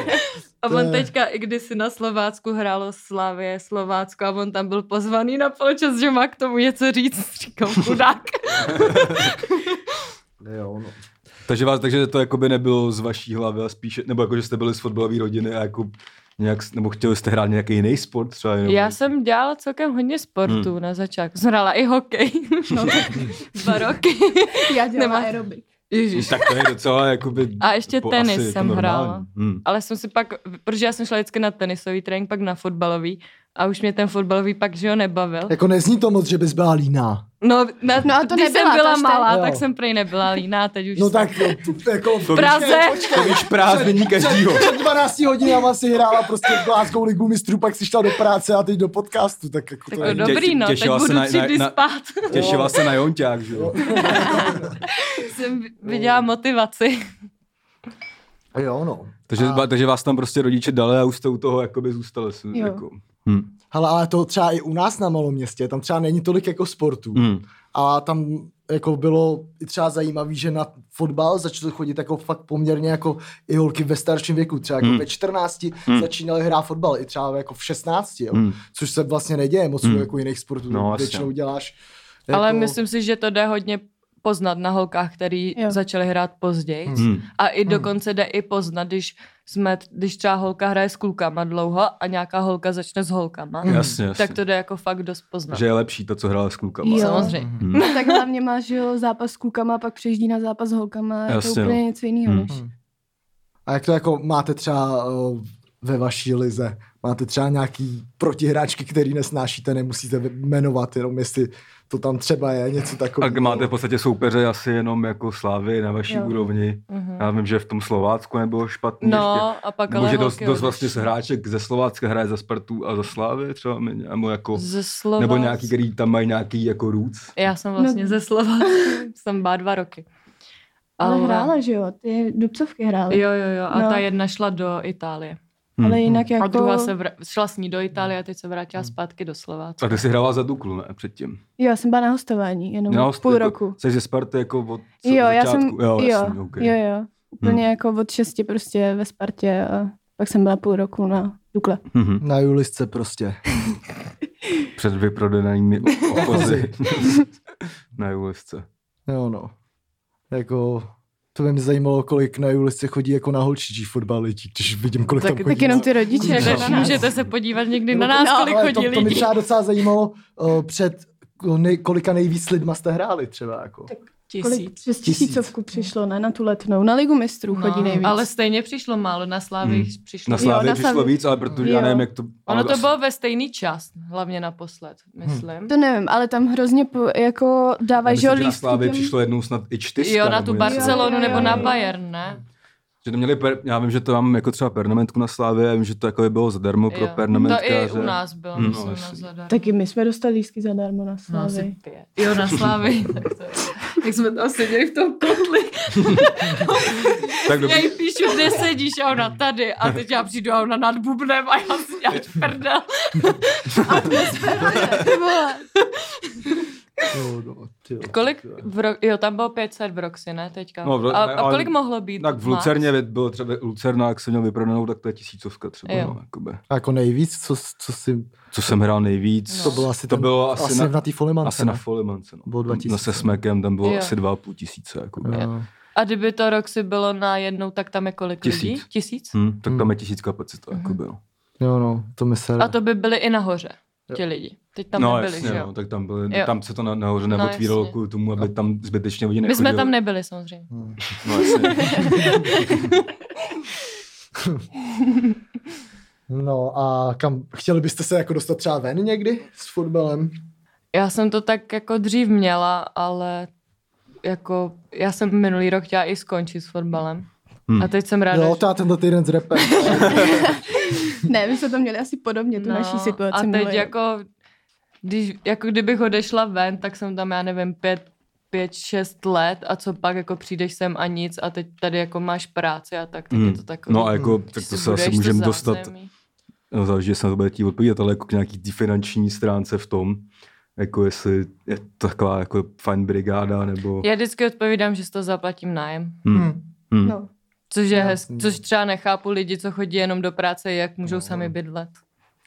[SPEAKER 3] A
[SPEAKER 1] To
[SPEAKER 3] on
[SPEAKER 1] je-
[SPEAKER 3] teďka i kdysi na Slovácku hrálo Slavě, Slovácko a on tam byl pozvaný na poločas, že má k tomu něco říct. Říkám, chudák.
[SPEAKER 1] Jo, no.
[SPEAKER 2] Takže, vás, takže to jakoby nebylo z vaší hlavy, ale spíše, nebo jako, že jste byli z fotbalové rodiny a jako nějak, s- nebo chtěli jste hrát nějaký jiný sport třeba? Nebo...
[SPEAKER 3] Já jsem dělala celkem hodně sportu na začátku. Jsem hrála i hokej. No, dva roky.
[SPEAKER 5] Já dělám
[SPEAKER 3] Nemá-
[SPEAKER 5] aerobik.
[SPEAKER 3] Ježiš.
[SPEAKER 2] Tak to je docela jakoby...
[SPEAKER 3] A ještě tenis jsem
[SPEAKER 2] normální.
[SPEAKER 3] hrála.
[SPEAKER 2] Hmm.
[SPEAKER 3] Ale jsem si pak, protože já jsem šla vždycky na tenisový trénink, pak na fotbalový a už mě ten fotbalový pak, že jo, nebavil.
[SPEAKER 1] Jako nezní to moc, že bys byla líná.
[SPEAKER 3] No, na,
[SPEAKER 5] No a to
[SPEAKER 3] když
[SPEAKER 5] nebyla,
[SPEAKER 3] jsem byla
[SPEAKER 5] to jste-
[SPEAKER 3] malá,
[SPEAKER 1] Jo.
[SPEAKER 3] tak jsem prej nebyla líná, teď už
[SPEAKER 1] No
[SPEAKER 3] jsem.
[SPEAKER 1] tak jako v
[SPEAKER 2] To
[SPEAKER 3] Praze.
[SPEAKER 2] To víš prázdnění každýho.
[SPEAKER 1] Před 12 hodinama si hrála prostě v Glasgow ligu mistrů, pak si šla do práce a teď do podcastu, tak jako
[SPEAKER 3] Tak
[SPEAKER 1] to
[SPEAKER 3] jo,
[SPEAKER 1] je...
[SPEAKER 2] do-
[SPEAKER 3] dobrý, no, teď
[SPEAKER 2] těšila se
[SPEAKER 3] budu
[SPEAKER 2] na-
[SPEAKER 3] tři
[SPEAKER 2] na-
[SPEAKER 3] dny
[SPEAKER 2] na-
[SPEAKER 3] spát.
[SPEAKER 2] Těšila se na Jonťák, že jo?
[SPEAKER 3] jsem
[SPEAKER 5] No.
[SPEAKER 3] viděla motivaci.
[SPEAKER 5] Jako-
[SPEAKER 1] Jo, no.
[SPEAKER 2] Takže,
[SPEAKER 1] A-
[SPEAKER 2] takže vás tam prostě rodiče dali a už jste u toho jakoby zůstali. jsem-
[SPEAKER 5] Jo.
[SPEAKER 2] Jako. Hmm.
[SPEAKER 1] Hele, ale to třeba i u nás na malom městě, tam třeba není tolik jako sportů.
[SPEAKER 2] Hmm.
[SPEAKER 1] A tam jako bylo i třeba zajímavý, že na fotbal začaly chodit jako fakt poměrně jako i holky ve starším věku. Třeba jako
[SPEAKER 2] Hmm.
[SPEAKER 1] ve 14
[SPEAKER 2] Hmm.
[SPEAKER 1] začínaly hrát fotbal, i třeba jako v 16, jo.
[SPEAKER 2] Hmm.
[SPEAKER 1] což se vlastně neděje moc
[SPEAKER 2] Hmm.
[SPEAKER 1] u jako jiných sportů.
[SPEAKER 2] No,
[SPEAKER 1] No,
[SPEAKER 2] jasně.
[SPEAKER 1] Většinou děláš jako...
[SPEAKER 3] Jako... Ale myslím si, že to jde hodně poznat na holkách, který
[SPEAKER 5] Jo.
[SPEAKER 3] jo. začaly hrát později.
[SPEAKER 1] Hmm.
[SPEAKER 2] Hmm.
[SPEAKER 3] A i dokonce jde i poznat, když, jsme, když třeba holka hraje s klukama dlouho a nějaká holka začne s holkama.
[SPEAKER 1] Hmm.
[SPEAKER 2] Jasně, jasně.
[SPEAKER 3] Tak to jde jako fakt dost poznat.
[SPEAKER 2] Že je lepší to, co hrála s klukama.
[SPEAKER 5] Jo.
[SPEAKER 3] Samozřejmě.
[SPEAKER 1] Mhm.
[SPEAKER 2] Hmm.
[SPEAKER 5] Tak hlavně máš jo, zápas s klukama, pak přejíždí na zápas s holkama, je to
[SPEAKER 2] Jasně,
[SPEAKER 5] úplně
[SPEAKER 2] no.
[SPEAKER 5] něco jiného.
[SPEAKER 2] Hmm.
[SPEAKER 5] než-
[SPEAKER 1] A jak to jako máte třeba eh, ve vaší lize? Máte třeba nějaký protihráčky, který nesnášíte, nemusíte jmenovat, jenom jestli to tam třeba je něco takového.
[SPEAKER 2] Tak máte v podstatě soupeře asi jenom jako Slávy na vaší
[SPEAKER 5] Jo.
[SPEAKER 2] jo. úrovni.
[SPEAKER 3] Mhm.
[SPEAKER 2] Já vím, že v tom Slovácku nebylo špatný. ještě.
[SPEAKER 3] No a pak ale
[SPEAKER 2] Může dost,
[SPEAKER 3] holky
[SPEAKER 2] dost
[SPEAKER 3] odešly.
[SPEAKER 2] vlastně hráček ze Slovácka hraje za Spartu a za Slávy třeba, mi- nebo, jako,
[SPEAKER 3] Ze slova.
[SPEAKER 2] nebo nějaký, který tam mají nějaký jako růc.
[SPEAKER 3] Já jsem vlastně
[SPEAKER 5] No.
[SPEAKER 3] no. ze slova. jsem bá dva roky.
[SPEAKER 5] Ale hrála, že jo, ty dubcovky hrála.
[SPEAKER 3] Jo, jo, jo. A
[SPEAKER 5] No.
[SPEAKER 3] no. ta jedna šla do Itálie.
[SPEAKER 2] Hmm.
[SPEAKER 5] Ale jinak jako...
[SPEAKER 3] A druhá se vr- šla s ní do Itálie a teď se vrátila zpátky do Slovácka.
[SPEAKER 2] A ty jsi hrála za Duklu, ne? Předtím.
[SPEAKER 5] Jo, já jsem byla na hostování, jenom
[SPEAKER 2] Měla
[SPEAKER 5] no,
[SPEAKER 2] jsi-
[SPEAKER 5] půl
[SPEAKER 2] jako,
[SPEAKER 5] roku.
[SPEAKER 2] Jsi ze Sparty jako od co-
[SPEAKER 5] Jo, já
[SPEAKER 2] začátku?
[SPEAKER 5] jsem,
[SPEAKER 2] Jo, Hmm.
[SPEAKER 5] jo,
[SPEAKER 2] jasně, okay.
[SPEAKER 5] jo, jo. Úplně jako od šesti prostě ve Spartě a pak jsem byla půl roku na Dukle.
[SPEAKER 2] Mhm.
[SPEAKER 1] Na Julisce prostě.
[SPEAKER 2] Před vyprodanými o- okozy. na Julesce.
[SPEAKER 1] Jo no. Jako... To by mě zajímalo, kolik na Julisce chodí jako na holčičí fotbal lidí, když vidím, kolik
[SPEAKER 3] Tak-
[SPEAKER 1] tam chodí.
[SPEAKER 5] Tak jenom ty rodiče.
[SPEAKER 3] Určitě,
[SPEAKER 1] Koučí.
[SPEAKER 5] jako
[SPEAKER 3] tak
[SPEAKER 5] na nás.
[SPEAKER 3] můžete se podívat někdy na
[SPEAKER 1] No,
[SPEAKER 3] nás,
[SPEAKER 5] no,
[SPEAKER 3] kolik
[SPEAKER 1] Ale
[SPEAKER 3] chodí
[SPEAKER 1] to, to mi
[SPEAKER 3] lidí.
[SPEAKER 1] třeba docela zajímalo, eh, před nej, kolika nejvíc lidma jste hráli třeba. Jako.
[SPEAKER 5] Kolik
[SPEAKER 3] No,
[SPEAKER 5] přes
[SPEAKER 1] Tisíc.
[SPEAKER 5] tisícovku přišlo, ne? Na tu letnou. Na Ligu mistrů chodí nejvíc.
[SPEAKER 3] Ale stejně přišlo málo, na Slávy
[SPEAKER 2] Hmm.
[SPEAKER 3] jich přišlo.
[SPEAKER 2] Na
[SPEAKER 5] Jo,
[SPEAKER 2] Slávě
[SPEAKER 5] na
[SPEAKER 2] přišlo
[SPEAKER 5] Slávě.
[SPEAKER 2] víc, ale protože
[SPEAKER 5] Jo.
[SPEAKER 2] já nevím, jak to... ale
[SPEAKER 3] Ono to
[SPEAKER 2] asi-
[SPEAKER 3] bylo ve stejný čas, hlavně naposled, myslím.
[SPEAKER 5] To nevím, ale tam hrozně po, jako
[SPEAKER 2] Já
[SPEAKER 5] dávají, že
[SPEAKER 2] myslím,
[SPEAKER 5] jo,
[SPEAKER 2] že na
[SPEAKER 5] lístky
[SPEAKER 2] Slávě
[SPEAKER 5] těm-
[SPEAKER 2] přišlo jednou snad i čtyřka.
[SPEAKER 3] Jo, na
[SPEAKER 2] nebo
[SPEAKER 3] tu
[SPEAKER 2] něco.
[SPEAKER 3] Barcelonu
[SPEAKER 5] Jo, jo,
[SPEAKER 3] nebo
[SPEAKER 5] jo,
[SPEAKER 3] na
[SPEAKER 5] jo.
[SPEAKER 3] Bayern, ne?
[SPEAKER 2] Že to měli, per, já vím, že to mám jako třeba pernamentku na Slávě, já vím, že to jako bylo zadarmo pro
[SPEAKER 3] Jo. To
[SPEAKER 2] pernamentkáře.
[SPEAKER 3] i u nás bylo,
[SPEAKER 2] Hmm,
[SPEAKER 3] myslím,
[SPEAKER 2] no,
[SPEAKER 3] na
[SPEAKER 2] jasně.
[SPEAKER 3] zadarmo.
[SPEAKER 5] Taky my jsme dostali lístky zadarmo na
[SPEAKER 3] No, asi
[SPEAKER 5] Slávy.
[SPEAKER 3] pět. Jo, na Slávy. tak to je. Jak jsme tam seděli v tom kotli.
[SPEAKER 2] Tak
[SPEAKER 3] Já
[SPEAKER 2] dobrý.
[SPEAKER 3] jí píšu, kde sedíš a ona tady. A teď já přijdu a ona nad bubnem a já si děláš prdel.
[SPEAKER 5] Ty vole.
[SPEAKER 1] Jo, no, tyjo.
[SPEAKER 3] Kolik v ro- jo, tam bylo 500 v Roxy, ne, teďka.
[SPEAKER 2] No, v ro-
[SPEAKER 3] a,
[SPEAKER 2] ne,
[SPEAKER 3] a
[SPEAKER 2] ale-
[SPEAKER 3] kolik mohlo být?
[SPEAKER 2] Tak v
[SPEAKER 3] max?
[SPEAKER 2] Lucerně bylo třeba Lucerna, jak jsem měl vyprodanou, tak to je tisícovka třeba.
[SPEAKER 3] Jo.
[SPEAKER 2] No, jakoby.
[SPEAKER 1] Jako nejvíc, co, co si...
[SPEAKER 2] Co jsem hrál nejvíc,
[SPEAKER 3] No.
[SPEAKER 1] To bylo asi,
[SPEAKER 2] to
[SPEAKER 1] ten,
[SPEAKER 2] bylo asi,
[SPEAKER 1] asi
[SPEAKER 2] na,
[SPEAKER 1] na, té Folimance.
[SPEAKER 2] asi na Folimance. No.
[SPEAKER 1] Bylo dva
[SPEAKER 2] No, se
[SPEAKER 1] tisíce. No.
[SPEAKER 2] Smekem tam bylo
[SPEAKER 3] Jo.
[SPEAKER 2] asi dva a půl tisíce. Jakoby.
[SPEAKER 1] Jo.
[SPEAKER 3] A kdyby to Roxy bylo na jednou, tak tam je kolik
[SPEAKER 2] Tisíc.
[SPEAKER 3] lidí? Tisíc?
[SPEAKER 2] Hm, tak
[SPEAKER 1] Hm.
[SPEAKER 2] tam je tisíc kapacita.
[SPEAKER 3] Mhm.
[SPEAKER 2] Jakoby, no.
[SPEAKER 1] jo, no, to my se...
[SPEAKER 3] A to by byly i nahoře, ti lidi. Teď tam
[SPEAKER 2] Hmm. no,
[SPEAKER 3] nebyli,
[SPEAKER 2] jasně,
[SPEAKER 3] že jo?
[SPEAKER 2] No, tak tam, byly,
[SPEAKER 3] Jo.
[SPEAKER 2] tam se to na- nahoře
[SPEAKER 3] No,
[SPEAKER 2] neotvíralo
[SPEAKER 3] jasně.
[SPEAKER 2] kvůli tomu, aby tam zbytečně lidi
[SPEAKER 3] My
[SPEAKER 2] nechodili.
[SPEAKER 3] jsme tam nebyli samozřejmě.
[SPEAKER 1] Hmm.
[SPEAKER 2] No, jasně.
[SPEAKER 1] No a kam, chtěli byste se jako dostat třeba ven někdy s fotbalem?
[SPEAKER 3] Já jsem to tak jako dřív měla, ale jako já jsem minulý rok chtěla i skončit s fotbalem.
[SPEAKER 2] Hm.
[SPEAKER 3] A teď jsem ráda,
[SPEAKER 1] Jo,
[SPEAKER 3] že-
[SPEAKER 1] to já tenhle týden s repem.
[SPEAKER 5] Ne, my jsme to měli asi podobně, tu naší situaci.
[SPEAKER 3] No, A teď
[SPEAKER 5] miluje.
[SPEAKER 3] jako, když, jako kdybych odešla ven, tak jsem tam, já nevím, pět, pět, šest let a co pak, jako přijdeš sem a nic a teď tady jako máš práci a tak, tak je
[SPEAKER 2] Hm.
[SPEAKER 3] to takový.
[SPEAKER 2] No a jako,
[SPEAKER 1] Hmm.
[SPEAKER 2] tak
[SPEAKER 3] že
[SPEAKER 2] to
[SPEAKER 3] si
[SPEAKER 2] se asi
[SPEAKER 3] buduješ to
[SPEAKER 2] můžeme dostat,
[SPEAKER 3] zázemí.
[SPEAKER 2] no, záleží, jestli na to bude chtít odpovědět, ale jako k nějaký té finanční stránce v tom, jako jestli je to taková jako fajn brigáda, nebo...
[SPEAKER 3] Já vždycky odpovídám, že si to zaplatím nájem.
[SPEAKER 2] Hmm.
[SPEAKER 1] Hm.
[SPEAKER 2] Hmm.
[SPEAKER 5] No.
[SPEAKER 3] Což je
[SPEAKER 1] Jasný.
[SPEAKER 3] hezký, což třeba nechápu lidi, co chodí jenom do práce, jak můžou
[SPEAKER 2] No.
[SPEAKER 3] sami bydlet.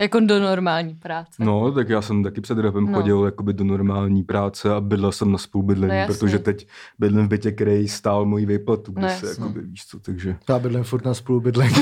[SPEAKER 3] Jako do normální práce.
[SPEAKER 2] No, tak já jsem taky před rapem
[SPEAKER 3] No.
[SPEAKER 2] chodil jakoby do normální práce a bydlel jsem na
[SPEAKER 3] No
[SPEAKER 2] spolubydlení,
[SPEAKER 3] jasně.
[SPEAKER 2] protože teď bydlím v bytě, který stál moji výplatu,
[SPEAKER 3] No
[SPEAKER 2] kde se
[SPEAKER 3] jasně.
[SPEAKER 2] jakoby, víš co, takže...
[SPEAKER 1] Já bydlím furt na spolubydlení.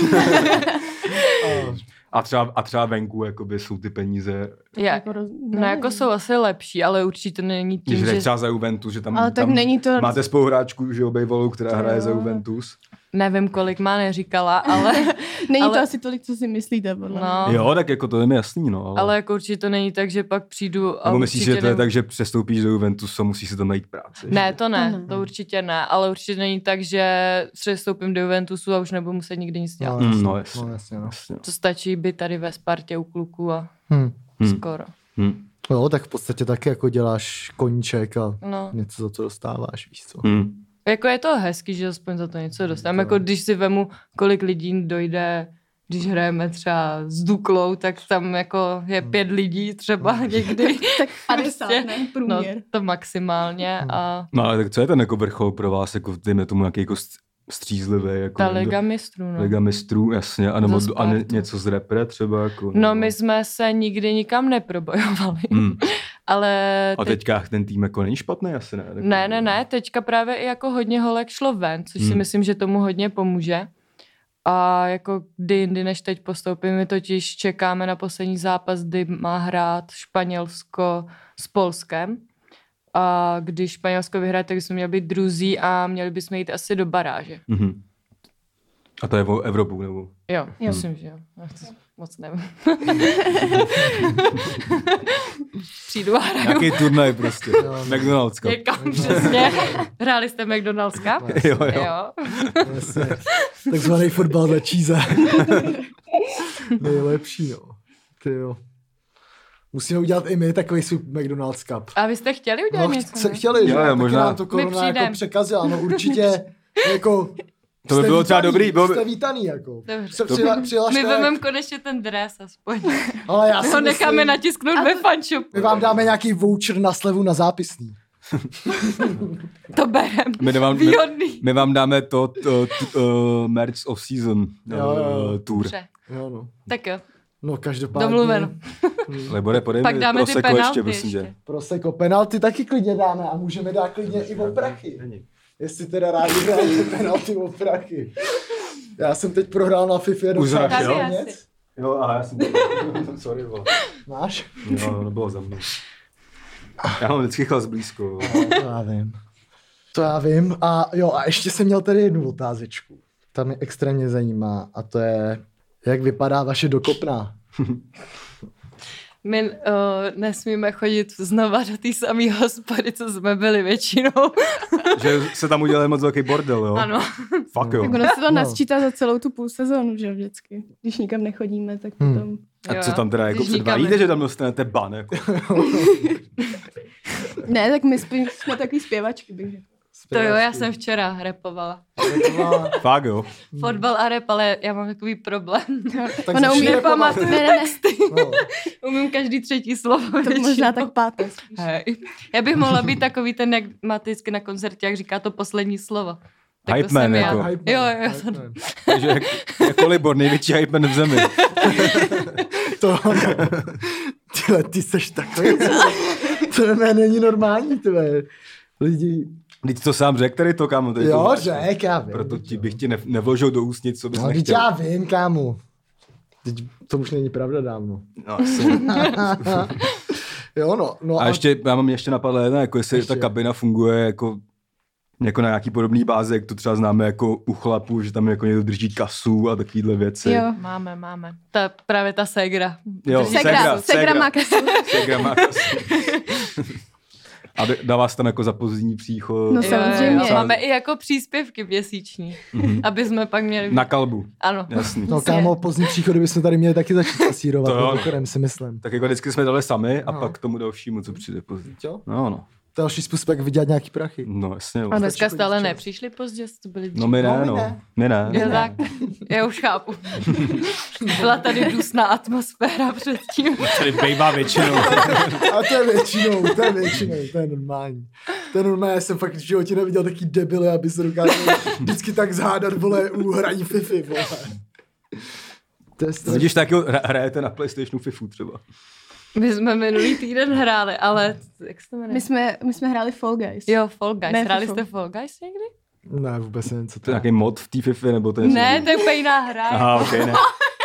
[SPEAKER 1] No, A
[SPEAKER 2] A třeba, a třeba venku jakoby jsou ty peníze,
[SPEAKER 3] Je.
[SPEAKER 5] Jako roz...
[SPEAKER 3] No jako jsou asi lepší, ale určitě to není tím,
[SPEAKER 2] když
[SPEAKER 3] že...
[SPEAKER 2] že... třeba za Juventus, že tam,
[SPEAKER 5] Ale tak
[SPEAKER 2] tam
[SPEAKER 5] není to...
[SPEAKER 2] máte spoluhráčku, že obejvolou,
[SPEAKER 5] To
[SPEAKER 2] která hraje za
[SPEAKER 5] jo.
[SPEAKER 2] Juventus.
[SPEAKER 3] Nevím, kolik má, neříkala, ale,
[SPEAKER 5] Není
[SPEAKER 3] ale-
[SPEAKER 5] to asi tolik, co si myslíte, podle mě.
[SPEAKER 3] no,
[SPEAKER 2] Jo, tak jako to je mi jasný, no. Ale,
[SPEAKER 3] ale jako určitě to není tak, že pak přijdu a
[SPEAKER 2] nebo myslíš, že
[SPEAKER 3] určitě
[SPEAKER 2] to je
[SPEAKER 3] nebudu-
[SPEAKER 2] tak, že přestoupíš do Juventus a musíš si tam najít práci?
[SPEAKER 3] Ne, to ne,
[SPEAKER 5] To
[SPEAKER 3] to,
[SPEAKER 5] ne.
[SPEAKER 3] ne. to určitě ne, ale určitě není tak, že přestoupím do Juventusu a už nebudu muset nikdy nic dělat.
[SPEAKER 1] No,
[SPEAKER 2] Mm,
[SPEAKER 1] jasně,
[SPEAKER 2] no, jasně.
[SPEAKER 1] no, jasně, no.
[SPEAKER 2] Jasně.
[SPEAKER 3] To stačí být tady ve Spartě u kluků a
[SPEAKER 1] Hm.
[SPEAKER 2] Hm.
[SPEAKER 3] hmm. skoro.
[SPEAKER 2] Hm.
[SPEAKER 1] Jo, tak v podstatě taky jako děláš koníček a
[SPEAKER 3] No.
[SPEAKER 1] něco za to dostáváš, víš co.
[SPEAKER 2] Hm.
[SPEAKER 3] Jako je to hezký, že aspoň za to něco dostám.
[SPEAKER 1] To
[SPEAKER 3] Jako
[SPEAKER 1] jo.
[SPEAKER 3] když si vemu, kolik lidí dojde, když hrajeme třeba s Duklou, tak tam jako je pět lidí
[SPEAKER 2] No.
[SPEAKER 3] třeba někdy.
[SPEAKER 5] Tak 50,
[SPEAKER 3] Prostě.
[SPEAKER 5] ne?
[SPEAKER 3] No,
[SPEAKER 5] Průměr.
[SPEAKER 3] to maximálně a
[SPEAKER 2] No ale tak co je ten jako vrchol pro vás, jako dejme tomu nějaký jako st- střízlivý, jako
[SPEAKER 3] ta
[SPEAKER 2] někdo-
[SPEAKER 3] Liga mistrů. No.
[SPEAKER 2] Liga mistrů, jasně, a nebo
[SPEAKER 3] Za
[SPEAKER 2] a ne,
[SPEAKER 3] Spartu.
[SPEAKER 2] něco z repre třeba, jako.
[SPEAKER 3] No my jsme se nikdy nikam neprobojovali,
[SPEAKER 2] Hmm.
[SPEAKER 3] ale
[SPEAKER 2] A teďka ten tým jako není špatný, asi ne? Tak-
[SPEAKER 3] Ne, ne, ne, teďka právě i jako hodně holek šlo ven, což si
[SPEAKER 2] Hmm.
[SPEAKER 3] myslím, že tomu hodně pomůže. A jako kdy jindy, než teď postoupíme, my totiž čekáme na poslední zápas, kdy má hrát Španělsko s Polskem. A když Španělsko vyhraje, tak jsme měli být druzí a měli bychom jít asi do baráže.
[SPEAKER 2] Mhm. A to je o Evropu, nebo?
[SPEAKER 3] Jo,
[SPEAKER 5] Jo.
[SPEAKER 3] jo. myslím, že jo. Já to Moc nevím. Přijdu a hraju
[SPEAKER 2] Nějaký turnaj prostě.
[SPEAKER 1] Jo.
[SPEAKER 2] McDonald'ska.
[SPEAKER 3] někam, přesně. Hráli jste McDonald's Cup?
[SPEAKER 2] Jo, jo.
[SPEAKER 3] Jo.
[SPEAKER 1] Jasně. Takzvaný fotbal na číze. Nejlepší, jo. Ty jo. Musíme udělat i my takový svůj McDonald's Cup.
[SPEAKER 3] A vy jste chtěli udělat
[SPEAKER 1] No,
[SPEAKER 3] něco?
[SPEAKER 1] ch- se
[SPEAKER 3] ne?
[SPEAKER 1] chtěli, že?
[SPEAKER 2] Jo, jo,
[SPEAKER 1] Taky
[SPEAKER 2] možná.
[SPEAKER 1] Nám to
[SPEAKER 2] My
[SPEAKER 1] korona jako
[SPEAKER 3] přijdem.
[SPEAKER 1] překazila, no určitě. Jako,
[SPEAKER 2] To by
[SPEAKER 1] jste
[SPEAKER 2] bylo třeba
[SPEAKER 1] vítaný,
[SPEAKER 2] dobrý, bylo by-
[SPEAKER 1] Jste vítaný, jako.
[SPEAKER 3] Dobře.
[SPEAKER 1] Se
[SPEAKER 2] To by-
[SPEAKER 1] přila, přihlašte,
[SPEAKER 3] My vezmeme konečně ten dres aspoň.
[SPEAKER 1] ale já
[SPEAKER 3] My
[SPEAKER 1] si
[SPEAKER 3] ho necháme
[SPEAKER 1] myslím,
[SPEAKER 3] natisknout
[SPEAKER 5] A
[SPEAKER 3] ve
[SPEAKER 5] to-
[SPEAKER 3] fanču.
[SPEAKER 1] my vám dáme nějaký voucher na slevu na zápisný.
[SPEAKER 3] To berem.
[SPEAKER 2] My vám, my,
[SPEAKER 3] Výhodný.
[SPEAKER 2] my vám dáme to, to, to uh, Merch of Season
[SPEAKER 1] Jo, jo,
[SPEAKER 2] uh,
[SPEAKER 1] jo.
[SPEAKER 2] tour.
[SPEAKER 3] Dobře.
[SPEAKER 1] Jo, no.
[SPEAKER 3] Tak jo,
[SPEAKER 1] No, každopádně.
[SPEAKER 3] domluveno.
[SPEAKER 2] Lebore, podej
[SPEAKER 3] Pak
[SPEAKER 2] mi
[SPEAKER 3] dáme ty
[SPEAKER 2] prosecco
[SPEAKER 3] penalty
[SPEAKER 2] ještě, prosím tě.
[SPEAKER 3] ještě.
[SPEAKER 1] Proseko, jako penalty taky klidně dáme a můžeme dát klidně i o prachy. Jestli teda rádi hráte penalty o prachy. Já jsem teď prohrál na FIFA jenom
[SPEAKER 2] Uzrak,
[SPEAKER 1] pár
[SPEAKER 3] jo?
[SPEAKER 1] peněz.
[SPEAKER 3] Asi.
[SPEAKER 2] Jo, a já jsem sorry, vole.
[SPEAKER 1] Máš?
[SPEAKER 2] Jo, No, nebylo za mnou. Já mám vždycky chlas blízko. vole.
[SPEAKER 1] To No, já vím. To já vím. A jo, a ještě jsem měl tady jednu otázečku. Ta mě extrémně zajímá a to je, jak vypadá vaše dokopná.
[SPEAKER 3] My uh, nesmíme chodit znova do té samé hospody, co jsme byli většinou.
[SPEAKER 2] Že se tam udělal moc velký bordel, jo?
[SPEAKER 3] Ano.
[SPEAKER 2] Fuck jo.
[SPEAKER 5] Tak ono se
[SPEAKER 1] No.
[SPEAKER 5] to nasčítá za celou tu půl sezónu, že jo, vždycky. Když nikam nechodíme, tak
[SPEAKER 1] Hmm.
[SPEAKER 5] potom...
[SPEAKER 2] A co tam teda jako
[SPEAKER 3] Když
[SPEAKER 2] předvádíte,
[SPEAKER 3] říkáme-
[SPEAKER 2] že tam dostanete ban? Jako.
[SPEAKER 5] Ne, tak my spí- jsme takový zpěvačky, bych řekla.
[SPEAKER 3] To jo, já jsem včera repovala.
[SPEAKER 1] Taková-
[SPEAKER 2] Fakt jo.
[SPEAKER 3] Fotbal a rep, ale já mám takový problém.
[SPEAKER 1] Tak
[SPEAKER 5] Ona
[SPEAKER 1] začni jako-
[SPEAKER 5] umí
[SPEAKER 1] repovat.
[SPEAKER 5] pamatovat. Ne, ne, ne,
[SPEAKER 1] No,
[SPEAKER 3] Umím každý třetí slovo
[SPEAKER 5] to
[SPEAKER 3] většinou.
[SPEAKER 5] možná tak páté. spíš.
[SPEAKER 3] Hej. Já bych mohla být takový ten, jak má vždycky na koncertě, jak říká to poslední slovo. Tak
[SPEAKER 2] Hype
[SPEAKER 3] to
[SPEAKER 2] man,
[SPEAKER 3] jsem já.
[SPEAKER 2] jako.
[SPEAKER 1] hype
[SPEAKER 3] Jo,
[SPEAKER 1] man,
[SPEAKER 3] jo,
[SPEAKER 1] hype
[SPEAKER 3] to-
[SPEAKER 1] man.
[SPEAKER 2] Takže jak, jako Libor, největší hype man v zemi.
[SPEAKER 1] To ano. Tyhle, ty seš takový. To ne, není normální, tyhle. Lidi.
[SPEAKER 2] Teď to sám řek, tady to, kámo. Tady
[SPEAKER 1] Jo,
[SPEAKER 2] to,
[SPEAKER 1] řek, já vím.
[SPEAKER 2] Proto ti bych ti ne, nevložil do úst nic, co bys
[SPEAKER 1] No, teď
[SPEAKER 2] nechtěl.
[SPEAKER 1] já vím, kámo. Teď to už není pravda dávno.
[SPEAKER 2] No, asi.
[SPEAKER 1] jo, no. no
[SPEAKER 2] A ještě, já mám ještě napadla jedna, jako jestli
[SPEAKER 1] Ještě.
[SPEAKER 2] ta kabina funguje jako jako na nějaký podobný bázi, jak to třeba známe jako u chlapů, že tam jako někdo drží kasu a takovýhle věci.
[SPEAKER 5] Jo.
[SPEAKER 3] Máme, máme. Ta, právě ta ségra.
[SPEAKER 2] Jo,
[SPEAKER 3] Drží
[SPEAKER 2] ségra,
[SPEAKER 5] Segra,
[SPEAKER 3] krásu.
[SPEAKER 5] segra
[SPEAKER 2] ségra.
[SPEAKER 5] má kasu.
[SPEAKER 2] Segra má kasu. A d- dá vás tam jako za pozdní příchod.
[SPEAKER 5] No,
[SPEAKER 3] Jo,
[SPEAKER 5] samozřejmě.
[SPEAKER 3] Jo, jo. Máme i jako příspěvky měsíční,
[SPEAKER 2] Mhm.
[SPEAKER 3] aby jsme pak měli...
[SPEAKER 2] Na kalbu,
[SPEAKER 3] Ano.
[SPEAKER 2] jasný.
[SPEAKER 1] No kámo, pozdní příchody bychom tady měli taky začít
[SPEAKER 2] To jo,
[SPEAKER 1] kasírovat,
[SPEAKER 2] no.
[SPEAKER 1] mimochodem si myslím.
[SPEAKER 2] Tak jako vždycky jsme dali sami a
[SPEAKER 1] No.
[SPEAKER 2] pak tomu dalšímu, co přijde později.
[SPEAKER 1] Jo?
[SPEAKER 2] No, no.
[SPEAKER 1] Další způsob, jak vydělat nějaký prachy.
[SPEAKER 2] No, jasně. jo.
[SPEAKER 3] A
[SPEAKER 1] Ano.
[SPEAKER 3] dneska
[SPEAKER 1] Stačí
[SPEAKER 3] stále
[SPEAKER 1] chodit včas.
[SPEAKER 3] nepřišli pozdě, to byli dřív.
[SPEAKER 2] No my
[SPEAKER 1] No,
[SPEAKER 2] ne,
[SPEAKER 1] my
[SPEAKER 2] no.
[SPEAKER 1] ne.
[SPEAKER 2] My ne.
[SPEAKER 3] Jo, tak, já už chápu. Byla tady dusná atmosféra předtím.
[SPEAKER 2] Tady bejvá většinou.
[SPEAKER 1] A to je většinou, to je většinou, to je normální. Ten normálně jsem fakt v životě neviděl taký debily, aby se dokázal vždycky tak zhádat, vole, u hraní Fifi, vole. To je strašný.
[SPEAKER 2] Vidíš, taky hra- hrajete na PlayStationu FIFU třeba.
[SPEAKER 3] My jsme minulý týden hráli, ale jak se to jmenuje?
[SPEAKER 5] My jsme, my jsme hráli Fall Guys.
[SPEAKER 3] Jo, Fall Guys.
[SPEAKER 5] Ne,
[SPEAKER 3] Hráli
[SPEAKER 5] FIFU.
[SPEAKER 3] jste Fall Guys někdy?
[SPEAKER 1] Ne, vůbec nevím, co
[SPEAKER 2] To
[SPEAKER 1] to
[SPEAKER 2] je
[SPEAKER 1] je.
[SPEAKER 2] nějaký mod v té FIFA, nebo to je něco
[SPEAKER 3] Ne,
[SPEAKER 2] jiného?
[SPEAKER 3] to je úplně jiná hra.
[SPEAKER 2] Aha, ok, ne. Ne,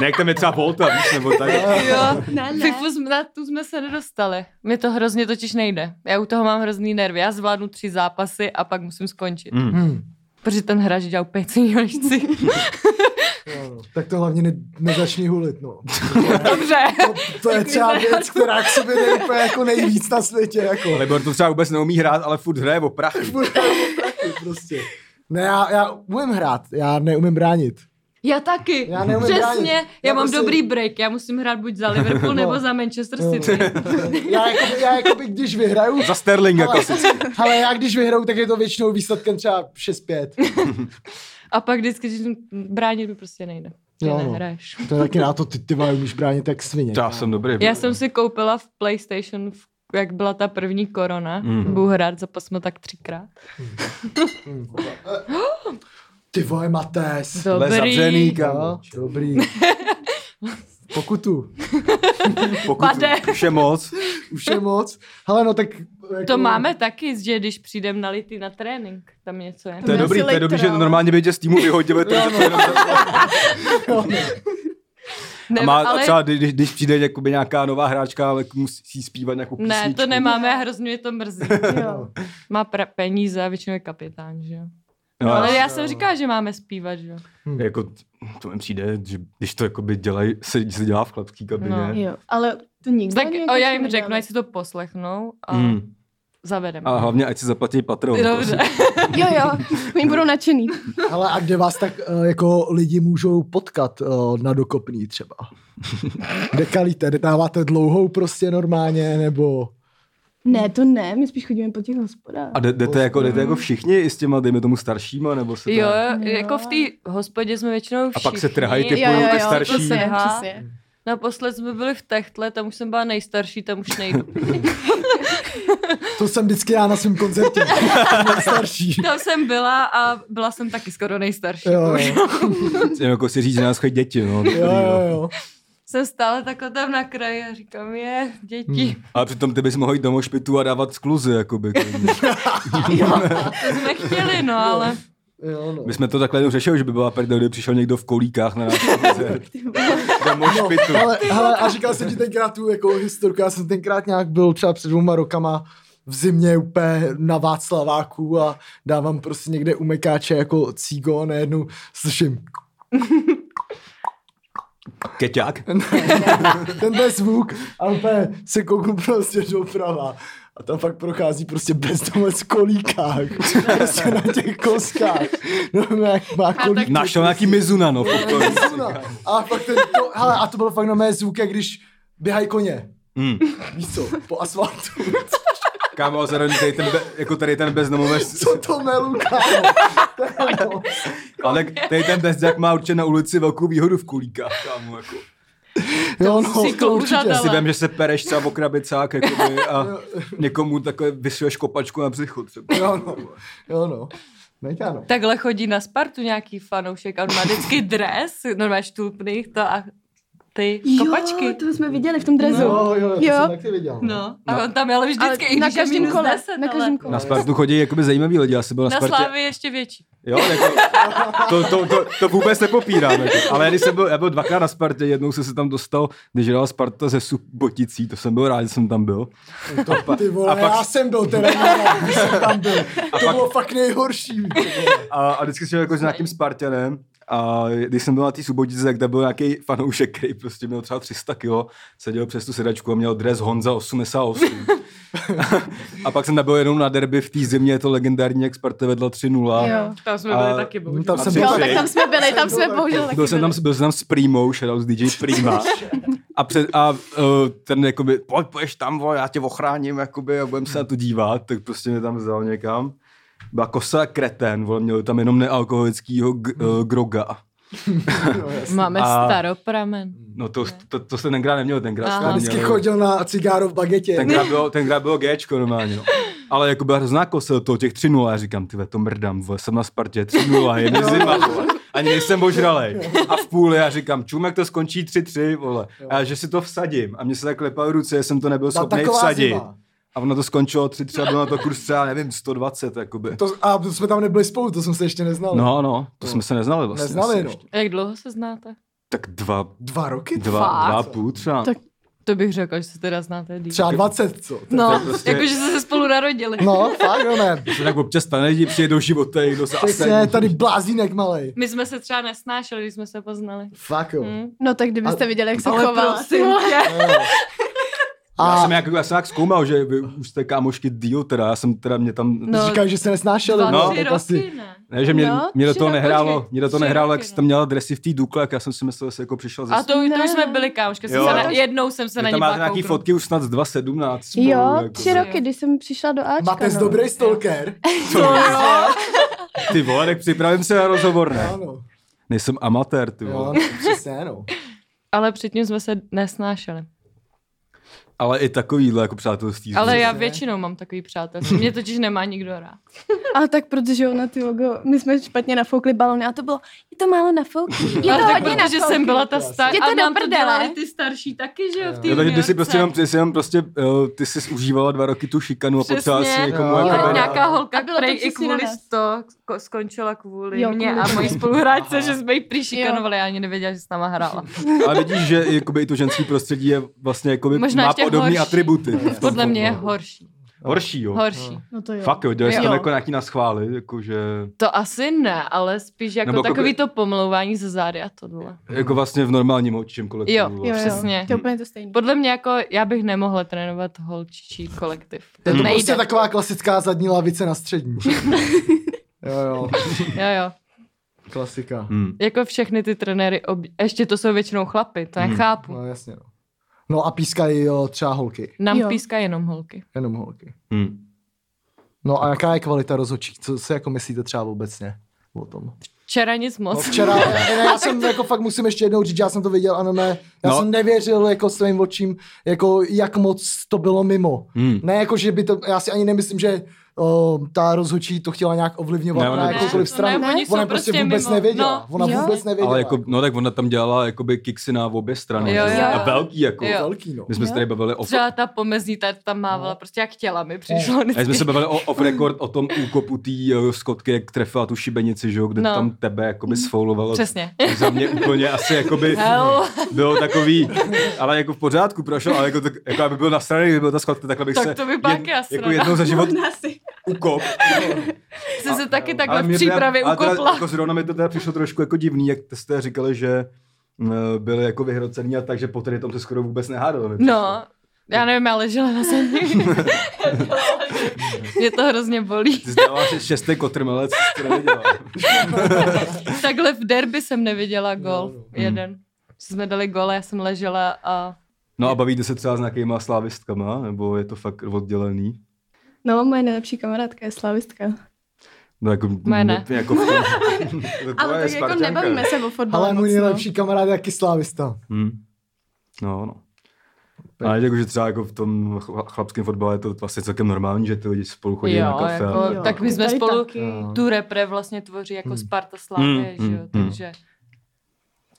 [SPEAKER 2] jak tam je třeba Volta, víš, nebo tak.
[SPEAKER 3] Jo,
[SPEAKER 5] Ne, ne.
[SPEAKER 3] Fifu jsme, na tu jsme se nedostali. Mě to hrozně totiž nejde. Já u toho mám hrozný nervy. Já zvládnu tři zápasy a pak musím skončit.
[SPEAKER 2] Mm.
[SPEAKER 1] Hmm.
[SPEAKER 3] Protože ten hráč dělá úplně co jiného, než chci.
[SPEAKER 1] Jo, no. Tak to hlavně ne, nezačni hulit, no.
[SPEAKER 3] Dobře.
[SPEAKER 1] To, to je třeba věc, která k sobě jde úplně jako nejvíc na světě, jako.
[SPEAKER 2] Libor to třeba vůbec neumí hrát, ale furt hraje o prachy.
[SPEAKER 1] Bude prachy, prostě. Ne, já, já umím hrát, já neumím bránit.
[SPEAKER 3] Já taky.
[SPEAKER 1] Já neumím bránit.
[SPEAKER 3] Přesně. Já,
[SPEAKER 1] Já
[SPEAKER 3] mám
[SPEAKER 1] prostě-
[SPEAKER 3] dobrý break. Já musím hrát buď za Liverpool nebo za Manchester
[SPEAKER 1] No.
[SPEAKER 3] City.
[SPEAKER 1] Já jakoby, já jakoby když vyhraju,
[SPEAKER 2] Za Sterling jako
[SPEAKER 1] ale,
[SPEAKER 2] si.
[SPEAKER 1] ale já když vyhraju, tak je to většinou výsledkem třeba 6-5.
[SPEAKER 3] A pak vždycky, když bránit mi prostě nejde. Že
[SPEAKER 1] Jo, no.
[SPEAKER 3] nehraješ.
[SPEAKER 1] To je taky na to, ty, ty vole, umíš bránit jak svině.
[SPEAKER 2] Já jsem dobrý.
[SPEAKER 3] Já jsem si koupila v PlayStation, v- jak byla ta první korona,
[SPEAKER 2] Mm.
[SPEAKER 3] budu hrát za pasmo tak třikrát.
[SPEAKER 1] Hmm. Ty vole, Matés.
[SPEAKER 2] Ale zavřený,
[SPEAKER 3] Dobrý. no.
[SPEAKER 2] kámo.
[SPEAKER 1] Dobrý. Pokutu.
[SPEAKER 2] Pokud
[SPEAKER 3] Pade.
[SPEAKER 2] už je moc.
[SPEAKER 1] Už je moc. Hele, no tak...
[SPEAKER 3] To
[SPEAKER 1] jako-
[SPEAKER 3] máme taky, že když přijdem na lity na trénink, tam něco je.
[SPEAKER 2] To je
[SPEAKER 5] Byl
[SPEAKER 2] dobrý,
[SPEAKER 5] jsi
[SPEAKER 2] to je dobrý, že
[SPEAKER 5] lejtr,
[SPEAKER 3] no.
[SPEAKER 5] ale-
[SPEAKER 2] normálně by tě z týmu vyhodili. To, je- to je
[SPEAKER 3] Ne,
[SPEAKER 2] a má
[SPEAKER 3] ale...
[SPEAKER 2] třeba, když, když přijde jakoby nějaká nová hráčka, ale musí zpívat nějakou písničku.
[SPEAKER 3] Ne, to nemáme a hrozně mě to mrzí.
[SPEAKER 5] Jo.
[SPEAKER 3] Má pra- peníze a většinou je kapitán, že jo.
[SPEAKER 2] No,
[SPEAKER 3] Ale
[SPEAKER 2] ale...
[SPEAKER 3] já jsem říkala, že máme zpívat, že jo.
[SPEAKER 2] Jako, t- to mi přijde, že když to jakoby dělají, se, se dělá v chlapský kabině.
[SPEAKER 3] No.
[SPEAKER 5] jo. Ale to nikdo
[SPEAKER 3] Tak
[SPEAKER 5] ani
[SPEAKER 3] o,
[SPEAKER 5] jako
[SPEAKER 3] já
[SPEAKER 5] jsme
[SPEAKER 3] jim řeknu,
[SPEAKER 5] nedali.
[SPEAKER 3] ať si to poslechnou a mm.
[SPEAKER 2] Mm.
[SPEAKER 3] zavedeme.
[SPEAKER 2] A hlavně, ať si zaplatí Patreon.
[SPEAKER 3] Dobře.
[SPEAKER 5] Jo, jo, oni budou nadšený.
[SPEAKER 1] Ale a kde vás tak eh, jako lidi můžou potkat eh, na dokopný třeba? Kde kalíte? Kde dáváte dlouhou prostě normálně, nebo...
[SPEAKER 5] Ne, to ne, my spíš chodíme po těch hospodách.
[SPEAKER 2] A jde- jdete jako, jdete jako všichni i s těma, dejme tomu staršíma, nebo se to-
[SPEAKER 3] Jo, jako v té hospodě jsme většinou
[SPEAKER 2] A
[SPEAKER 3] všichni.
[SPEAKER 2] pak se trhají ty
[SPEAKER 5] Jo,
[SPEAKER 2] pojou,
[SPEAKER 5] jo,
[SPEAKER 2] ty
[SPEAKER 5] jo,
[SPEAKER 1] prostě,
[SPEAKER 2] starší.
[SPEAKER 5] přesně,
[SPEAKER 3] Aha.
[SPEAKER 5] přesně.
[SPEAKER 3] Naposled jsme byli v Techtle, tam už jsem byla nejstarší, tam už nejdu.
[SPEAKER 1] To jsem vždycky já na svém koncertě. Starší.
[SPEAKER 3] Tam jsem byla a byla jsem taky skoro nejstarší.
[SPEAKER 1] Jo,
[SPEAKER 3] Už.
[SPEAKER 1] jo,
[SPEAKER 2] Jenom jako si říct, že nás chodí děti, no. takový,
[SPEAKER 1] jo,
[SPEAKER 2] no.
[SPEAKER 1] jo, jo.
[SPEAKER 3] Jsem stále takhle tam na kraji a říkám, je, děti.
[SPEAKER 2] Ale přitom ty bys mohl jít do mošpitu a dávat skluzy, jakoby. klidně.
[SPEAKER 3] To jsme chtěli, no, ale
[SPEAKER 1] jo no.
[SPEAKER 2] My jsme to takhle jednou řešili, že by byla prdel, kdyby přišel někdo v kolíkách na náš koncert. do mošpitu.
[SPEAKER 1] No, Ale, hele, a říkal jsem ti tenkrát tu jako historku, já jsem tenkrát nějak byl třeba před dvouma rokama v zimě úplně na Václaváku a dávám prostě někde umekáče jako cígo a najednou slyším
[SPEAKER 2] Keťák?
[SPEAKER 1] No, tenhle zvuk a úplně se kouknu prostě doprava. A tam fakt prochází prostě bezdomovec v kolíkách. Prostě na těch koskách. No, jak má kolíky.
[SPEAKER 2] Našel nějaký
[SPEAKER 1] No,
[SPEAKER 2] Mizunano. v pokoji.
[SPEAKER 1] Zuna. A fakt ten, to, hele, a to byl fakt na mé zvuk, jak když běhají koně.
[SPEAKER 2] Mm.
[SPEAKER 1] Víš co, po asfaltu.
[SPEAKER 2] Kámo, zároveň tady ten, be, jako tady ten bezdomovec,
[SPEAKER 1] Co to melu, kámo? To je ono.
[SPEAKER 2] ale tady ten bezďák má určitě na ulici velkou výhodu v kulíkách, kámo, jako.
[SPEAKER 1] Jo,
[SPEAKER 3] si
[SPEAKER 1] no, to určitě.
[SPEAKER 3] kloužadala.
[SPEAKER 2] Si vem, že se pereš třeba o krabicák, jakoby, a někomu takhle vysuješ kopačku na břichu třeba.
[SPEAKER 1] Jo, no. Jo, no. Neťáno.
[SPEAKER 3] takhle chodí na Spartu nějaký fanoušek a on má vždycky dres, normálně štulpný, to a ty kopačky.
[SPEAKER 5] Jo, to jsme viděli v tom drezu.
[SPEAKER 1] No, jo, to
[SPEAKER 5] Jo.
[SPEAKER 1] jsem taky viděl. no.
[SPEAKER 3] No, a on tam jel vždycky,
[SPEAKER 5] Ale
[SPEAKER 3] i
[SPEAKER 5] na
[SPEAKER 3] když je
[SPEAKER 5] každém
[SPEAKER 3] minus
[SPEAKER 5] kole,
[SPEAKER 3] 10,
[SPEAKER 5] na
[SPEAKER 3] ale-
[SPEAKER 5] každém kole.
[SPEAKER 2] Na Spartu chodí jakoby zajímavý lidi, já jsem byl na,
[SPEAKER 3] Na
[SPEAKER 2] Spartě.
[SPEAKER 3] Slávě ještě větší.
[SPEAKER 2] Jo, jako, to, to, to, to, vůbec nepopírám. Jako. Ale když jsem byl, já byl dvakrát na Spartě, jednou jsem se tam dostal, když hrala Sparta ze Suboticí, to jsem byl rád, že jsem tam byl.
[SPEAKER 1] To, ty vole,
[SPEAKER 2] a pak-
[SPEAKER 1] já jsem byl teda, já jsem tam byl. To bylo fakt nejhorší. ty vole.
[SPEAKER 2] A, a vždycky jsem jako s nějakým Spartanem a když jsem byl na té Subotice, tak tam byl nějaký fanoušek, který prostě měl třeba 300 kg, seděl přes tu sedačku a měl dres Honza 88. a pak jsem tam byl jenom na derby v té zimě, je to legendární, jak Sparta vedla 3-0.
[SPEAKER 5] Jo.
[SPEAKER 3] Tam jsme
[SPEAKER 2] A-
[SPEAKER 3] byli taky, bohužel.
[SPEAKER 1] Tam
[SPEAKER 2] A
[SPEAKER 1] jsem
[SPEAKER 2] tři-
[SPEAKER 1] byl
[SPEAKER 5] Jo,
[SPEAKER 2] tři-
[SPEAKER 5] tak tam jsme byli, tam jsme
[SPEAKER 1] Byl
[SPEAKER 5] bohužel taky
[SPEAKER 2] byl jsem tam,
[SPEAKER 5] byli.
[SPEAKER 2] byl jsem tam s Primo, shoutout s DJ Prima. A, před, a uh, ten jakoby, pojď, pojď tam, vole, já tě ochráním, jakoby, a budem se na to dívat, tak prostě mě tam vzal někam. Byla kosa kreten, vole, měl tam jenom nealkoholickýho g-
[SPEAKER 5] Hmm.
[SPEAKER 2] eh, groga.
[SPEAKER 1] No, jasně.
[SPEAKER 3] Máme
[SPEAKER 2] A-
[SPEAKER 3] staropramen.
[SPEAKER 2] No to, to, to se tenkrát neměl, tenkrát
[SPEAKER 3] Aha.
[SPEAKER 2] jste
[SPEAKER 1] Vždycky
[SPEAKER 2] měli-
[SPEAKER 1] chodil na cigáro v bagetě.
[SPEAKER 2] Tenkrát bylo, tenkrát bylo Gčko normálně. No. Ale jako byla hrozná kosa toho těch 3 0 říkám, ty to mrdám, vole, jsem na Spartě, 3 0 je mi
[SPEAKER 1] No.
[SPEAKER 2] zima, vole. Ani nejsem ožralej. A v půli já říkám, čum, jak to skončí 3-3, vole. A já, že si to vsadím. A mě se tak klepaly ruce, že jsem to nebyl
[SPEAKER 1] Ta
[SPEAKER 2] schopný
[SPEAKER 1] taková
[SPEAKER 2] vsadit.
[SPEAKER 1] zima.
[SPEAKER 2] A ono to skončilo 3-3 a bylo na to kurz třeba, nevím, 120, jakoby.
[SPEAKER 1] To, a to jsme tam nebyli spolu, to jsem se ještě neznal.
[SPEAKER 2] No, no, to jsme se neznali vlastně.
[SPEAKER 1] Neznali,
[SPEAKER 2] asi
[SPEAKER 1] no.
[SPEAKER 2] ještě.
[SPEAKER 3] Jak dlouho se znáte?
[SPEAKER 2] Tak dva,
[SPEAKER 1] Dva roky?
[SPEAKER 2] dva,
[SPEAKER 3] Fakt?
[SPEAKER 2] dva a půl třeba.
[SPEAKER 5] Tak-
[SPEAKER 3] To bych řekla, že se teda znáte díl.
[SPEAKER 1] Třeba 20, co?
[SPEAKER 3] No,
[SPEAKER 2] prostě-
[SPEAKER 3] prostě... jakože jste se spolu narodili.
[SPEAKER 1] No, fakt, jo, ne.
[SPEAKER 2] To se tak občas stane, lidi přijde do života, někdo se
[SPEAKER 1] Přesně, tady blázínek malej.
[SPEAKER 3] My jsme se třeba nesnášeli, když jsme se poznali.
[SPEAKER 1] Fakt, jo.
[SPEAKER 3] Hm?
[SPEAKER 5] No tak kdybyste
[SPEAKER 1] A-
[SPEAKER 5] viděli, jak se
[SPEAKER 3] Ale
[SPEAKER 5] chovala.
[SPEAKER 3] prosím tě.
[SPEAKER 1] Jo.
[SPEAKER 2] Já
[SPEAKER 1] A
[SPEAKER 2] jsem, jak, já jsem jak zkoumal, že vy už jste kámošky díl, teda já jsem teda mě tam...
[SPEAKER 3] No,
[SPEAKER 1] říkají, že se nesnášeli.
[SPEAKER 3] Dva,
[SPEAKER 2] no,
[SPEAKER 3] tři
[SPEAKER 1] tak asi-
[SPEAKER 3] roky, ne?
[SPEAKER 2] Ne, že mě,
[SPEAKER 5] No,
[SPEAKER 2] mě do
[SPEAKER 3] tři
[SPEAKER 2] toho
[SPEAKER 3] roky,
[SPEAKER 2] nehrálo,
[SPEAKER 3] počkej,
[SPEAKER 2] mě do toho
[SPEAKER 3] tři
[SPEAKER 2] nehrálo,
[SPEAKER 3] roky,
[SPEAKER 2] jak
[SPEAKER 3] no.
[SPEAKER 2] jste měla dresy v té dukle, jak já jsem si myslel, že jsi jako přišel ze...
[SPEAKER 3] A to, to
[SPEAKER 5] Ne.
[SPEAKER 3] už jsme byli kámošky, jsem
[SPEAKER 2] Jo.
[SPEAKER 3] se
[SPEAKER 2] Jo.
[SPEAKER 3] na, jednou jsem se
[SPEAKER 2] Vy
[SPEAKER 3] na
[SPEAKER 2] tam
[SPEAKER 3] ní
[SPEAKER 2] máte
[SPEAKER 3] byla
[SPEAKER 2] nějaký
[SPEAKER 3] kouknout.
[SPEAKER 2] fotky už snad z 2017 spolu,
[SPEAKER 5] Jo,
[SPEAKER 2] jako.
[SPEAKER 5] tři roky, když jsem přišla do Ačka.
[SPEAKER 1] Matez
[SPEAKER 5] no.
[SPEAKER 1] dobrý stalker.
[SPEAKER 2] Co jo? Ty vole, tak připravím se na rozhovor, ne?
[SPEAKER 1] Ano.
[SPEAKER 2] Nejsem amatér, ty
[SPEAKER 1] Jo,
[SPEAKER 2] vole.
[SPEAKER 1] přesně, no.
[SPEAKER 3] Ale předtím jsme se nesnášeli.
[SPEAKER 2] Ale i takovýhle, jako přátelství.
[SPEAKER 3] Ale já
[SPEAKER 1] Přesně.
[SPEAKER 3] většinou mám takový přátelství. Mě totiž nemá nikdo rád.
[SPEAKER 5] A tak protože ona ty logo, my jsme špatně nafoukli balony a to bylo, je to málo nafoukli, je
[SPEAKER 3] Ale
[SPEAKER 5] to
[SPEAKER 3] tak
[SPEAKER 5] hodně
[SPEAKER 3] protože
[SPEAKER 5] nafoukli.
[SPEAKER 3] jsem byla ta
[SPEAKER 1] Jasně.
[SPEAKER 3] starší.
[SPEAKER 5] Jděte
[SPEAKER 3] A
[SPEAKER 5] do
[SPEAKER 3] nám to
[SPEAKER 5] prdele.
[SPEAKER 3] dělali ty starší taky, že jo, v té
[SPEAKER 2] No, takže ty
[SPEAKER 3] juniorce.
[SPEAKER 2] si prostě jenom, ty si jenom prostě, uh, ty jsi užívala dva roky tu šikanu a
[SPEAKER 3] Přesně.
[SPEAKER 2] potřebovala si někomu
[SPEAKER 1] Jo.
[SPEAKER 2] jako
[SPEAKER 3] Ale
[SPEAKER 1] Byla-
[SPEAKER 3] nějaká holka,
[SPEAKER 5] A bylo to
[SPEAKER 3] prej i
[SPEAKER 5] přesně
[SPEAKER 3] kvůli
[SPEAKER 5] na nás.
[SPEAKER 3] to ko- skončila kvůli
[SPEAKER 5] Jo,
[SPEAKER 3] mě
[SPEAKER 5] kvůli
[SPEAKER 3] a mojí spoluhráčce, že jsme ji
[SPEAKER 5] Jo.
[SPEAKER 3] přišikanovali, já ani nevěděla, že s náma hrála.
[SPEAKER 2] A vidíš, že jakoby, i to ženský prostředí je vlastně jakoby,
[SPEAKER 3] Možná
[SPEAKER 2] má
[SPEAKER 3] ještě
[SPEAKER 2] podobné
[SPEAKER 3] horší.
[SPEAKER 2] atributy.
[SPEAKER 3] Podle mě je horší.
[SPEAKER 2] Horší, jo.
[SPEAKER 3] Horší.
[SPEAKER 5] No to jo.
[SPEAKER 2] Fakt jo, dělají se tam
[SPEAKER 5] Jo.
[SPEAKER 2] jako nějaký naschvály, jakože
[SPEAKER 3] To asi ne, ale spíš jako
[SPEAKER 2] Nebo
[SPEAKER 3] takový
[SPEAKER 2] jako
[SPEAKER 3] to pomlouvání ze zády a tohle.
[SPEAKER 2] jako vlastně v normálním očím kolektivu. vlastně.
[SPEAKER 3] Jo,
[SPEAKER 5] Jo, jo,
[SPEAKER 3] přesně.
[SPEAKER 5] To je úplně to stejné.
[SPEAKER 3] Podle mě jako já bych nemohla trénovat holčičí kolektiv.
[SPEAKER 1] To je to
[SPEAKER 3] nejde.
[SPEAKER 1] prostě taková klasická zadní lavice na střední. Jo, jo,
[SPEAKER 3] Jo, jo.
[SPEAKER 1] klasika.
[SPEAKER 2] Hmm.
[SPEAKER 3] Jako všechny ty trenéry, ob... ještě to jsou většinou chlapy, to
[SPEAKER 2] Mhm.
[SPEAKER 3] nechápu.
[SPEAKER 1] No jasně, no. No a pískají jo, třeba holky,
[SPEAKER 3] Nám
[SPEAKER 5] Jo.
[SPEAKER 3] píská jenom holky.
[SPEAKER 1] jenom holky.
[SPEAKER 2] Hmm.
[SPEAKER 1] No a jaká je kvalita rozhodčí? Co si jako myslíte třeba obecně o tom?
[SPEAKER 3] Včera nic moc.
[SPEAKER 1] No včera, ne, ne, já jsem jako fakt musím ještě jednou říct, já jsem to viděl, ano ne, já
[SPEAKER 2] No.
[SPEAKER 1] jsem nevěřil jako svým očím, jako jak moc to bylo mimo.
[SPEAKER 2] Hmm.
[SPEAKER 1] Ne, jako že by to, já si ani nemyslím, že o, ta rozhodčí to chtěla nějak ovlivňovat
[SPEAKER 2] Ne,
[SPEAKER 1] ne,
[SPEAKER 2] ona
[SPEAKER 1] na
[SPEAKER 2] prostě-
[SPEAKER 1] jakoukoliv
[SPEAKER 3] Ne,
[SPEAKER 1] stranu.
[SPEAKER 3] ne, oni jsou
[SPEAKER 1] jako ona prostě
[SPEAKER 3] prostě
[SPEAKER 1] vůbec
[SPEAKER 3] mimo.
[SPEAKER 1] nevěděla.
[SPEAKER 3] No.
[SPEAKER 1] Ona
[SPEAKER 5] Jo.
[SPEAKER 1] vůbec nevěděla.
[SPEAKER 2] Ale jako, no tak ona tam dělala jakoby kiksy na obě strany.
[SPEAKER 3] Jo, jo.
[SPEAKER 2] A velký jako.
[SPEAKER 3] Jo.
[SPEAKER 1] velký, no.
[SPEAKER 2] My jsme se
[SPEAKER 5] Jo.
[SPEAKER 2] tady bavili o
[SPEAKER 3] Třeba ta pomezní ta tam mávala, prostě jak chtěla mi přišlo.
[SPEAKER 2] a jsme
[SPEAKER 3] vždycky.
[SPEAKER 2] se bavili o, off record o tom úkopu té eh, skotky, jak trefila tu šibenici, že jo, kde
[SPEAKER 3] No.
[SPEAKER 2] tam tebe jakoby sfoulovalo.
[SPEAKER 3] Přesně.
[SPEAKER 2] Tak Za mě úplně asi jakoby
[SPEAKER 3] Hell.
[SPEAKER 2] bylo takový, ale jako v pořádku prošel, ale jako, to, jako aby byl nasraný, kdyby byl ta skladka, takhle bych
[SPEAKER 3] Tak
[SPEAKER 2] se
[SPEAKER 3] to by pak
[SPEAKER 2] jed,
[SPEAKER 3] jasno.
[SPEAKER 2] jako jednou za život
[SPEAKER 5] si.
[SPEAKER 2] ukop.
[SPEAKER 3] Jsem se taky
[SPEAKER 2] Ale
[SPEAKER 3] takhle v
[SPEAKER 2] mě teda-
[SPEAKER 3] přípravě
[SPEAKER 2] ale teda
[SPEAKER 3] ukopla.
[SPEAKER 2] Jako zrovna mi to teda přišlo trošku jako divný, jak jste říkali, že mm, byli jako vyhrocený a takže po tady tom se skoro vůbec nehádalo. mi přišlo.
[SPEAKER 3] No, já nevím, já ležela na zemi. Mě to hrozně bolí.
[SPEAKER 2] Ty zdáváš že šestý kotrmelec, co to neviděla.
[SPEAKER 3] Takhle v derby jsem neviděla
[SPEAKER 2] No,
[SPEAKER 3] gol.
[SPEAKER 1] Jo,
[SPEAKER 2] Hmm.
[SPEAKER 3] Jeden. Jsme dali gol a já jsem ležela a
[SPEAKER 2] No a bavíte se třeba s nějakýma slávistkama, nebo je to fakt oddělený?
[SPEAKER 5] No, moje nejlepší kamarádka je slavistka.
[SPEAKER 2] No jako,
[SPEAKER 3] Moje ne.
[SPEAKER 2] m- jako v tom, To
[SPEAKER 5] Ale
[SPEAKER 2] je
[SPEAKER 5] tak jako
[SPEAKER 2] Spartanka.
[SPEAKER 5] nebavíme se o fotbalu
[SPEAKER 1] Ale můj
[SPEAKER 5] moc, no.
[SPEAKER 1] nejlepší kamarád je taky slávista.
[SPEAKER 2] Hmm. No, no. Ale jako, že třeba jako v tom chla- chlapském fotbale je to vlastně celkem normální, že ty lidi spolu chodí
[SPEAKER 3] jo,
[SPEAKER 2] na kafe.
[SPEAKER 3] jako,
[SPEAKER 2] a-
[SPEAKER 5] Jo.
[SPEAKER 3] tak my jsme
[SPEAKER 5] Tady
[SPEAKER 3] spolu
[SPEAKER 5] taky.
[SPEAKER 1] Jo.
[SPEAKER 3] tu repre vlastně tvoří jako
[SPEAKER 1] Hmm.
[SPEAKER 3] Sparta Slavě,
[SPEAKER 2] No. Hmm,
[SPEAKER 3] že jo,
[SPEAKER 2] hmm,
[SPEAKER 3] takže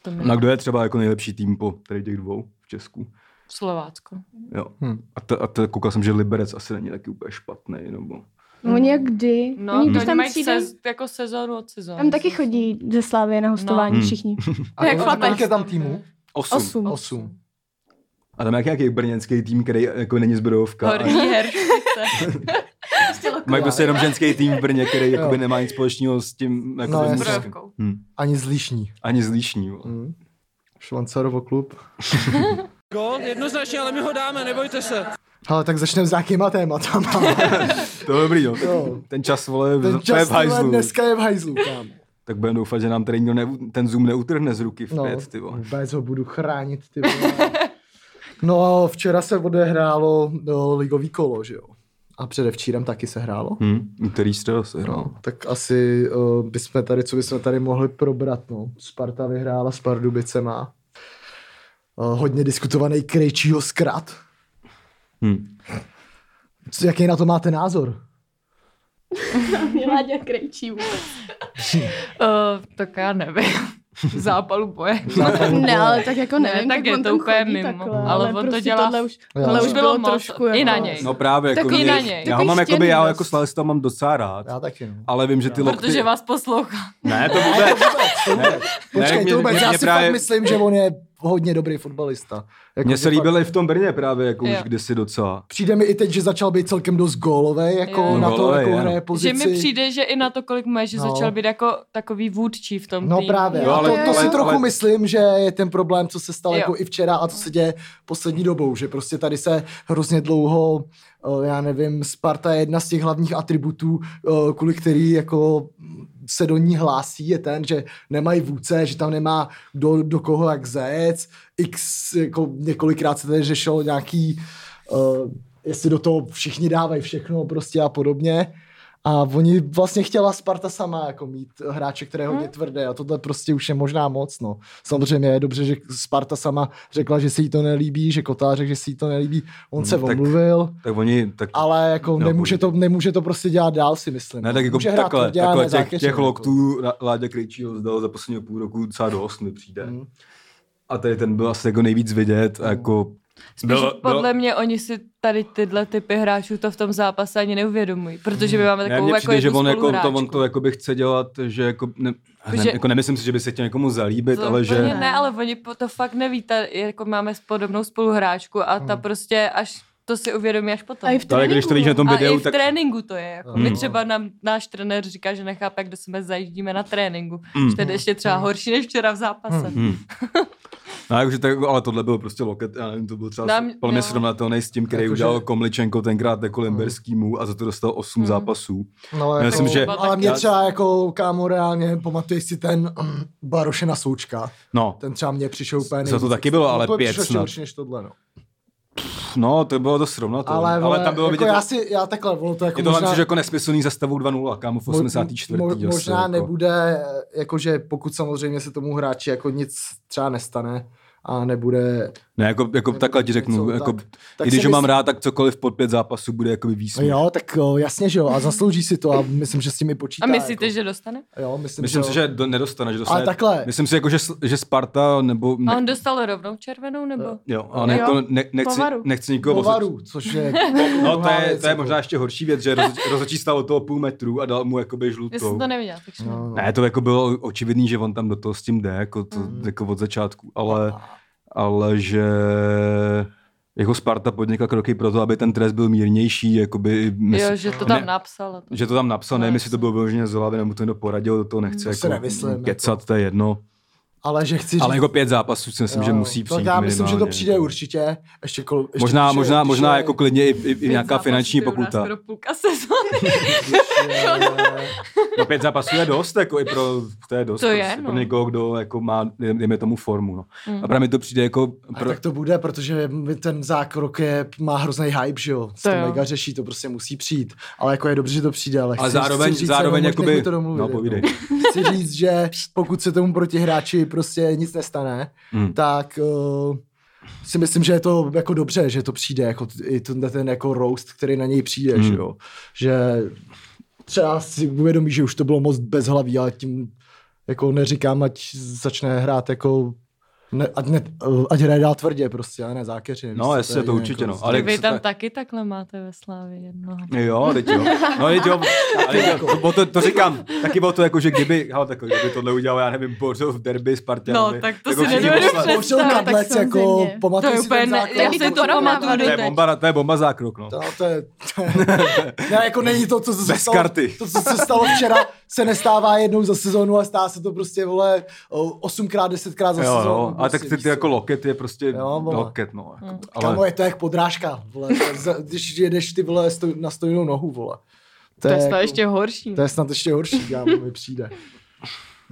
[SPEAKER 3] to mi
[SPEAKER 2] No a kdo je třeba jako nejlepší tým po tady těch dvou v Česku?
[SPEAKER 3] Slovácko.
[SPEAKER 2] Jo.
[SPEAKER 1] Hm.
[SPEAKER 2] A, to, a to, koukal jsem, že Liberec asi není taky úplně špatný, nebo...
[SPEAKER 5] No, Oni jak kdy.
[SPEAKER 3] No,
[SPEAKER 5] Oni
[SPEAKER 3] to
[SPEAKER 5] když
[SPEAKER 3] oni
[SPEAKER 5] tam
[SPEAKER 3] mají
[SPEAKER 5] přijde,
[SPEAKER 3] sez, jako sezónu od sezóny.
[SPEAKER 5] tam taky chodí ze Slávy na hostování
[SPEAKER 2] No.
[SPEAKER 5] všichni.
[SPEAKER 1] A
[SPEAKER 3] Jak
[SPEAKER 1] kolik- kolik
[SPEAKER 3] chlapec.
[SPEAKER 1] je tam týmu?
[SPEAKER 2] Osm.
[SPEAKER 5] Osm.
[SPEAKER 1] Osm.
[SPEAKER 2] A tam je nějaký brněnský tým, který jako není z Brodovka. a-
[SPEAKER 3] Horní herčice.
[SPEAKER 2] Mají prostě jenom ženský tým v Brně, který
[SPEAKER 1] Jo.
[SPEAKER 2] jakoby nemá nic společného s tím
[SPEAKER 1] No,
[SPEAKER 2] jakoby,
[SPEAKER 1] jasně.
[SPEAKER 2] mužským.
[SPEAKER 3] Brodovkou.
[SPEAKER 2] Hm.
[SPEAKER 1] Ani z Líšní.
[SPEAKER 2] Ani z Líšní. vole.
[SPEAKER 1] Hm. Švancarovo klub.
[SPEAKER 4] Gol, jednoznačně, ale my ho dáme, nebojte se.
[SPEAKER 1] Ale tak začneme s nějakýma tématama.
[SPEAKER 2] To je dobrý, jo. Tak
[SPEAKER 1] Jo.
[SPEAKER 2] Ten čas, vole,
[SPEAKER 1] Ten čas
[SPEAKER 2] v
[SPEAKER 1] vole,
[SPEAKER 2] hajzlu.
[SPEAKER 1] dneska je v hajzlu, kámo.
[SPEAKER 2] Tak budeme doufat, že nám tady nikdo ne, ten Zoom neutrhne z ruky vpět, no. ty vole.
[SPEAKER 1] vůbec ho budu chránit, ty vole. No a včera se odehrálo no, ligový kolo, že jo? A předevčírem taky se hrálo.
[SPEAKER 2] Hm, úterý středa se hrál.
[SPEAKER 1] No, tak asi uh, bychom tady, co bychom tady mohli probrat, no. Sparta vyhrála s Pardubicema. Eh, Uh, hodně diskutovaný Krejčího zkrat.
[SPEAKER 2] Hm.
[SPEAKER 1] Co, jaký na to máte názor?
[SPEAKER 5] Miláďa krejčí
[SPEAKER 3] Uh, tak já nevím. Zápalu boje.
[SPEAKER 1] Zápalu
[SPEAKER 5] Ne,
[SPEAKER 1] boje.
[SPEAKER 5] ale tak jako
[SPEAKER 3] Ne,
[SPEAKER 5] nevím,
[SPEAKER 3] tak
[SPEAKER 5] tak,
[SPEAKER 3] je
[SPEAKER 5] on
[SPEAKER 3] to
[SPEAKER 5] tam
[SPEAKER 3] úplně
[SPEAKER 5] chodí
[SPEAKER 3] mimo.
[SPEAKER 5] Takhle,
[SPEAKER 3] Ale on to
[SPEAKER 5] prostě
[SPEAKER 3] dělá-
[SPEAKER 5] tohle už,
[SPEAKER 1] Já.
[SPEAKER 5] tohle
[SPEAKER 1] To
[SPEAKER 5] už
[SPEAKER 3] bylo
[SPEAKER 5] bylo,
[SPEAKER 3] moc.
[SPEAKER 5] trošku
[SPEAKER 3] I
[SPEAKER 5] jako,
[SPEAKER 3] na něj.
[SPEAKER 2] No právě, jako
[SPEAKER 5] Takový
[SPEAKER 2] mě,
[SPEAKER 5] na
[SPEAKER 3] něj.
[SPEAKER 2] já ho
[SPEAKER 5] Takový
[SPEAKER 2] mám jakoby,
[SPEAKER 5] stěný
[SPEAKER 2] já ho
[SPEAKER 5] dost.
[SPEAKER 2] jako slavista mám docela rád,
[SPEAKER 1] Já taky, no.
[SPEAKER 2] ale vím, že ty lokty...
[SPEAKER 3] Protože vás poslouchá.
[SPEAKER 2] Ne, to vůbec. ne,
[SPEAKER 1] Počkej,
[SPEAKER 2] mě-
[SPEAKER 1] to vůbec,
[SPEAKER 2] mě-
[SPEAKER 1] já
[SPEAKER 2] mě
[SPEAKER 1] si
[SPEAKER 2] právě-
[SPEAKER 1] fakt myslím, že on je hodně dobrý fotbalista. Jako,
[SPEAKER 2] Mně se
[SPEAKER 1] že fakt-
[SPEAKER 2] líbil i v tom Brně právě, jako
[SPEAKER 3] Jo.
[SPEAKER 2] už kdysi docela.
[SPEAKER 1] Přijde mi i teď, že začal být celkem dost gólovej, jako
[SPEAKER 3] Jo.
[SPEAKER 1] jo. na to,
[SPEAKER 2] Gólovej,
[SPEAKER 1] jako
[SPEAKER 2] jo.
[SPEAKER 1] hraje
[SPEAKER 3] Že
[SPEAKER 1] pozici.
[SPEAKER 3] mi přijde, že i na to, kolik má, že
[SPEAKER 1] No.
[SPEAKER 3] začal být jako takový vůdčí v tom
[SPEAKER 1] No
[SPEAKER 3] týmu.
[SPEAKER 1] právě,
[SPEAKER 2] Jo,
[SPEAKER 1] jo,
[SPEAKER 2] ale-
[SPEAKER 1] ale, to, to
[SPEAKER 5] ale-
[SPEAKER 1] si trochu
[SPEAKER 2] ale-
[SPEAKER 1] myslím, že je ten problém, co se stalo
[SPEAKER 3] Jo.
[SPEAKER 1] jako i včera a co se děje poslední dobou, že prostě tady se hrozně dlouho, eh, já nevím, Sparta je jedna z těch hlavních atributů, eh, kvůli který jako se do ní hlásí, je ten, že nemají vůdce, že tam nemá do, do koho jak zajec, x, jako několikrát se tady řešilo nějaký, eh, jestli do toho všichni dávají všechno prostě a podobně. A oni vlastně chtěla Sparta sama jako mít hráče, které je hodně hmm. tvrdé a tohle prostě už je možná moc. No. Samozřejmě je dobře, že Sparta sama řekla, že se jí to nelíbí, že Kotá řekl, že se jí to nelíbí, on
[SPEAKER 2] Hmm,
[SPEAKER 1] hmm, se
[SPEAKER 2] tak-
[SPEAKER 1] omluvil,
[SPEAKER 2] Tak oni, tak
[SPEAKER 1] ale jako
[SPEAKER 2] No,
[SPEAKER 1] nemůže, to, nemůže to prostě dělat dál, si myslím.
[SPEAKER 2] Ne, tak jako
[SPEAKER 1] Může hrát
[SPEAKER 2] takhle,
[SPEAKER 1] tvrdě, ale
[SPEAKER 2] takhle těch,
[SPEAKER 1] nezákeřně,
[SPEAKER 2] těch
[SPEAKER 1] jako.
[SPEAKER 2] loktů Ra- Láďa Krejčího zdal za posledního půl roku docela dost, mi přijde.
[SPEAKER 1] Mm.
[SPEAKER 2] A tady ten byl asi jako nejvíc vidět a jako...
[SPEAKER 3] Spíš podle mě oni si tady tyhle typy hráčů to v tom zápase ani neuvědomují,
[SPEAKER 1] Hmm.
[SPEAKER 3] protože my máme
[SPEAKER 2] ne,
[SPEAKER 3] takovou
[SPEAKER 2] mně
[SPEAKER 3] jako
[SPEAKER 2] přijde, že
[SPEAKER 3] jednu
[SPEAKER 2] on, jako, to,
[SPEAKER 3] spoluhráčku.
[SPEAKER 2] on to jako by chce dělat, že jako, ne, ne,
[SPEAKER 3] Že-
[SPEAKER 2] jako nemyslím si, že by se chtěl někomu zalíbit,
[SPEAKER 3] To
[SPEAKER 2] ale že...
[SPEAKER 3] úplně Ne, ale oni po- to fakt neví, ta, jako máme podobnou spoluhráčku a ta
[SPEAKER 1] Hmm.
[SPEAKER 3] prostě až to si uvědomí až potom.
[SPEAKER 5] A i v
[SPEAKER 2] Ale když to vidíš na tom
[SPEAKER 3] a
[SPEAKER 2] videu,
[SPEAKER 3] i v
[SPEAKER 2] tak...
[SPEAKER 3] tréninku to je. Jako.
[SPEAKER 1] Hmm.
[SPEAKER 3] My třeba nám, náš trenér říká, že nechápe, kdo se my zajíždíme na tréninku. Mm. Že to je ještě třeba
[SPEAKER 1] Hmm.
[SPEAKER 3] horší než včera v zápase.
[SPEAKER 2] Hmm. No, jakože tak, ale tohle byl prostě loket, já nevím, to byl třeba
[SPEAKER 3] Nám- no.
[SPEAKER 2] Nám, podle mě
[SPEAKER 3] jo.
[SPEAKER 2] srovnatelný s tím, který
[SPEAKER 1] Jakože- Hmm.
[SPEAKER 2] udělal Komličenko tenkrát jako Limberskýmu a za to dostal 8
[SPEAKER 3] Hmm.
[SPEAKER 2] zápasů.
[SPEAKER 1] No, jako,
[SPEAKER 2] Já myslím, že-
[SPEAKER 1] Ale mě třeba jako kámo reálně, pamatuješ si ten Barošena Součka,
[SPEAKER 2] No,
[SPEAKER 1] ten třeba mě přišel úplně
[SPEAKER 2] to
[SPEAKER 1] nejvíc-
[SPEAKER 2] taky bylo,
[SPEAKER 1] no,
[SPEAKER 2] ale
[SPEAKER 1] to mi
[SPEAKER 2] pět
[SPEAKER 1] přišlo ještě
[SPEAKER 2] snad.
[SPEAKER 1] horší než tohle, no.
[SPEAKER 2] no, to bylo to srovnatelné.
[SPEAKER 1] Ale,
[SPEAKER 2] Ale, ale tam bylo
[SPEAKER 1] jako
[SPEAKER 2] vidět,
[SPEAKER 1] já, si, já takhle, ono to jako
[SPEAKER 2] Je to
[SPEAKER 1] možná...
[SPEAKER 2] hlavně, že jako nesmyslný za stavu 2-0, kámo, v
[SPEAKER 1] Mo-
[SPEAKER 2] 84.
[SPEAKER 1] mo-
[SPEAKER 2] zase,
[SPEAKER 1] možná
[SPEAKER 2] jako.
[SPEAKER 1] nebude, jakože pokud samozřejmě se tomu hráči jako nic třeba nestane a nebude...
[SPEAKER 2] Ne, jako, jako
[SPEAKER 1] nebude
[SPEAKER 2] takhle ti
[SPEAKER 1] něco,
[SPEAKER 2] řeknu,
[SPEAKER 1] tak-
[SPEAKER 2] jako,
[SPEAKER 1] tak
[SPEAKER 2] i když
[SPEAKER 1] si
[SPEAKER 2] ho mám
[SPEAKER 1] myslím- No
[SPEAKER 2] rád, tak cokoliv pod pět zápasů bude jakoby výsměch.
[SPEAKER 1] Jo, tak o, jasně, že jo, a zaslouží si to a myslím, že s tím i počítá.
[SPEAKER 3] A myslíte,
[SPEAKER 1] jako,
[SPEAKER 3] že dostane?
[SPEAKER 1] Jo, myslím,
[SPEAKER 2] Myslím
[SPEAKER 1] že...
[SPEAKER 2] si,
[SPEAKER 1] jo.
[SPEAKER 2] že do, nedostane, že dostane.
[SPEAKER 1] Ale takhle.
[SPEAKER 2] Myslím si, jako, že, s- že Sparta nebo...
[SPEAKER 3] A
[SPEAKER 2] Ne,
[SPEAKER 3] on dostal rovnou červenou, nebo?
[SPEAKER 2] jo, ale
[SPEAKER 5] Jo.
[SPEAKER 2] jako ne, nechci,
[SPEAKER 5] Povaru.
[SPEAKER 2] nechci nikoho osoč-
[SPEAKER 1] Povaru, což je...
[SPEAKER 2] No to
[SPEAKER 1] druhá
[SPEAKER 2] je,
[SPEAKER 1] věc,
[SPEAKER 2] to je
[SPEAKER 1] jako.
[SPEAKER 2] možná ještě horší věc, že rozoč- rozočí stál od toho půl metru a dal mu jakoby
[SPEAKER 3] Já jsem
[SPEAKER 2] žlutou.
[SPEAKER 3] to neviděla, takže
[SPEAKER 1] No, no.
[SPEAKER 2] Ne, to jako bylo očividný, že on tam do toho s tím jde, jako, to,
[SPEAKER 3] Hmm.
[SPEAKER 2] mm. jako od začátku, ale, ale že jako Sparta podnikla kroky pro to, aby ten trest byl mírnější, jakoby,
[SPEAKER 3] Jo,
[SPEAKER 2] myslím,
[SPEAKER 3] že to
[SPEAKER 2] Ne.
[SPEAKER 3] tam napsala.
[SPEAKER 2] že to tam napsal,
[SPEAKER 3] No,
[SPEAKER 2] nevím,
[SPEAKER 3] jasně.
[SPEAKER 2] jestli to bylo vyloženě z hlavy, nebo to někdo poradil, do toho nechce
[SPEAKER 1] Hmm, To si
[SPEAKER 2] jako
[SPEAKER 1] nemyslím,
[SPEAKER 2] kecat, to je jedno.
[SPEAKER 1] Ale že chci říct...
[SPEAKER 2] Ale jako pět zápasů si myslím, že
[SPEAKER 1] jo,
[SPEAKER 2] musí přijít
[SPEAKER 1] Tak já myslím, že to
[SPEAKER 2] minimálně,
[SPEAKER 1] přijde
[SPEAKER 2] jako.
[SPEAKER 1] určitě. Ještě, kol, ještě
[SPEAKER 2] Možná,
[SPEAKER 1] když je-
[SPEAKER 2] možná,
[SPEAKER 1] když
[SPEAKER 2] možná
[SPEAKER 1] je-
[SPEAKER 2] jako klidně i, i, i nějaká finanční
[SPEAKER 3] prostě
[SPEAKER 2] pokuta.
[SPEAKER 3] Skoro půlka sezóny.
[SPEAKER 1] když je-
[SPEAKER 2] No pět zápasů je dost, jako i pro, to je dost
[SPEAKER 3] To je,
[SPEAKER 2] prostě,
[SPEAKER 3] no. Mm.
[SPEAKER 2] pro někoho, kdo jako má, dejme tomu formu. No. A právě mi to přijde jako...
[SPEAKER 1] A
[SPEAKER 2] Pro,
[SPEAKER 1] tak to bude, protože my- ten zákrok je, má hrozný hype, že jo? To,
[SPEAKER 3] jo.
[SPEAKER 1] to mega řeší, to prostě musí přijít. Ale jako je dobře, že to přijde, ale,
[SPEAKER 2] Ale
[SPEAKER 1] chci,
[SPEAKER 2] zároveň,
[SPEAKER 1] chci říct jenom,
[SPEAKER 2] zároveň
[SPEAKER 1] nech
[SPEAKER 2] jakoby...
[SPEAKER 1] mi to domluvit,
[SPEAKER 2] no,
[SPEAKER 1] jako.
[SPEAKER 2] povídej.
[SPEAKER 1] Chci říct, že pokud se tomu protihráči prostě nic nestane,
[SPEAKER 2] Mm.
[SPEAKER 1] hmm. tak uh, si myslím, že je to jako dobře, že to přijde, jako t- i ten, ten jako roast, který na něj přijde,
[SPEAKER 2] Mm.
[SPEAKER 1] že jo? Že třeba si uvědomí, že už to bylo moc bezhlavý, ale tím jako neříkám, ať začne hrát jako ne, ať, ne, eh, ať hraje dál tvrdě prostě, a ne zákeřně. víš co,
[SPEAKER 2] No, jasně,
[SPEAKER 1] je
[SPEAKER 2] to
[SPEAKER 1] jiný
[SPEAKER 2] určitě,
[SPEAKER 1] jako-
[SPEAKER 2] no. Ale
[SPEAKER 3] Vy
[SPEAKER 2] jak se
[SPEAKER 3] tam
[SPEAKER 2] ta-
[SPEAKER 3] taky takhle máte ve Slávě jednoho.
[SPEAKER 2] Jo, teď jo. No, teď jo. Ale teď jo. To, to, to, říkám. Taky bylo to jako, že kdyby, hele, tak, kdyby tohle udělal, já nevím, Bořil v derby s Partianami.
[SPEAKER 3] No, tak to
[SPEAKER 2] jako
[SPEAKER 3] si
[SPEAKER 2] všichni
[SPEAKER 3] nedovedu
[SPEAKER 2] poslali-
[SPEAKER 1] Bořil
[SPEAKER 3] představit. Tak
[SPEAKER 1] Kadlec, jako
[SPEAKER 5] samozřejmě.
[SPEAKER 1] pamatuj
[SPEAKER 3] To je
[SPEAKER 1] si
[SPEAKER 3] úplně
[SPEAKER 1] ten
[SPEAKER 3] ne-
[SPEAKER 1] zákrok.
[SPEAKER 3] já si to nepamatuju
[SPEAKER 2] To je
[SPEAKER 3] doteď.
[SPEAKER 2] bomba, to je bomba zákrok, no.
[SPEAKER 1] To, to je, to je, ne, jako není to, co se
[SPEAKER 2] Bez
[SPEAKER 1] stalo,
[SPEAKER 2] karty.
[SPEAKER 1] to, co se stalo včera, se nestává jednou za sezónu a stá se to prostě, vole, o, osmkrát, desetkrát za
[SPEAKER 2] Jo,
[SPEAKER 1] sezónu.
[SPEAKER 2] jo. A
[SPEAKER 1] prostě,
[SPEAKER 2] tak ty,
[SPEAKER 1] víš
[SPEAKER 2] ty
[SPEAKER 1] co.
[SPEAKER 2] jako loket je prostě
[SPEAKER 1] Jo, vole.
[SPEAKER 2] loket, no.
[SPEAKER 3] Mm.
[SPEAKER 2] Jako,
[SPEAKER 1] Kamo,
[SPEAKER 2] ale
[SPEAKER 1] je to jak podrážka, vole, to je za- když jedeš ty, vole, stoj, na stojnou nohu, vole.
[SPEAKER 3] To je snad
[SPEAKER 1] jako-
[SPEAKER 3] ještě horší.
[SPEAKER 1] to je snad ještě horší, já mi přijde.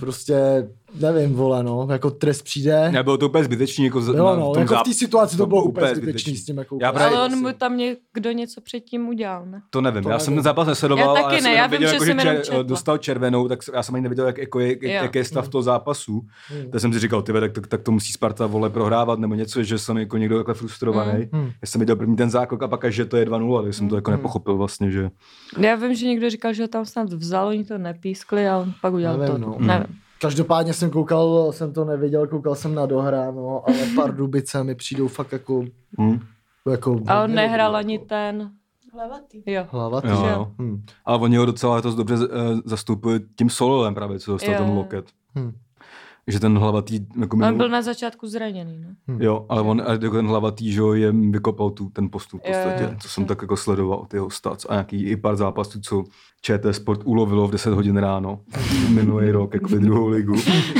[SPEAKER 1] Prostě nevím, vole, no, jako trest přijde.
[SPEAKER 2] Ne, bylo to úplně zbytečný, jako z,
[SPEAKER 1] Jo,
[SPEAKER 2] na-
[SPEAKER 1] no,
[SPEAKER 2] v tom
[SPEAKER 1] jako v té
[SPEAKER 2] záp-
[SPEAKER 1] situaci to
[SPEAKER 2] tom
[SPEAKER 1] bylo úplně zbytečný s tím, jako
[SPEAKER 2] Já
[SPEAKER 1] úplně-
[SPEAKER 2] právě-
[SPEAKER 3] Ale on mu tam někdo něco předtím udělal, ne?
[SPEAKER 2] To nevím,
[SPEAKER 1] To
[SPEAKER 2] to já
[SPEAKER 1] nevím.
[SPEAKER 2] jsem ten zápas nesledoval.
[SPEAKER 3] Já
[SPEAKER 2] ale
[SPEAKER 3] taky ne,
[SPEAKER 2] jsem
[SPEAKER 3] já
[SPEAKER 2] jenom
[SPEAKER 3] vím,
[SPEAKER 2] viděl,
[SPEAKER 3] že
[SPEAKER 2] jako,
[SPEAKER 3] jsem jenom
[SPEAKER 2] čer-
[SPEAKER 3] četla.
[SPEAKER 2] dostal červenou, tak já jsem ani neviděl, jak, jako, jak,
[SPEAKER 3] Jo. Mhm.
[SPEAKER 2] jak je stav toho zápasu.
[SPEAKER 1] Hmm.
[SPEAKER 2] Tak jsem si říkal, ty tak, tak, tak, to musí Sparta vole prohrávat nebo něco, že jsem jako někdo takhle
[SPEAKER 3] Mhm.
[SPEAKER 2] frustrovaný.
[SPEAKER 1] Hmm.
[SPEAKER 2] Já jsem viděl první ten zákrok a pak, až, že to je 2-0, tak jsem to jako
[SPEAKER 1] Hmm.
[SPEAKER 2] nepochopil vlastně, že...
[SPEAKER 3] Já vím, že někdo říkal, že ho tam snad vzal, oni to nepískli a on pak udělal
[SPEAKER 1] Nevím,
[SPEAKER 3] to.
[SPEAKER 1] no.
[SPEAKER 3] Nevím.
[SPEAKER 1] Každopádně jsem koukal, jsem to neviděl, koukal jsem na dohráno, ale Pardubice mi přijdou fakt jako...
[SPEAKER 2] Hm?
[SPEAKER 1] jako
[SPEAKER 3] A on nehrál ani ten,
[SPEAKER 5] Hlavatý.
[SPEAKER 3] jo.
[SPEAKER 1] Hlava, ty.
[SPEAKER 2] Jo,
[SPEAKER 3] že-
[SPEAKER 2] jo.
[SPEAKER 1] Hm.
[SPEAKER 2] Ale oni ho docela letos dobře eh, zastupují tím sololem právě, co dostal
[SPEAKER 3] Jo,
[SPEAKER 2] ten
[SPEAKER 3] jo.
[SPEAKER 2] loket.
[SPEAKER 1] Hm.
[SPEAKER 2] Že ten hlavatý, jako
[SPEAKER 3] On
[SPEAKER 2] minul...
[SPEAKER 3] byl na začátku zraněný, no. ne?
[SPEAKER 2] Jo, ale on, ale jako ten hlavatý, že jo, je vykopal tu, ten postup v
[SPEAKER 3] Jo, jo,
[SPEAKER 2] podstatě,
[SPEAKER 3] jo.
[SPEAKER 2] co jsem tak jako sledoval, ty jeho stats a nějaký i pár zápasů, co ČT Sport ulovilo v 10 hodin ráno minulý rok, jako by druhou ligu.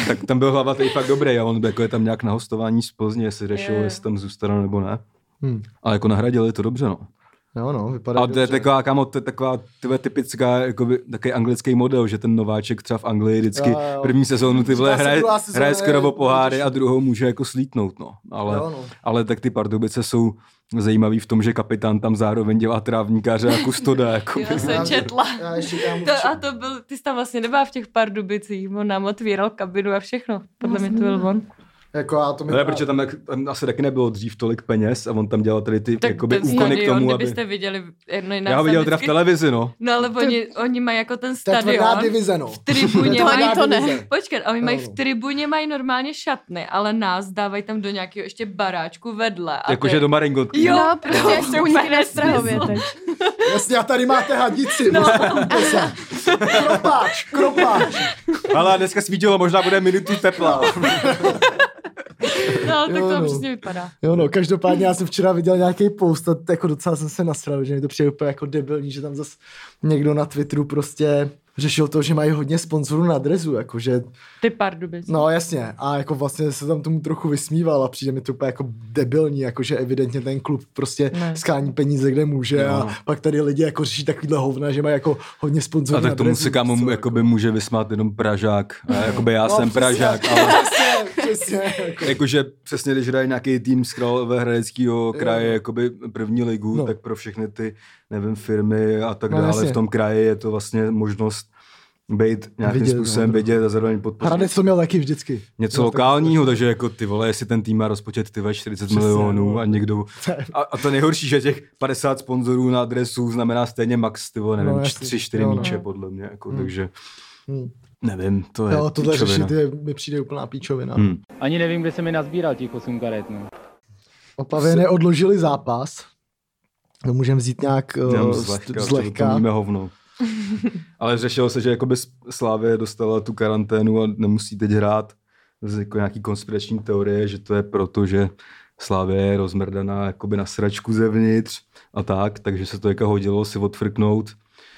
[SPEAKER 2] tak tam byl hlavatý fakt dobrý a on jako je tam nějak na hostování z Plzně, jestli řešil,
[SPEAKER 3] Jo, jo.
[SPEAKER 2] jestli tam zůstane nebo ne.
[SPEAKER 1] Hm.
[SPEAKER 2] Ale jako nahradili to dobře, no.
[SPEAKER 1] Jo, no, vypadá
[SPEAKER 2] A to je
[SPEAKER 1] dobře.
[SPEAKER 2] taková, kámo, to je taková tyhle typická, jakoby, takový anglický model, že ten nováček třeba v Anglii vždycky
[SPEAKER 1] Jo, jo.
[SPEAKER 2] první sezónu ty vole
[SPEAKER 1] Říká se
[SPEAKER 2] hraje,
[SPEAKER 1] druhá sezóna,
[SPEAKER 2] hraje
[SPEAKER 1] je-
[SPEAKER 2] skoro o poháry
[SPEAKER 1] těžší.
[SPEAKER 2] a druhou může jako slítnout, no. Ale,
[SPEAKER 1] Jo, no.
[SPEAKER 2] ale tak ty Pardubice jsou zajímavý v tom, že kapitán tam zároveň dělá trávníkáře a kustoda, jako
[SPEAKER 3] Jo, jsem četla.
[SPEAKER 1] Já ještě dám
[SPEAKER 3] To, a to byl, ty jsi tam vlastně nebyla v těch pardubicích, on nám otvíral kabinu a všechno. Podle mě to byl on.
[SPEAKER 1] Jako a to mi
[SPEAKER 2] No Ne, protože tam, jak- tam asi taky nebylo dřív tolik peněz a on tam dělal tady ty
[SPEAKER 3] Tak
[SPEAKER 2] jakoby,
[SPEAKER 3] ten
[SPEAKER 2] úkony k
[SPEAKER 3] stadion,
[SPEAKER 2] tomu, aby...
[SPEAKER 3] kdybyste viděli, jedno jinak
[SPEAKER 2] Já ho
[SPEAKER 3] jsem
[SPEAKER 2] viděl teda v
[SPEAKER 3] vždycky-
[SPEAKER 2] televizi, no.
[SPEAKER 3] No ale oni, oni mají jako ten
[SPEAKER 1] to je tvrdá
[SPEAKER 3] stadion.
[SPEAKER 1] divize, no.
[SPEAKER 3] V tribuně
[SPEAKER 5] To ani
[SPEAKER 3] mají...
[SPEAKER 5] to ne.
[SPEAKER 3] Počkat, a oni mají
[SPEAKER 1] No.
[SPEAKER 3] v tribuně mají normálně šatny, ale nás dávají tam do nějakého ještě baráčku vedle. A
[SPEAKER 2] Jakože
[SPEAKER 3] ty-
[SPEAKER 2] do Maringotky.
[SPEAKER 3] Jo,
[SPEAKER 5] No, prostě jak se
[SPEAKER 3] úplně
[SPEAKER 5] unikli na Strahově
[SPEAKER 3] nesmysl.
[SPEAKER 5] teď.
[SPEAKER 1] Jasně, a tady máte hadici. No. kropáč, kropáč.
[SPEAKER 2] Ale dneska svítilo, možná bude minutu tepla.
[SPEAKER 3] No, ale tak
[SPEAKER 1] Jo,
[SPEAKER 3] to
[SPEAKER 1] no.
[SPEAKER 3] prostě vypadá.
[SPEAKER 1] Jo no, každopádně já jsem včera viděl nějaký post a jako docela jsem se nasral, že mi to přijde úplně jako debilní, že tam zase někdo na Twitteru prostě řešil to, že mají hodně sponzorů na drezu, jakože,
[SPEAKER 3] Ty pardubice.
[SPEAKER 1] no jasně, a jako vlastně se tam tomu trochu vysmíval a přijde mi to úplně jako debilní, jakože evidentně ten klub prostě
[SPEAKER 3] Ne.
[SPEAKER 1] skání peníze, kde může
[SPEAKER 2] Jo, no.
[SPEAKER 1] a pak tady lidi jako řeší takovýhle hovna, že mají jako hodně sponzorů
[SPEAKER 2] A
[SPEAKER 1] na
[SPEAKER 2] No tak tomu
[SPEAKER 1] drezu,
[SPEAKER 2] se
[SPEAKER 1] víš
[SPEAKER 2] kámo
[SPEAKER 1] co, No,
[SPEAKER 2] jakoby může vysmát jenom Pražák. A jakoby
[SPEAKER 3] No,
[SPEAKER 2] já jsem
[SPEAKER 1] přesně,
[SPEAKER 2] Pražák, ale
[SPEAKER 1] Přesně, přesně. Jako.
[SPEAKER 2] jakože přesně, když hraje nějaký tým z Královéhradeckého kraje,
[SPEAKER 1] Jo.
[SPEAKER 2] jakoby první ligu,
[SPEAKER 1] No.
[SPEAKER 2] tak pro všechny ty, nevím, firmy a tak
[SPEAKER 1] No,
[SPEAKER 2] dále
[SPEAKER 1] jasně.
[SPEAKER 2] v tom kraji je to vlastně možnost být nějakým
[SPEAKER 1] Vidět, no,
[SPEAKER 2] způsobem
[SPEAKER 1] no.
[SPEAKER 2] vidět a zároveň podpořit
[SPEAKER 1] Hradec to měl taky vždycky.
[SPEAKER 2] něco
[SPEAKER 1] Měl
[SPEAKER 2] lokálního, takže jako ty vole, jestli ten tým má rozpočet ty vole 40
[SPEAKER 1] Přesně,
[SPEAKER 2] milionů
[SPEAKER 1] no.
[SPEAKER 2] a někdo... A, a to nejhorší, že těch 50 sponzorů na adresu znamená stejně max, ty vole, nevím,
[SPEAKER 1] No,
[SPEAKER 2] no,
[SPEAKER 1] jasně.
[SPEAKER 2] 3-4
[SPEAKER 1] Jo, no.
[SPEAKER 2] míče podle mě, jako,
[SPEAKER 1] Hmm.
[SPEAKER 2] takže
[SPEAKER 1] Hmm.
[SPEAKER 2] nevím, to je
[SPEAKER 1] Jo, tohle
[SPEAKER 2] píčovina.
[SPEAKER 1] řešit je, mi přijde úplná píčovina. Hmm.
[SPEAKER 2] Hmm.
[SPEAKER 6] Ani nevím, kde se mi nazbíral těch 8 karet, no.
[SPEAKER 1] Opavě neodložili zápas. To můžeme vzít nějak
[SPEAKER 2] Jenom
[SPEAKER 1] uh,
[SPEAKER 2] zlehka,
[SPEAKER 1] zlehka.
[SPEAKER 2] To
[SPEAKER 1] zlehka.
[SPEAKER 2] víme hovno. Ale řešilo se, že jakoby Slávě dostala tu karanténu a nemusí teď hrát z jako nějaký konspirační teorie, že to je proto, že Slávě je rozmrdaná jakoby na sračku zevnitř a tak, takže se to jako hodilo si odfrknout,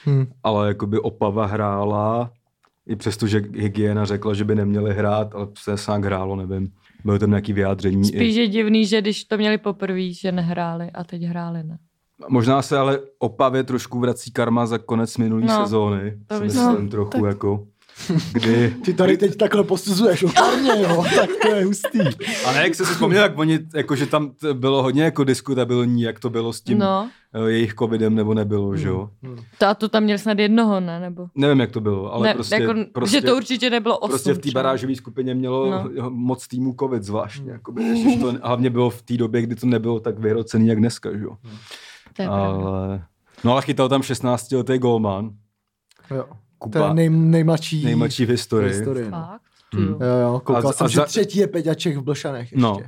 [SPEAKER 1] Hmm.
[SPEAKER 2] ale jakoby Opava hrála, i přesto, že hygiena řekla, že by neměli hrát, ale se nějak hrálo, nevím. Byly tam nějaký vyjádření. i-
[SPEAKER 3] Spíš je divný, že když to měli poprvé, že nehráli a teď hráli, ne?
[SPEAKER 2] Možná se ale opavě trošku vrací karma za konec minulý
[SPEAKER 3] No,
[SPEAKER 2] no, sezóny.
[SPEAKER 3] to no,
[SPEAKER 2] To
[SPEAKER 3] myslím.
[SPEAKER 2] myslím trochu tak... jako... Kdy...
[SPEAKER 1] Ty tady teď takhle posuzuješ okorně, jo, tak to je hustý.
[SPEAKER 2] A ne, jak jsi si vzpomněl, jak oni, jako, že tam t- bylo hodně jako diskutabilní, jak to bylo s tím no.
[SPEAKER 3] No,
[SPEAKER 2] jejich covidem nebo nebylo, že jo?
[SPEAKER 3] to, a to tam měli snad jednoho, ne? Nebo...
[SPEAKER 2] Hmm. Nevím, jak to bylo, ale
[SPEAKER 3] ne,
[SPEAKER 2] prostě,
[SPEAKER 3] jako,
[SPEAKER 2] prostě...
[SPEAKER 3] že to určitě nebylo osm.
[SPEAKER 2] Prostě v té
[SPEAKER 3] třeba.
[SPEAKER 2] barážové skupině mělo
[SPEAKER 3] No. Hmm.
[SPEAKER 2] no. moc týmů covid zvláštně. Jakoby, ježiš, to hlavně bylo v té době, kdy to nebylo tak vyhrocený jak dneska. Že? jo?
[SPEAKER 3] To je pravda.
[SPEAKER 2] Ale... No ale chytal tam 16-letý golman.
[SPEAKER 1] Jo. To
[SPEAKER 2] Kuba,
[SPEAKER 1] je
[SPEAKER 2] nej...
[SPEAKER 1] nej, nejmladší,
[SPEAKER 2] nejmladší v
[SPEAKER 1] v
[SPEAKER 2] historii.
[SPEAKER 1] historii. No.
[SPEAKER 3] Fakt? Hmm.
[SPEAKER 1] Jo, jo, koukal
[SPEAKER 2] A-
[SPEAKER 1] a, jsem,
[SPEAKER 2] a
[SPEAKER 1] a že
[SPEAKER 2] za-
[SPEAKER 1] třetí je Peťaček v Blšanech ještě.
[SPEAKER 2] No.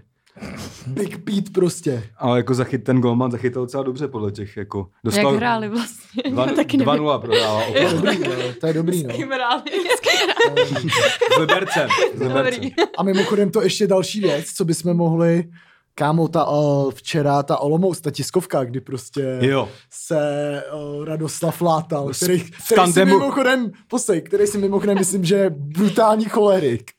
[SPEAKER 1] No. Big Pete prostě.
[SPEAKER 2] Ale jako zachyt, ten golman zachytal docela dobře podle těch, jako
[SPEAKER 3] Jak
[SPEAKER 2] dostal
[SPEAKER 3] hráli vlastně?
[SPEAKER 2] dva- 2-0 prohrál
[SPEAKER 1] To je dobrý, jo, to je dobrý, no.
[SPEAKER 3] S kým hráli?
[SPEAKER 2] s Libercem. S Libercem.
[SPEAKER 3] Dobrý.
[SPEAKER 1] A mimochodem to ještě další věc, co bychom mohli, kámo, ta uh, včera ta Olomouc, ta tiskovka, kdy prostě
[SPEAKER 2] Jo,
[SPEAKER 1] se uh, Radoslav Látal,
[SPEAKER 2] S-
[SPEAKER 1] který,
[SPEAKER 2] No, v
[SPEAKER 1] který si
[SPEAKER 2] tandemu-
[SPEAKER 1] mimochodem, posej, který si mimochodem myslím, že je brutální cholerik.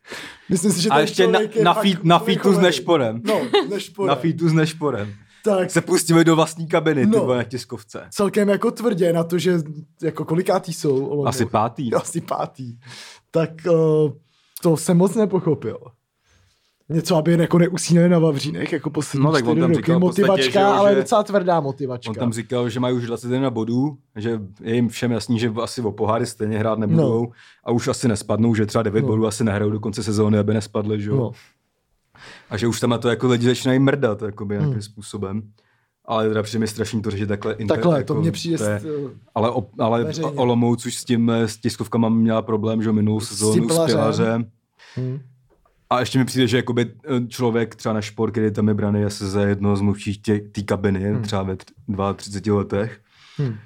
[SPEAKER 1] Myslím si, že
[SPEAKER 2] a
[SPEAKER 1] ten
[SPEAKER 2] ještě na,
[SPEAKER 1] člověk je
[SPEAKER 2] na,
[SPEAKER 1] fakt
[SPEAKER 2] feed, na
[SPEAKER 1] úplně
[SPEAKER 2] feetu s
[SPEAKER 1] cholerik.
[SPEAKER 2] Nešporem.
[SPEAKER 1] No, Nešporem.
[SPEAKER 2] Na feetu s Nešporem.
[SPEAKER 1] Tak
[SPEAKER 2] Se pustíme do vlastní kabiny, ty
[SPEAKER 1] No.
[SPEAKER 2] vole, na tiskovce.
[SPEAKER 1] celkem jako tvrdě na to, že jako kolikátý jsou Olomouc.
[SPEAKER 2] Asi pátý.
[SPEAKER 1] Asi pátý. Tak uh, to jsem moc nepochopil. Něco, aby jako neusínali na Vavřínech, jako poslední
[SPEAKER 2] No, tak
[SPEAKER 1] čtyři
[SPEAKER 2] on tam
[SPEAKER 1] roky.
[SPEAKER 2] říkal v podstatě,
[SPEAKER 1] motivačka,
[SPEAKER 2] že jo,
[SPEAKER 1] ale
[SPEAKER 2] že-
[SPEAKER 1] docela tvrdá motivačka.
[SPEAKER 2] On tam říkal, že mají už 21 bodů, že je jim všem jasný, že asi o poháry stejně hrát nebudou no. a už asi nespadnou, že třeba 9
[SPEAKER 1] No.
[SPEAKER 2] no. bodů asi nehrajou do konce sezóny, aby nespadly, že jo.
[SPEAKER 1] no.
[SPEAKER 2] No. A že už tam na to jako lidi začínají mrdat, jakoby nějakým
[SPEAKER 1] Hmm.
[SPEAKER 2] způsobem. Ale teda přijde mi strašný to řešit takhle. inter-
[SPEAKER 1] Takhle,
[SPEAKER 2] jako,
[SPEAKER 1] to mě přijde
[SPEAKER 2] to je-
[SPEAKER 1] s-
[SPEAKER 2] Ale, o, ale
[SPEAKER 1] Veřejně.
[SPEAKER 2] o- Olomouc už s tím eh, s tiskovkama měla problém, že jo, minulou sezónu s
[SPEAKER 1] Pilařem.
[SPEAKER 2] pilařem.
[SPEAKER 1] hm.
[SPEAKER 2] A ještě mi přijde, že jakoby eh, člověk třeba na šport, který tam je braný asi za jednoho z mluvčích tě- té kabiny,
[SPEAKER 1] Hmm.
[SPEAKER 2] hmm. třeba ve tř- 32 letech,
[SPEAKER 1] Hmm.
[SPEAKER 2] hmm.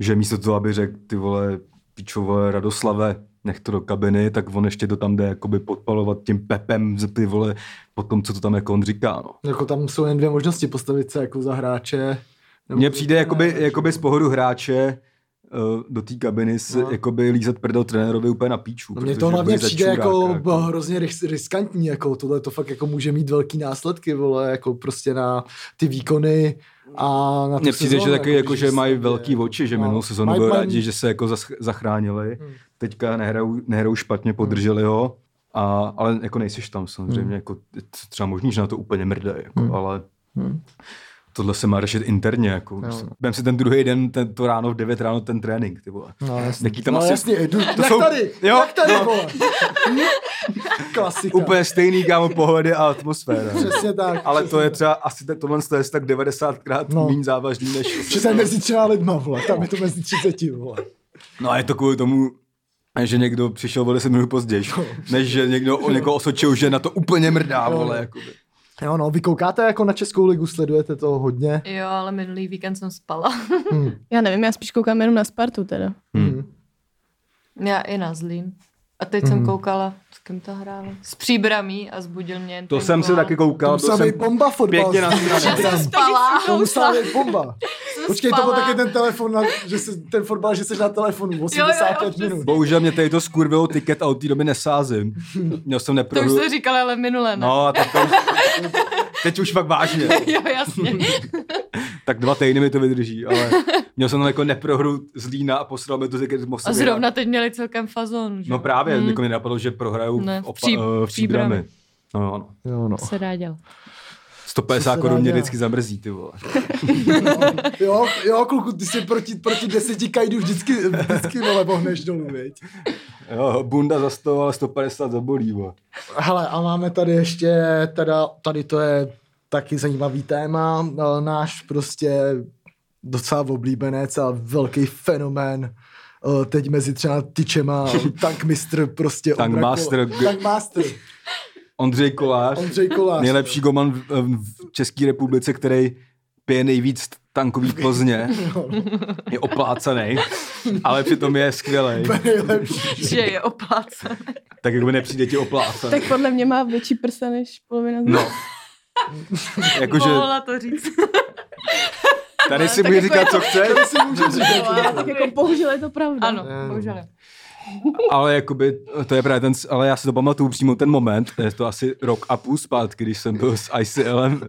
[SPEAKER 2] že místo toho, aby řekl ty vole pičové Radoslave, nech to do kabiny, tak on ještě to tam jde jakoby podpalovat tím pepem z ty vole po tom, co to tam jako on říká. No.
[SPEAKER 1] Jako tam jsou jen dvě možnosti postavit se jako za hráče. nebo-
[SPEAKER 2] Mně přijde jakoby,
[SPEAKER 1] Ne,
[SPEAKER 2] jakoby z pohledu hráče eh, do té kabiny se
[SPEAKER 1] No.
[SPEAKER 2] no. jakoby lízat prdel trenérovi úplně na píču.
[SPEAKER 1] No mně
[SPEAKER 2] protože
[SPEAKER 1] to hlavně
[SPEAKER 2] bude za
[SPEAKER 1] přijde
[SPEAKER 2] čuráka,
[SPEAKER 1] jako, jako hrozně ris- riskantní, jako tohle to fakt jako může mít velký následky, vole, jako prostě na ty výkony a na tu
[SPEAKER 2] Mně přijde, že
[SPEAKER 1] sezónu,
[SPEAKER 2] taky jako, že
[SPEAKER 1] se
[SPEAKER 2] mají
[SPEAKER 1] děje.
[SPEAKER 2] velký oči, že
[SPEAKER 1] No.
[SPEAKER 2] minulou sezonu
[SPEAKER 1] Mají-
[SPEAKER 2] byli
[SPEAKER 1] mají-
[SPEAKER 2] rádi, že se jako zas- zachránili.
[SPEAKER 1] Hmm.
[SPEAKER 2] Teďka nehrajou, nehrajou špatně, podrželi ho. A, ale jako nejsiš tam samozřejmě, jako t- třeba možný, že na to úplně mrde, jako, ale
[SPEAKER 1] Hmm. No.
[SPEAKER 2] tohle se má řešit interně. Jako.
[SPEAKER 1] Jo.
[SPEAKER 2] Vem si ten druhý den, ten, to ráno v 9 ráno ten trénink, ty vole.
[SPEAKER 1] No jasně,
[SPEAKER 2] Jaký tam
[SPEAKER 1] no,
[SPEAKER 2] asi-
[SPEAKER 1] jasně jdu, tak
[SPEAKER 2] jsou-
[SPEAKER 1] tady,
[SPEAKER 2] Jo,
[SPEAKER 1] tak tady,
[SPEAKER 2] no.
[SPEAKER 1] vole. Klasika.
[SPEAKER 2] Úplně stejný, kámo, pohledy a atmosféra.
[SPEAKER 1] Přesně tak.
[SPEAKER 2] Ale to je třeba asi te- tohle je tak 90krát
[SPEAKER 1] No.
[SPEAKER 2] no. méně závažný než...
[SPEAKER 1] Že jsem mezi třema lidma, vole, tam je to mezi 30, vole.
[SPEAKER 2] No a je to kvůli tomu, že někdo přišel o 10 minut později, než že někdo o někoho osočil, že na to úplně mrdá,
[SPEAKER 1] Jo.
[SPEAKER 2] vole, jakoby.
[SPEAKER 1] Jo, no, vy koukáte jako na Českou ligu, sledujete to hodně.
[SPEAKER 3] Jo, ale minulý víkend jsem spala.
[SPEAKER 1] Hmm.
[SPEAKER 5] Já nevím, já spíš koukám jenom na Spartu teda.
[SPEAKER 1] Hmm.
[SPEAKER 3] Já i na Zlín. A teď jsem koukala, s kým to hrála? S příbramí a zbudil mě. jen
[SPEAKER 2] To
[SPEAKER 3] ten
[SPEAKER 2] jsem se
[SPEAKER 3] gól.
[SPEAKER 2] taky koukal,
[SPEAKER 1] To
[SPEAKER 2] byl
[SPEAKER 1] musela
[SPEAKER 2] jsem
[SPEAKER 1] být bomba fotbal.
[SPEAKER 2] pěkně na
[SPEAKER 3] Jsem spala.
[SPEAKER 1] To musela být bomba.
[SPEAKER 3] jsem
[SPEAKER 1] Počkej, to byl
[SPEAKER 3] spala.
[SPEAKER 1] taky ten telefon, na, že jsi, ten fotbal, že jsi na telefonu
[SPEAKER 3] jo,
[SPEAKER 1] 85
[SPEAKER 3] přesně.
[SPEAKER 1] minut.
[SPEAKER 2] Bohužel mě tady to skurvilo tiket a od té doby nesázím. Měl jsem
[SPEAKER 3] To už
[SPEAKER 2] neprohru...
[SPEAKER 3] jste říkala, ale minule ne.
[SPEAKER 2] No, tak to... Teď už fakt vážně.
[SPEAKER 3] Jo, jasně.
[SPEAKER 2] Tak dva týdny mi to vydrží, ale měl jsem tam jako neprohru z Lína a poslal mi to tiket z
[SPEAKER 3] A
[SPEAKER 2] Moskvy.
[SPEAKER 3] zrovna teď měli celkem fazon, že?
[SPEAKER 2] No právě, hmm. jako mi napadlo, že prohraju
[SPEAKER 3] Ne,
[SPEAKER 2] ne,
[SPEAKER 3] v
[SPEAKER 2] opa,
[SPEAKER 3] Pří-
[SPEAKER 2] eh, v
[SPEAKER 3] v
[SPEAKER 2] příbrami. No, ano.
[SPEAKER 1] Jo, no.
[SPEAKER 3] Co se dá dělat.
[SPEAKER 2] 150
[SPEAKER 1] dá
[SPEAKER 2] korun mě
[SPEAKER 1] dělat?
[SPEAKER 2] vždycky zamrzí, ty vole.
[SPEAKER 1] jo, jo, kluku, ty si proti, proti deseti kajdů vždycky, vždycky vole, bohneš dolů, viď?
[SPEAKER 2] Jo, bunda za 100, ale 150 zabolí, bo.
[SPEAKER 1] Hele, a máme tady ještě, teda, tady to je taky zajímavý téma, eh, náš prostě docela oblíbenec a velký fenomén eh, teď mezi třeba tyčema, tankmistr prostě Ondra
[SPEAKER 2] Tankmaster,
[SPEAKER 1] Kola-
[SPEAKER 2] g-
[SPEAKER 1] Tankmaster,
[SPEAKER 2] Ondřej Kolář,
[SPEAKER 1] Ondřej Kolář.
[SPEAKER 2] nejlepší goman v, v České republice, který pije nejvíc tankový plzně, je oplácený, ale přitom je skvělý.
[SPEAKER 1] nejlepší.
[SPEAKER 3] Že je oplácen.
[SPEAKER 2] Tak jako nepřijde ti oplácený.
[SPEAKER 5] Tak podle mě má větší prsa než polovina z nás.
[SPEAKER 2] No. Jakože
[SPEAKER 3] Mohla to říct.
[SPEAKER 2] tady si
[SPEAKER 3] Tak
[SPEAKER 2] může
[SPEAKER 3] jako
[SPEAKER 2] říkat,
[SPEAKER 3] je to-
[SPEAKER 2] co chceš,
[SPEAKER 1] si můžeš říct.
[SPEAKER 5] Ale tak jako bohužel je to pravda.
[SPEAKER 3] Ano,
[SPEAKER 1] Ne, no.
[SPEAKER 3] bohužel.
[SPEAKER 2] ale jakoby, to je právě ten, ale já si to pamatuju přímo ten moment, je to asi rok a půl zpátky, když jsem byl s ICLem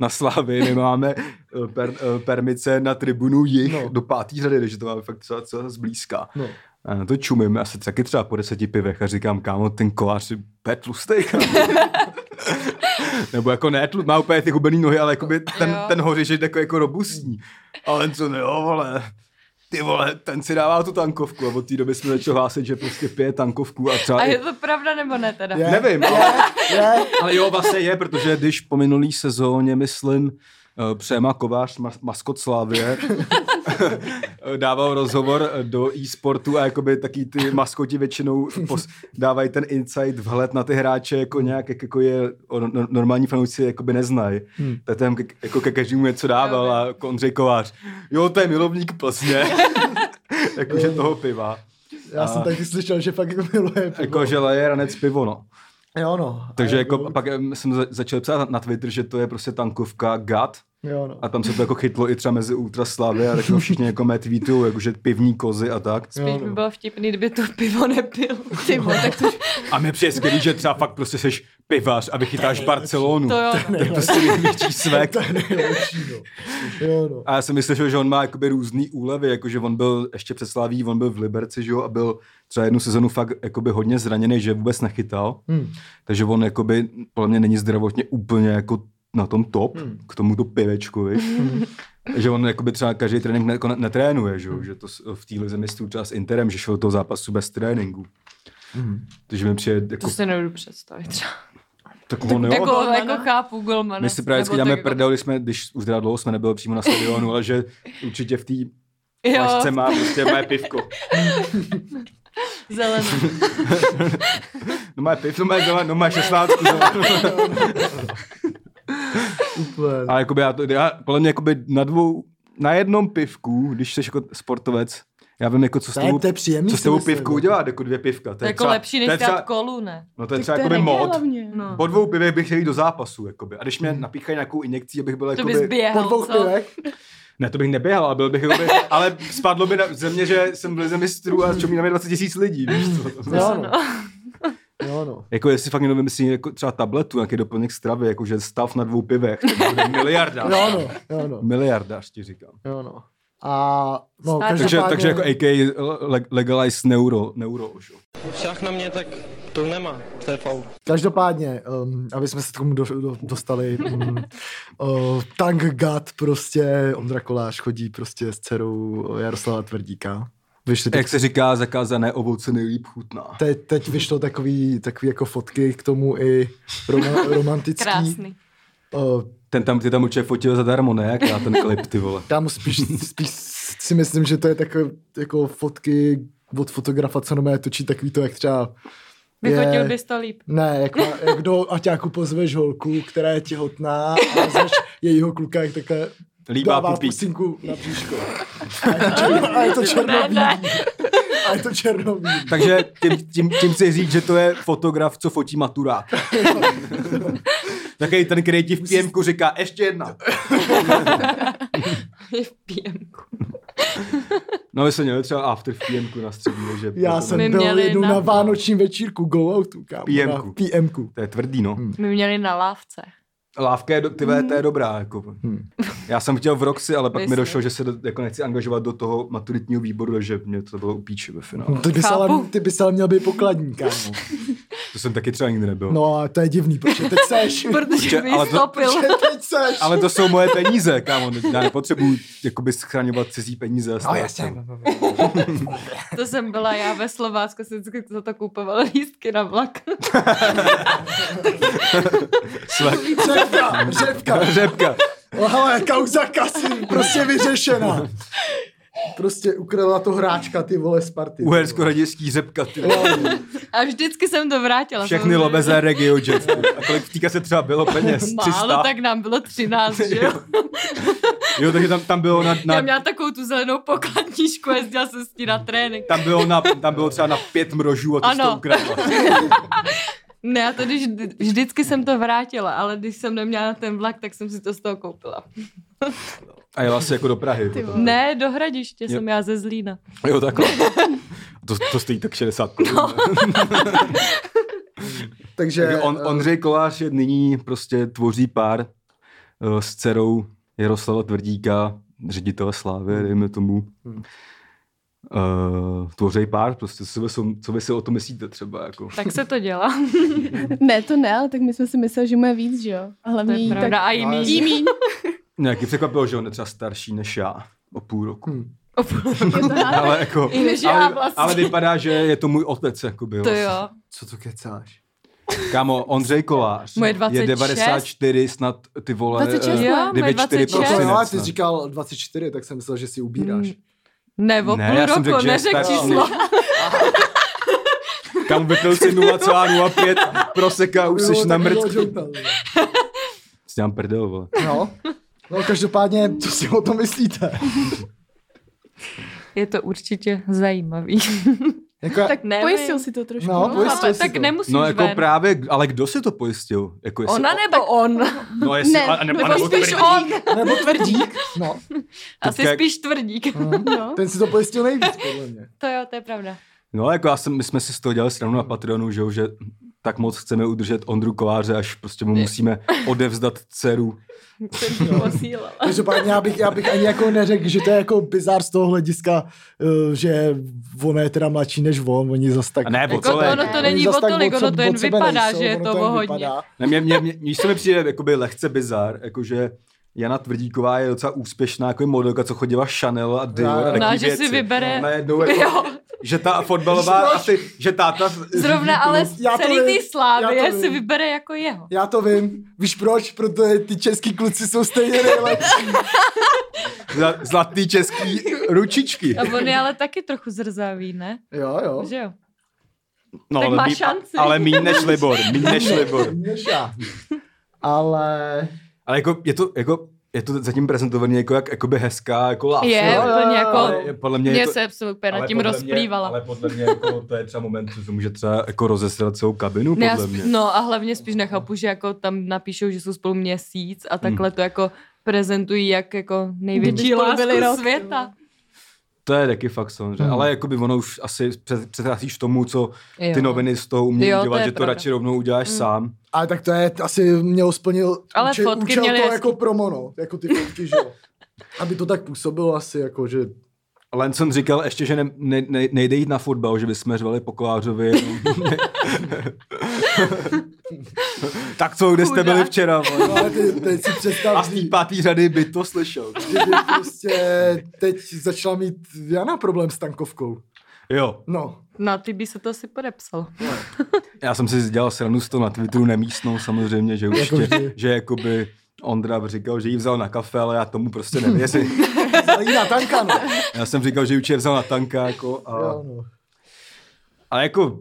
[SPEAKER 2] na Slávy, my máme eh, per, eh, permice na tribunu jich
[SPEAKER 1] No.
[SPEAKER 2] no. do pátý řady, takže to máme fakt třeba, třeba zblízka.
[SPEAKER 1] No.
[SPEAKER 2] A na to čumím asi taky třeba po deseti pivech a říkám, kámo, ten kolář je úplně tlustej, kámo. Nebo jako ne, tlu, má úplně ty hubený nohy, ale jakoby ten,
[SPEAKER 3] Jo.
[SPEAKER 2] ten hořiš je takový jako robustní. Ale co ne, jo, vole. Ty vole, ten si dává tu tankovku a od té doby jsme začali hlásit, že prostě pije tankovku a třeba...
[SPEAKER 3] A
[SPEAKER 2] i-
[SPEAKER 3] je to pravda nebo ne teda?
[SPEAKER 1] Je.
[SPEAKER 2] Nevím, ale,
[SPEAKER 1] Je,
[SPEAKER 2] ale jo, vlastně je, protože když po minulý sezóně, myslím, eh, Přema Kovář, mas- maskot Slávě, eh, dával rozhovor eh, do e-sportu a jakoby taky ty maskoti většinou pos- dávají ten insight, vhled na ty hráče jako nějak, jak jako je o- no- normální fanoušci jakoby neznají.
[SPEAKER 1] Hmm.
[SPEAKER 2] Hmm. Tak tam ke- jako ke každému něco dával a jako Ondřej Kovář, jo, to je milovník Plzně. Jakože toho piva.
[SPEAKER 1] já jsem
[SPEAKER 2] A-
[SPEAKER 1] taky slyšel, že fakt jako miluje pivo.
[SPEAKER 2] Jako, že leje ranec pivo, no.
[SPEAKER 1] Jo no. A
[SPEAKER 2] Takže jako, pak em, jsem za- začal psát na Twitter, že to je prostě tankovka GAT
[SPEAKER 1] Jo no.
[SPEAKER 2] a tam se to jako chytlo i třeba mezi Ultraslávy a takhle všichni jako mé tweetu, jakože pivní kozy a tak.
[SPEAKER 1] Jo, no.
[SPEAKER 3] Spíš by bylo vtipný, kdyby to pivo nepil. Ty vole, tak to
[SPEAKER 2] A mě přijde skvělý, že třeba fakt prostě seš pivař a vychytáš Barcelonu.
[SPEAKER 3] To jo. no.
[SPEAKER 2] To je prostě největší svek.
[SPEAKER 1] To je nejlepší, no. Jo, no.
[SPEAKER 2] A já jsem myslel, že on má jakoby různý úlevy, jakože on byl ještě před Slaví, on byl v Liberci, že jo, a byl třeba jednu sezonu fakt jakoby hodně zraněný, že vůbec nechytal.
[SPEAKER 1] Hmm.
[SPEAKER 2] Takže on jakoby, podle mě není zdravotně úplně jako na tom top,
[SPEAKER 1] Hmm.
[SPEAKER 2] hmm. k tomuto pivečkovi. že on jakoby třeba každý trénink ne- jako netrénuje, že,
[SPEAKER 1] Hmm.
[SPEAKER 2] jo? že to s- v téhle zemi stůl třeba s Interem, že šel do toho zápasu bez tréninku.
[SPEAKER 1] Hmm.
[SPEAKER 2] Takže mi přijde, jako,
[SPEAKER 3] To si nebudu představit třeba.
[SPEAKER 2] tak on
[SPEAKER 3] Jako,
[SPEAKER 2] jo.
[SPEAKER 3] golmana.
[SPEAKER 5] golmana.
[SPEAKER 3] jako chápu golmana.
[SPEAKER 2] My si právě
[SPEAKER 3] nebo
[SPEAKER 2] vždycky děláme
[SPEAKER 3] tak-
[SPEAKER 2] prdel, když jsme, když už teda dlouho jsme nebyli přímo na stadionu, ale že určitě v té flašce
[SPEAKER 3] Jo,
[SPEAKER 2] má prostě moje pivko.
[SPEAKER 3] zelený.
[SPEAKER 2] No má piv, no má, no má, no má 16.
[SPEAKER 1] Super.
[SPEAKER 2] Ale jakoby já to, já, podle mě jakoby na dvou, na jednom pivku, když jsi jako sportovec, já vím jako co s
[SPEAKER 1] To je,
[SPEAKER 2] tou,
[SPEAKER 1] to je příjemný.
[SPEAKER 2] co s
[SPEAKER 1] si
[SPEAKER 2] tou
[SPEAKER 1] myslím,
[SPEAKER 2] pivkou
[SPEAKER 1] no.
[SPEAKER 2] udělat, jako dvě pivka. To
[SPEAKER 3] To
[SPEAKER 2] je
[SPEAKER 3] je jako
[SPEAKER 2] třeba-
[SPEAKER 3] lepší
[SPEAKER 2] to
[SPEAKER 3] než
[SPEAKER 2] je třeba-
[SPEAKER 3] dát kolu, ne?
[SPEAKER 2] No to je
[SPEAKER 5] Tak
[SPEAKER 2] třeba
[SPEAKER 5] to
[SPEAKER 2] jakoby
[SPEAKER 5] není
[SPEAKER 2] mod.
[SPEAKER 5] hlavně.
[SPEAKER 3] No.
[SPEAKER 2] Po dvou pivech bych chtěl jít do zápasu, jakoby. A když mě napíchají nějakou injekcí, abych byl
[SPEAKER 3] Mhm. To
[SPEAKER 2] jakoby...
[SPEAKER 3] bys běhal,
[SPEAKER 1] Po dvou
[SPEAKER 3] co?
[SPEAKER 1] pivech?
[SPEAKER 2] Ne, to bych neběhal, ale byl bych jakoby... ale spadlo by na země, že jsem byl ze mistrů a čumí na mě 20 tisíc lidí, víš co?
[SPEAKER 1] Jo, no. Jo, no.
[SPEAKER 2] Jako jestli fakt někdo vymyslí jako třeba tabletu, nějaký doplněk stravy, jakože stav na dvou pivech, to bude miliardář.
[SPEAKER 1] Jo, no. Jo, no.
[SPEAKER 2] Miliardář ti říkám.
[SPEAKER 1] Jo, no. A no,
[SPEAKER 3] Stát.
[SPEAKER 2] Takže,
[SPEAKER 1] každopádně,
[SPEAKER 2] takže jako AK le- legalize neuro, neuro už. jo.
[SPEAKER 4] Šach na mě, tak to nemá, to je faul.
[SPEAKER 1] každopádně um, aby jsme se k tomu do, do, dostali, um, uh, tank God prostě, Ondra Kolář chodí prostě s dcerou Jaroslava Tvrdíka. Vyšli teď,
[SPEAKER 2] Jak se říká, zakázané ovoce nejlíp chutná.
[SPEAKER 1] teď, teď vyšlo takový, takový jako fotky k tomu i rom, romantický.
[SPEAKER 3] Krásný.
[SPEAKER 1] Uh,
[SPEAKER 2] Ten tam, ty tam určitě fotil zadarmo, ne? Jak já ten klip, ty vole.
[SPEAKER 1] tam spíš, spíš si myslím, že to je takové jako fotky od fotografa, co normálně točí takový to, jak třeba
[SPEAKER 3] Vyfotil
[SPEAKER 1] je-
[SPEAKER 3] bys to líp.
[SPEAKER 1] Ne, jak, má, jak do aťáku pozveš holku, která je těhotná a vezmeš jejího kluka, jak takhle
[SPEAKER 2] Líbá
[SPEAKER 1] dává
[SPEAKER 2] pupík.
[SPEAKER 1] pusinku na bříško. A je to černo, a je to černový.
[SPEAKER 3] Ne,
[SPEAKER 1] A je to černový.
[SPEAKER 2] Takže tím, tím, tím chci říct, že to je fotograf, co fotí maturák. Takový ten, který ti v PMku říká, ještě jedna.
[SPEAKER 3] Je v PM.
[SPEAKER 2] No, my jsme měli třeba after v PMku na střední, jako že
[SPEAKER 1] Já jsem
[SPEAKER 3] My
[SPEAKER 1] byl
[SPEAKER 3] měli
[SPEAKER 1] jednou
[SPEAKER 3] na-
[SPEAKER 1] na vánoční večírku go outu, kámo.
[SPEAKER 2] PMku.
[SPEAKER 1] Na PMku.
[SPEAKER 2] To je tvrdý, no.
[SPEAKER 3] My měli na lávce.
[SPEAKER 2] Lávka je, do, ty vole, to je dobrá. Jako.
[SPEAKER 1] Hmm.
[SPEAKER 2] Já jsem chtěl v Roxy, ale pak
[SPEAKER 3] Myslím.
[SPEAKER 2] mi došlo, že se do, jako nechci angažovat do toho maturitního výboru, že mě to bylo upíči ve finále.
[SPEAKER 1] No, Ty bys,
[SPEAKER 3] Chápu.
[SPEAKER 1] ale, ty bys ale měl být pokladní, kámo.
[SPEAKER 2] To jsem taky třeba nikdy nebyl.
[SPEAKER 1] No a to je divný, protože teď seš.
[SPEAKER 3] Protože
[SPEAKER 2] Určitě,
[SPEAKER 3] mi
[SPEAKER 2] ale to-
[SPEAKER 3] stopil.
[SPEAKER 1] Protože teď seš.
[SPEAKER 2] Ale to jsou moje peníze, kámo. Já nepotřebuji jakoby schraňovat cizí peníze. a
[SPEAKER 1] No
[SPEAKER 2] stát
[SPEAKER 1] jasně.
[SPEAKER 2] se.
[SPEAKER 3] To jsem byla já ve Slovácku, jsem vždycky za to kupovala lístky na vlak.
[SPEAKER 2] Svek.
[SPEAKER 1] Řepka, řepka.
[SPEAKER 2] Řepka.
[SPEAKER 1] No hele, kauza kasy, prostě vyřešená. Prostě ukradla to hráčka, ty vole, Sparty.
[SPEAKER 2] Uhersko-radějský řepka. Ty. vole.
[SPEAKER 3] A vždycky jsem to vrátila.
[SPEAKER 2] Všechny
[SPEAKER 3] samozřejmě.
[SPEAKER 2] lobeze Regio Jets. ty. A kolik týka se třeba bylo peněz? 300.
[SPEAKER 3] Málo, tak nám bylo 13, že jo?
[SPEAKER 2] Jo, takže tam, tam bylo na,
[SPEAKER 3] Já
[SPEAKER 2] na
[SPEAKER 3] měla takovou tu zelenou pokladníčku, jezdila jsem s ní na trénink.
[SPEAKER 2] tam bylo, na, tam bylo třeba na pět mrožů a ty jsi
[SPEAKER 3] Ano.
[SPEAKER 2] to ukradla.
[SPEAKER 3] Ne, já to když, vždycky jsem to vrátila, ale když jsem neměla na ten vlak, tak jsem si to z toho koupila.
[SPEAKER 2] A jela si jako do Prahy. potom.
[SPEAKER 3] Ne, do Hradiště
[SPEAKER 2] Jo.
[SPEAKER 3] jsem já ze Zlína.
[SPEAKER 2] Jo, takhle. To, to stojí tak 60 korun. No.
[SPEAKER 1] Takže
[SPEAKER 2] On, Ondřej Kolář je nyní prostě tvoří pár eh, s dcerou Jaroslava Tvrdíka, ředitele Slávy, dejme tomu.
[SPEAKER 1] Hmm.
[SPEAKER 2] Uh, tvoří pár, prostě co vy, jsou- co vy si o tom myslíte třeba, jako.
[SPEAKER 3] Tak se to dělá.
[SPEAKER 5] Ne, to ne, ale tak my jsme si mysleli, že mu je víc, že jo? A
[SPEAKER 3] To
[SPEAKER 5] hlavně
[SPEAKER 3] je
[SPEAKER 5] jí
[SPEAKER 3] pravda.
[SPEAKER 5] tak...
[SPEAKER 3] A i
[SPEAKER 1] No,
[SPEAKER 3] míň.
[SPEAKER 1] jasně.
[SPEAKER 5] Jí míň.
[SPEAKER 2] Nějaký překvapilo, že on je třeba starší než já o půl roku.
[SPEAKER 1] Hmm.
[SPEAKER 3] vlastně.
[SPEAKER 5] Je to hádá.
[SPEAKER 2] Ale jako,
[SPEAKER 3] I než já
[SPEAKER 2] ale,
[SPEAKER 3] vlastně.
[SPEAKER 2] ale vypadá, že je to můj otec, jakoby.
[SPEAKER 3] To
[SPEAKER 2] vlastně.
[SPEAKER 3] jo.
[SPEAKER 1] Co to kecáš?
[SPEAKER 2] Kámo, Ondřej Kolář
[SPEAKER 3] Moje
[SPEAKER 2] je
[SPEAKER 3] 26?
[SPEAKER 2] 94, snad ty vole,
[SPEAKER 5] 26,
[SPEAKER 2] eh,
[SPEAKER 5] ne?
[SPEAKER 3] Jo, moje
[SPEAKER 1] No
[SPEAKER 2] 94
[SPEAKER 1] to
[SPEAKER 2] Čes.
[SPEAKER 1] jo,
[SPEAKER 3] 26.
[SPEAKER 1] ale ty jsi říkal 24, tak jsem myslel, že si ubíráš.
[SPEAKER 3] Hmm. Ne, o
[SPEAKER 2] Ne,
[SPEAKER 3] půl
[SPEAKER 2] já jsem
[SPEAKER 3] roku,
[SPEAKER 2] řekl, že je
[SPEAKER 3] neřek
[SPEAKER 2] starší.
[SPEAKER 3] číslo.
[SPEAKER 2] Kam vypil si 0,05 proseka,
[SPEAKER 3] Hmm.
[SPEAKER 2] už
[SPEAKER 1] Jo,
[SPEAKER 2] jsi na
[SPEAKER 1] tak bylo
[SPEAKER 2] mrtku.
[SPEAKER 1] žlutá, jo.
[SPEAKER 2] S nám prdel, vole.
[SPEAKER 1] No. No každopádně, co si o tom myslíte?
[SPEAKER 3] Je to určitě zajímavý.
[SPEAKER 1] Jako,
[SPEAKER 5] Tak
[SPEAKER 3] Nevím.
[SPEAKER 5] pojistil si to trošku.
[SPEAKER 1] No,
[SPEAKER 5] no,
[SPEAKER 1] pojistil
[SPEAKER 5] chápeš?
[SPEAKER 1] si
[SPEAKER 3] tak
[SPEAKER 1] to.
[SPEAKER 3] nemusíš
[SPEAKER 2] No jako
[SPEAKER 3] ven.
[SPEAKER 2] právě, ale kdo si to pojistil? Jako jestli,
[SPEAKER 3] Ona nebo on?
[SPEAKER 2] no jestli,
[SPEAKER 5] ne,
[SPEAKER 2] a, a, nebo, a
[SPEAKER 3] Nebo
[SPEAKER 2] nebo
[SPEAKER 3] spíš
[SPEAKER 2] tvrdí.
[SPEAKER 3] on.
[SPEAKER 1] nebo tvrdík. No. Hm.
[SPEAKER 3] Asi
[SPEAKER 2] jak-
[SPEAKER 3] spíš tvrdík.
[SPEAKER 5] No.
[SPEAKER 1] Ten si to pojistil nejvíc, podle mě.
[SPEAKER 3] To jo, to je pravda.
[SPEAKER 2] No jako já jsem, my jsme si z toho dělali stranu na Patreonu, že, jo, že tak moc chceme udržet Ondru Kováře, až prostě mu musíme odevzdat dceru.
[SPEAKER 3] jsem ji posílala.
[SPEAKER 1] Každopádně já bych, já bych ani jako neřekl, že to je jako bizár z toho hlediska, eh, že ona je teda mladší než on, oni zas tak...
[SPEAKER 2] A ne, po
[SPEAKER 3] Jako to,
[SPEAKER 2] celé.
[SPEAKER 3] ono to
[SPEAKER 1] oni
[SPEAKER 3] není
[SPEAKER 1] zas
[SPEAKER 3] o
[SPEAKER 1] tak
[SPEAKER 3] tolik,
[SPEAKER 1] od-
[SPEAKER 3] ono to jen
[SPEAKER 1] od sebe
[SPEAKER 3] vypadá, že je
[SPEAKER 1] ono
[SPEAKER 3] to o
[SPEAKER 1] jen
[SPEAKER 3] hodně.
[SPEAKER 1] vypadá.
[SPEAKER 2] Ne, mě, mě, mě, mě, mi přijde jakoby lehce bizar, jakože Jana Tvrdíková je docela úspěšná jako modelka, co chodila Chanel a Dior a
[SPEAKER 1] No,
[SPEAKER 2] takový
[SPEAKER 3] No, že
[SPEAKER 2] věci.
[SPEAKER 3] si vybere...
[SPEAKER 2] Najednou jako,
[SPEAKER 3] Jo,
[SPEAKER 2] že ta fotbalová
[SPEAKER 1] Když
[SPEAKER 2] asi, že táta...
[SPEAKER 3] zrovna ale z
[SPEAKER 1] Já to
[SPEAKER 3] celý
[SPEAKER 1] vím,
[SPEAKER 3] ty
[SPEAKER 1] já
[SPEAKER 3] slávy
[SPEAKER 1] to
[SPEAKER 3] si
[SPEAKER 1] vím.
[SPEAKER 3] vybere jako jeho.
[SPEAKER 1] Já to vím. Víš proč? Protože ty český kluci jsou stejně nejlepší.
[SPEAKER 2] Zla- Zlatý český ručičky.
[SPEAKER 3] A on je ale taky trochu zrzavý, ne?
[SPEAKER 1] Jo, jo.
[SPEAKER 3] Že jo?
[SPEAKER 2] No,
[SPEAKER 3] Tak
[SPEAKER 2] ale
[SPEAKER 3] má
[SPEAKER 2] míň-
[SPEAKER 3] šanci.
[SPEAKER 2] Ale míň než Libor, míň než Libor.
[SPEAKER 1] Měša. Ale...
[SPEAKER 2] Ale jako je to, jako, je to zatím prezentovaný jako jak jakoby hezká, jako láska.
[SPEAKER 3] Je,
[SPEAKER 1] jo,
[SPEAKER 3] úplně
[SPEAKER 1] jo,
[SPEAKER 3] jako...
[SPEAKER 2] Ale je- podle mě, je
[SPEAKER 3] Mě
[SPEAKER 2] to,
[SPEAKER 3] se super nad
[SPEAKER 2] ale
[SPEAKER 3] tím
[SPEAKER 2] podle
[SPEAKER 3] rozplývala.
[SPEAKER 2] Mě, ale podle mě jako, to je třeba moment, co se může třeba jako rozesrat celou kabinu,
[SPEAKER 3] Ne, já
[SPEAKER 2] podle
[SPEAKER 3] sp-
[SPEAKER 2] mě.
[SPEAKER 3] No a hlavně spíš nechápu, že jako tam napíšou, že jsou spolu měsíc a takhle
[SPEAKER 2] Hmm.
[SPEAKER 3] to jako prezentují jak jako největší
[SPEAKER 5] Kdyby spolu byli
[SPEAKER 3] lásku
[SPEAKER 5] rok,
[SPEAKER 3] světa.
[SPEAKER 2] To je taky fakt samozřejmě,
[SPEAKER 1] Hmm.
[SPEAKER 2] ale jakoby ono už asi před- předcházíš tomu, co ty
[SPEAKER 3] Jo.
[SPEAKER 2] noviny z toho umějí
[SPEAKER 3] Jo, to
[SPEAKER 2] udělat,
[SPEAKER 3] je
[SPEAKER 2] že to
[SPEAKER 3] pravda.
[SPEAKER 2] radši rovnou uděláš
[SPEAKER 3] Hmm.
[SPEAKER 2] sám.
[SPEAKER 1] Ale tak to je, t- asi mělo splnil
[SPEAKER 3] Ale
[SPEAKER 1] účel-
[SPEAKER 3] fotky
[SPEAKER 1] účel
[SPEAKER 3] měly
[SPEAKER 1] to
[SPEAKER 3] hezký.
[SPEAKER 1] jako promo, no. Jako ty fotky, že jo. Aby to tak působilo asi, jako, že...
[SPEAKER 2] Ale jsem říkal ještě, že ne, ne, ne- nejde jít na fotbal, že bychom řvali po Kovářovi. tak co, kde jste
[SPEAKER 3] Chudák.
[SPEAKER 2] byli včera? vole?
[SPEAKER 1] No, ale ty, teď si představ,
[SPEAKER 2] A z té pátý řady by to slyšel.
[SPEAKER 1] kdyby prostě teď začala mít Jana problém s tankovkou.
[SPEAKER 2] Jo,
[SPEAKER 1] No.
[SPEAKER 3] Na ty by se to asi podepsalo.
[SPEAKER 2] já jsem si dělal sranu z toho na Twitteru nemístnou samozřejmě, že už
[SPEAKER 1] Jako
[SPEAKER 2] tě,
[SPEAKER 1] vždy.
[SPEAKER 2] že jakoby Ondra říkal, že ji vzal na kafe, ale já tomu prostě nevěřím.
[SPEAKER 1] Jiná tanka, no.
[SPEAKER 2] Já jsem říkal, že ji určitě vzal na tanka, jako, a,
[SPEAKER 1] Jo, no.
[SPEAKER 2] ale jako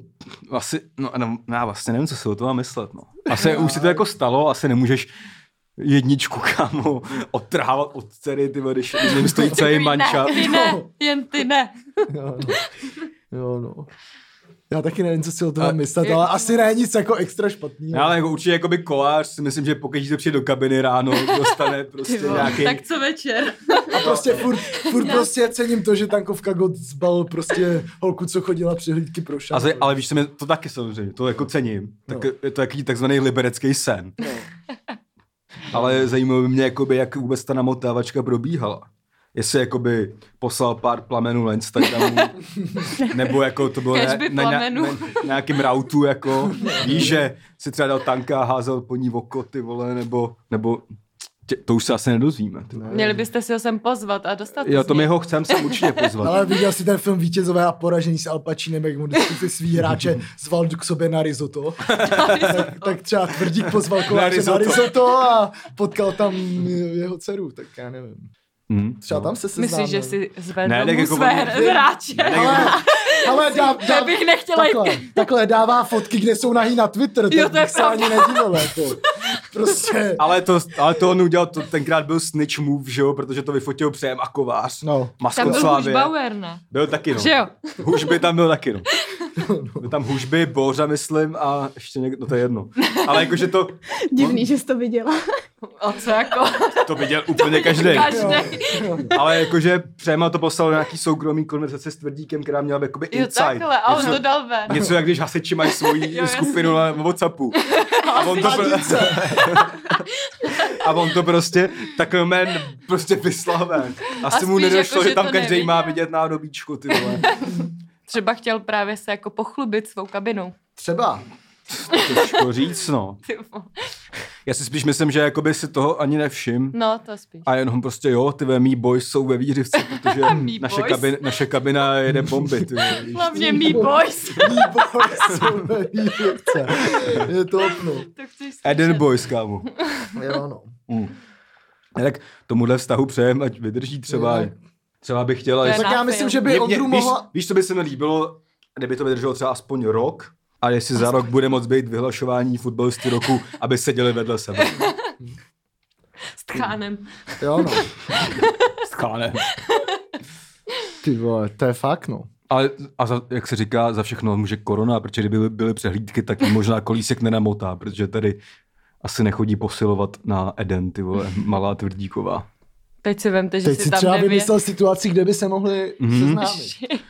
[SPEAKER 2] asi, no, no, no, já vlastně nevím, co si o tom mám myslet, no. Asi už se to jako stalo, asi nemůžeš jedničku, kámo, odtrhávat od dcery, ty vole, když jim stojí celý
[SPEAKER 3] Ty
[SPEAKER 2] manča.
[SPEAKER 3] Ne, ty ne, jen ty ne.
[SPEAKER 1] Jo, no. Jo, no. Já taky nevím, co si o tom
[SPEAKER 2] Ale-
[SPEAKER 1] mám myslet, ale asi ne nic jako extra špatného.
[SPEAKER 2] No, ale jako určitě jakoby kolář si myslím, že pokud to přijde do kabiny ráno, dostane prostě
[SPEAKER 3] Ty vole.
[SPEAKER 2] nějaký...
[SPEAKER 3] Tak co večer?
[SPEAKER 1] A prostě furt, furt
[SPEAKER 3] No.
[SPEAKER 1] prostě cením to, že tankovka God zbal prostě holku, co chodila přihlídky pro
[SPEAKER 2] A
[SPEAKER 1] šáru.
[SPEAKER 2] ze, ale víš, co mě, to taky samozřejmě, to jako cením. Tak,
[SPEAKER 1] No.
[SPEAKER 2] Je to jaký takzvaný liberecký sen. ale zajímalo by mě, jakoby, jak vůbec ta namotávačka probíhala. Jestli jakoby poslal pár plamenů na Instagramu, nebo jako to bylo
[SPEAKER 3] Kéž by
[SPEAKER 2] ně-
[SPEAKER 3] plamenů.
[SPEAKER 2] na nějakým routu, jako víš, že si třeba dal tanka a házel po ní oko, ty vole, nebo, nebo tě, to už se asi nedozvíme. Ty. vole.
[SPEAKER 3] Měli byste si ho sem pozvat a dostat
[SPEAKER 2] Jo,
[SPEAKER 3] z
[SPEAKER 2] to
[SPEAKER 3] něj.
[SPEAKER 2] my ho chcem sem určitě pozvat.
[SPEAKER 1] Ale viděl jsi ten film Vítězové a poražení s Alpačínem, jak mu vždycky ty svý hráče zval k sobě na risotto. tak, tak třeba tvrdík pozval koláče na
[SPEAKER 2] risotto.
[SPEAKER 1] risotto a potkal tam jeho dceru, tak já nevím.
[SPEAKER 2] Hm,
[SPEAKER 1] Třeba
[SPEAKER 2] no.
[SPEAKER 1] tam se seznámil.
[SPEAKER 3] Myslíš, že si
[SPEAKER 2] Ne,
[SPEAKER 3] zvedl
[SPEAKER 2] tak
[SPEAKER 3] mu
[SPEAKER 2] jako
[SPEAKER 3] své
[SPEAKER 2] oni-
[SPEAKER 3] hráče?
[SPEAKER 1] Ale, ale dá, dá,
[SPEAKER 3] Já bych nechtěla jít.
[SPEAKER 1] takhle, takhle, dává fotky, kde jsou nahý na Twitter,
[SPEAKER 3] Jo,
[SPEAKER 1] tak
[SPEAKER 3] to je
[SPEAKER 1] bych se ani nedivil, jako. Prostě,
[SPEAKER 2] Ale to, ale to on udělal, to tenkrát byl snitch move, že jo, protože to vyfotil přejem a kovář.
[SPEAKER 1] no.
[SPEAKER 3] Tam
[SPEAKER 2] Maskot
[SPEAKER 3] byl už
[SPEAKER 2] Slávě.
[SPEAKER 3] Bauer, ne?
[SPEAKER 2] Byl taky, no.
[SPEAKER 3] Že jo?
[SPEAKER 2] Hužby tam byl taky, no. Byl tam hužby, bořa, myslím, a ještě někdo, no to je jedno. Ale jakože to,
[SPEAKER 5] Divný, že jsi to viděla.
[SPEAKER 3] A co jako?
[SPEAKER 2] to viděl úplně každý.
[SPEAKER 3] Každý.
[SPEAKER 2] Ale jakože Přema to poslal na nějaký soukromý konverzace s tvrdíkem, která měla jakoby
[SPEAKER 3] Jo,
[SPEAKER 2] insight.
[SPEAKER 3] takhle. A on
[SPEAKER 2] něco,
[SPEAKER 3] to dal ven.
[SPEAKER 2] něco, jak když hasiči mají svoji
[SPEAKER 3] Jo, jasně.
[SPEAKER 2] skupinu na Whatsappu. A on to,
[SPEAKER 1] Hadice.
[SPEAKER 2] a on to prostě takhle men prostě vyslal ven. Asi
[SPEAKER 3] A
[SPEAKER 2] mu
[SPEAKER 3] spíš
[SPEAKER 2] nedošlo,
[SPEAKER 3] jako,
[SPEAKER 2] že,
[SPEAKER 3] že
[SPEAKER 2] tam
[SPEAKER 3] to
[SPEAKER 2] každý má
[SPEAKER 3] neviděl.
[SPEAKER 2] vidět nádobíčku, ty vole.
[SPEAKER 3] Třeba chtěl právě se jako pochlubit svou kabinou.
[SPEAKER 1] Třeba.
[SPEAKER 2] Těžko říct, no.
[SPEAKER 3] Ty vole.
[SPEAKER 2] Já si spíš myslím, že jakoby si toho ani nevšim.
[SPEAKER 3] No, to spíš.
[SPEAKER 2] A jenom prostě jo, ty ve mý boys jsou ve výřivce, protože
[SPEAKER 3] Mý
[SPEAKER 2] naše,
[SPEAKER 3] boys.
[SPEAKER 2] kabin, naše kabina jede bomby. Ty, vole, víš.
[SPEAKER 3] Hlavně mý boys.
[SPEAKER 1] Výbor jsou ve výběrce. Je to opnu.
[SPEAKER 3] To chceš slyšet.
[SPEAKER 2] Eden boys, kámo.
[SPEAKER 1] Jo, no.
[SPEAKER 2] Mm. Ne, Tak tomuhle vztahu přejem, ať vydrží třeba.
[SPEAKER 1] Jo.
[SPEAKER 2] Třeba bych chtěla...
[SPEAKER 3] To je
[SPEAKER 2] jestli-
[SPEAKER 1] Tak já myslím, že by
[SPEAKER 2] Mě- mě-
[SPEAKER 1] Ondru
[SPEAKER 2] víš,
[SPEAKER 1] mohla...
[SPEAKER 2] víš, co by se mi líbilo, kdyby to vydrželo třeba aspoň rok, a jestli za rok bude moc být vyhlašování fotbalistů roku, aby seděli vedle sebe.
[SPEAKER 3] S tchánem.
[SPEAKER 1] Jo, no.
[SPEAKER 2] Skáne.
[SPEAKER 1] Ty vole, to je fakt, no.
[SPEAKER 2] Ale a za, jak se říká, za všechno může korona, protože kdyby byly přehlídky, tak jí možná kolísek nenamotá, protože tady asi nechodí posilovat na Eden, ty vole, malá tvrdíková.
[SPEAKER 3] Teď si vemte, že
[SPEAKER 1] Teď
[SPEAKER 3] si,
[SPEAKER 1] si
[SPEAKER 3] tam
[SPEAKER 1] třeba
[SPEAKER 3] nevě...
[SPEAKER 1] vymyslel situaci, kde by se mohli
[SPEAKER 2] Mhm.
[SPEAKER 1] seznámit.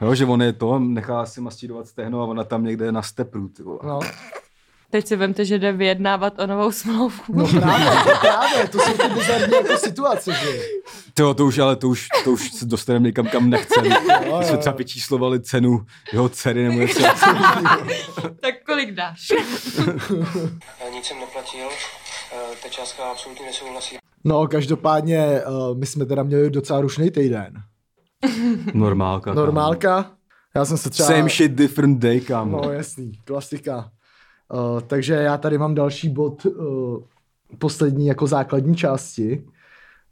[SPEAKER 2] Jo, že on je to, nechá si mastírovat stehno a ona tam někde je na stepru, ty vole.
[SPEAKER 1] No.
[SPEAKER 3] Teď si vemte, že jde vyjednávat o novou smlouvu.
[SPEAKER 1] No právě, právě, to jsou ty bizarní jako situace, že
[SPEAKER 2] Tyjo, to už, ale to už, to už se dostaneme někam, kam nechceme.
[SPEAKER 1] jo,
[SPEAKER 2] My jsme
[SPEAKER 1] jo.
[SPEAKER 2] třeba vyčíslovali cenu jeho dcery nebo něco.
[SPEAKER 3] tak kolik dáš?
[SPEAKER 7] Eh, Nic jsem neplatil, eh, ta částka absolutně nesouhlasí.
[SPEAKER 1] No, každopádně uh, my jsme teda měli docela rušný týden.
[SPEAKER 2] Normálka. kámo.
[SPEAKER 1] Normálka, já jsem se třeba...
[SPEAKER 2] Same shit, different day, kámo.
[SPEAKER 1] No jasný, klasika. Uh, takže já tady mám další bod uh, poslední jako základní části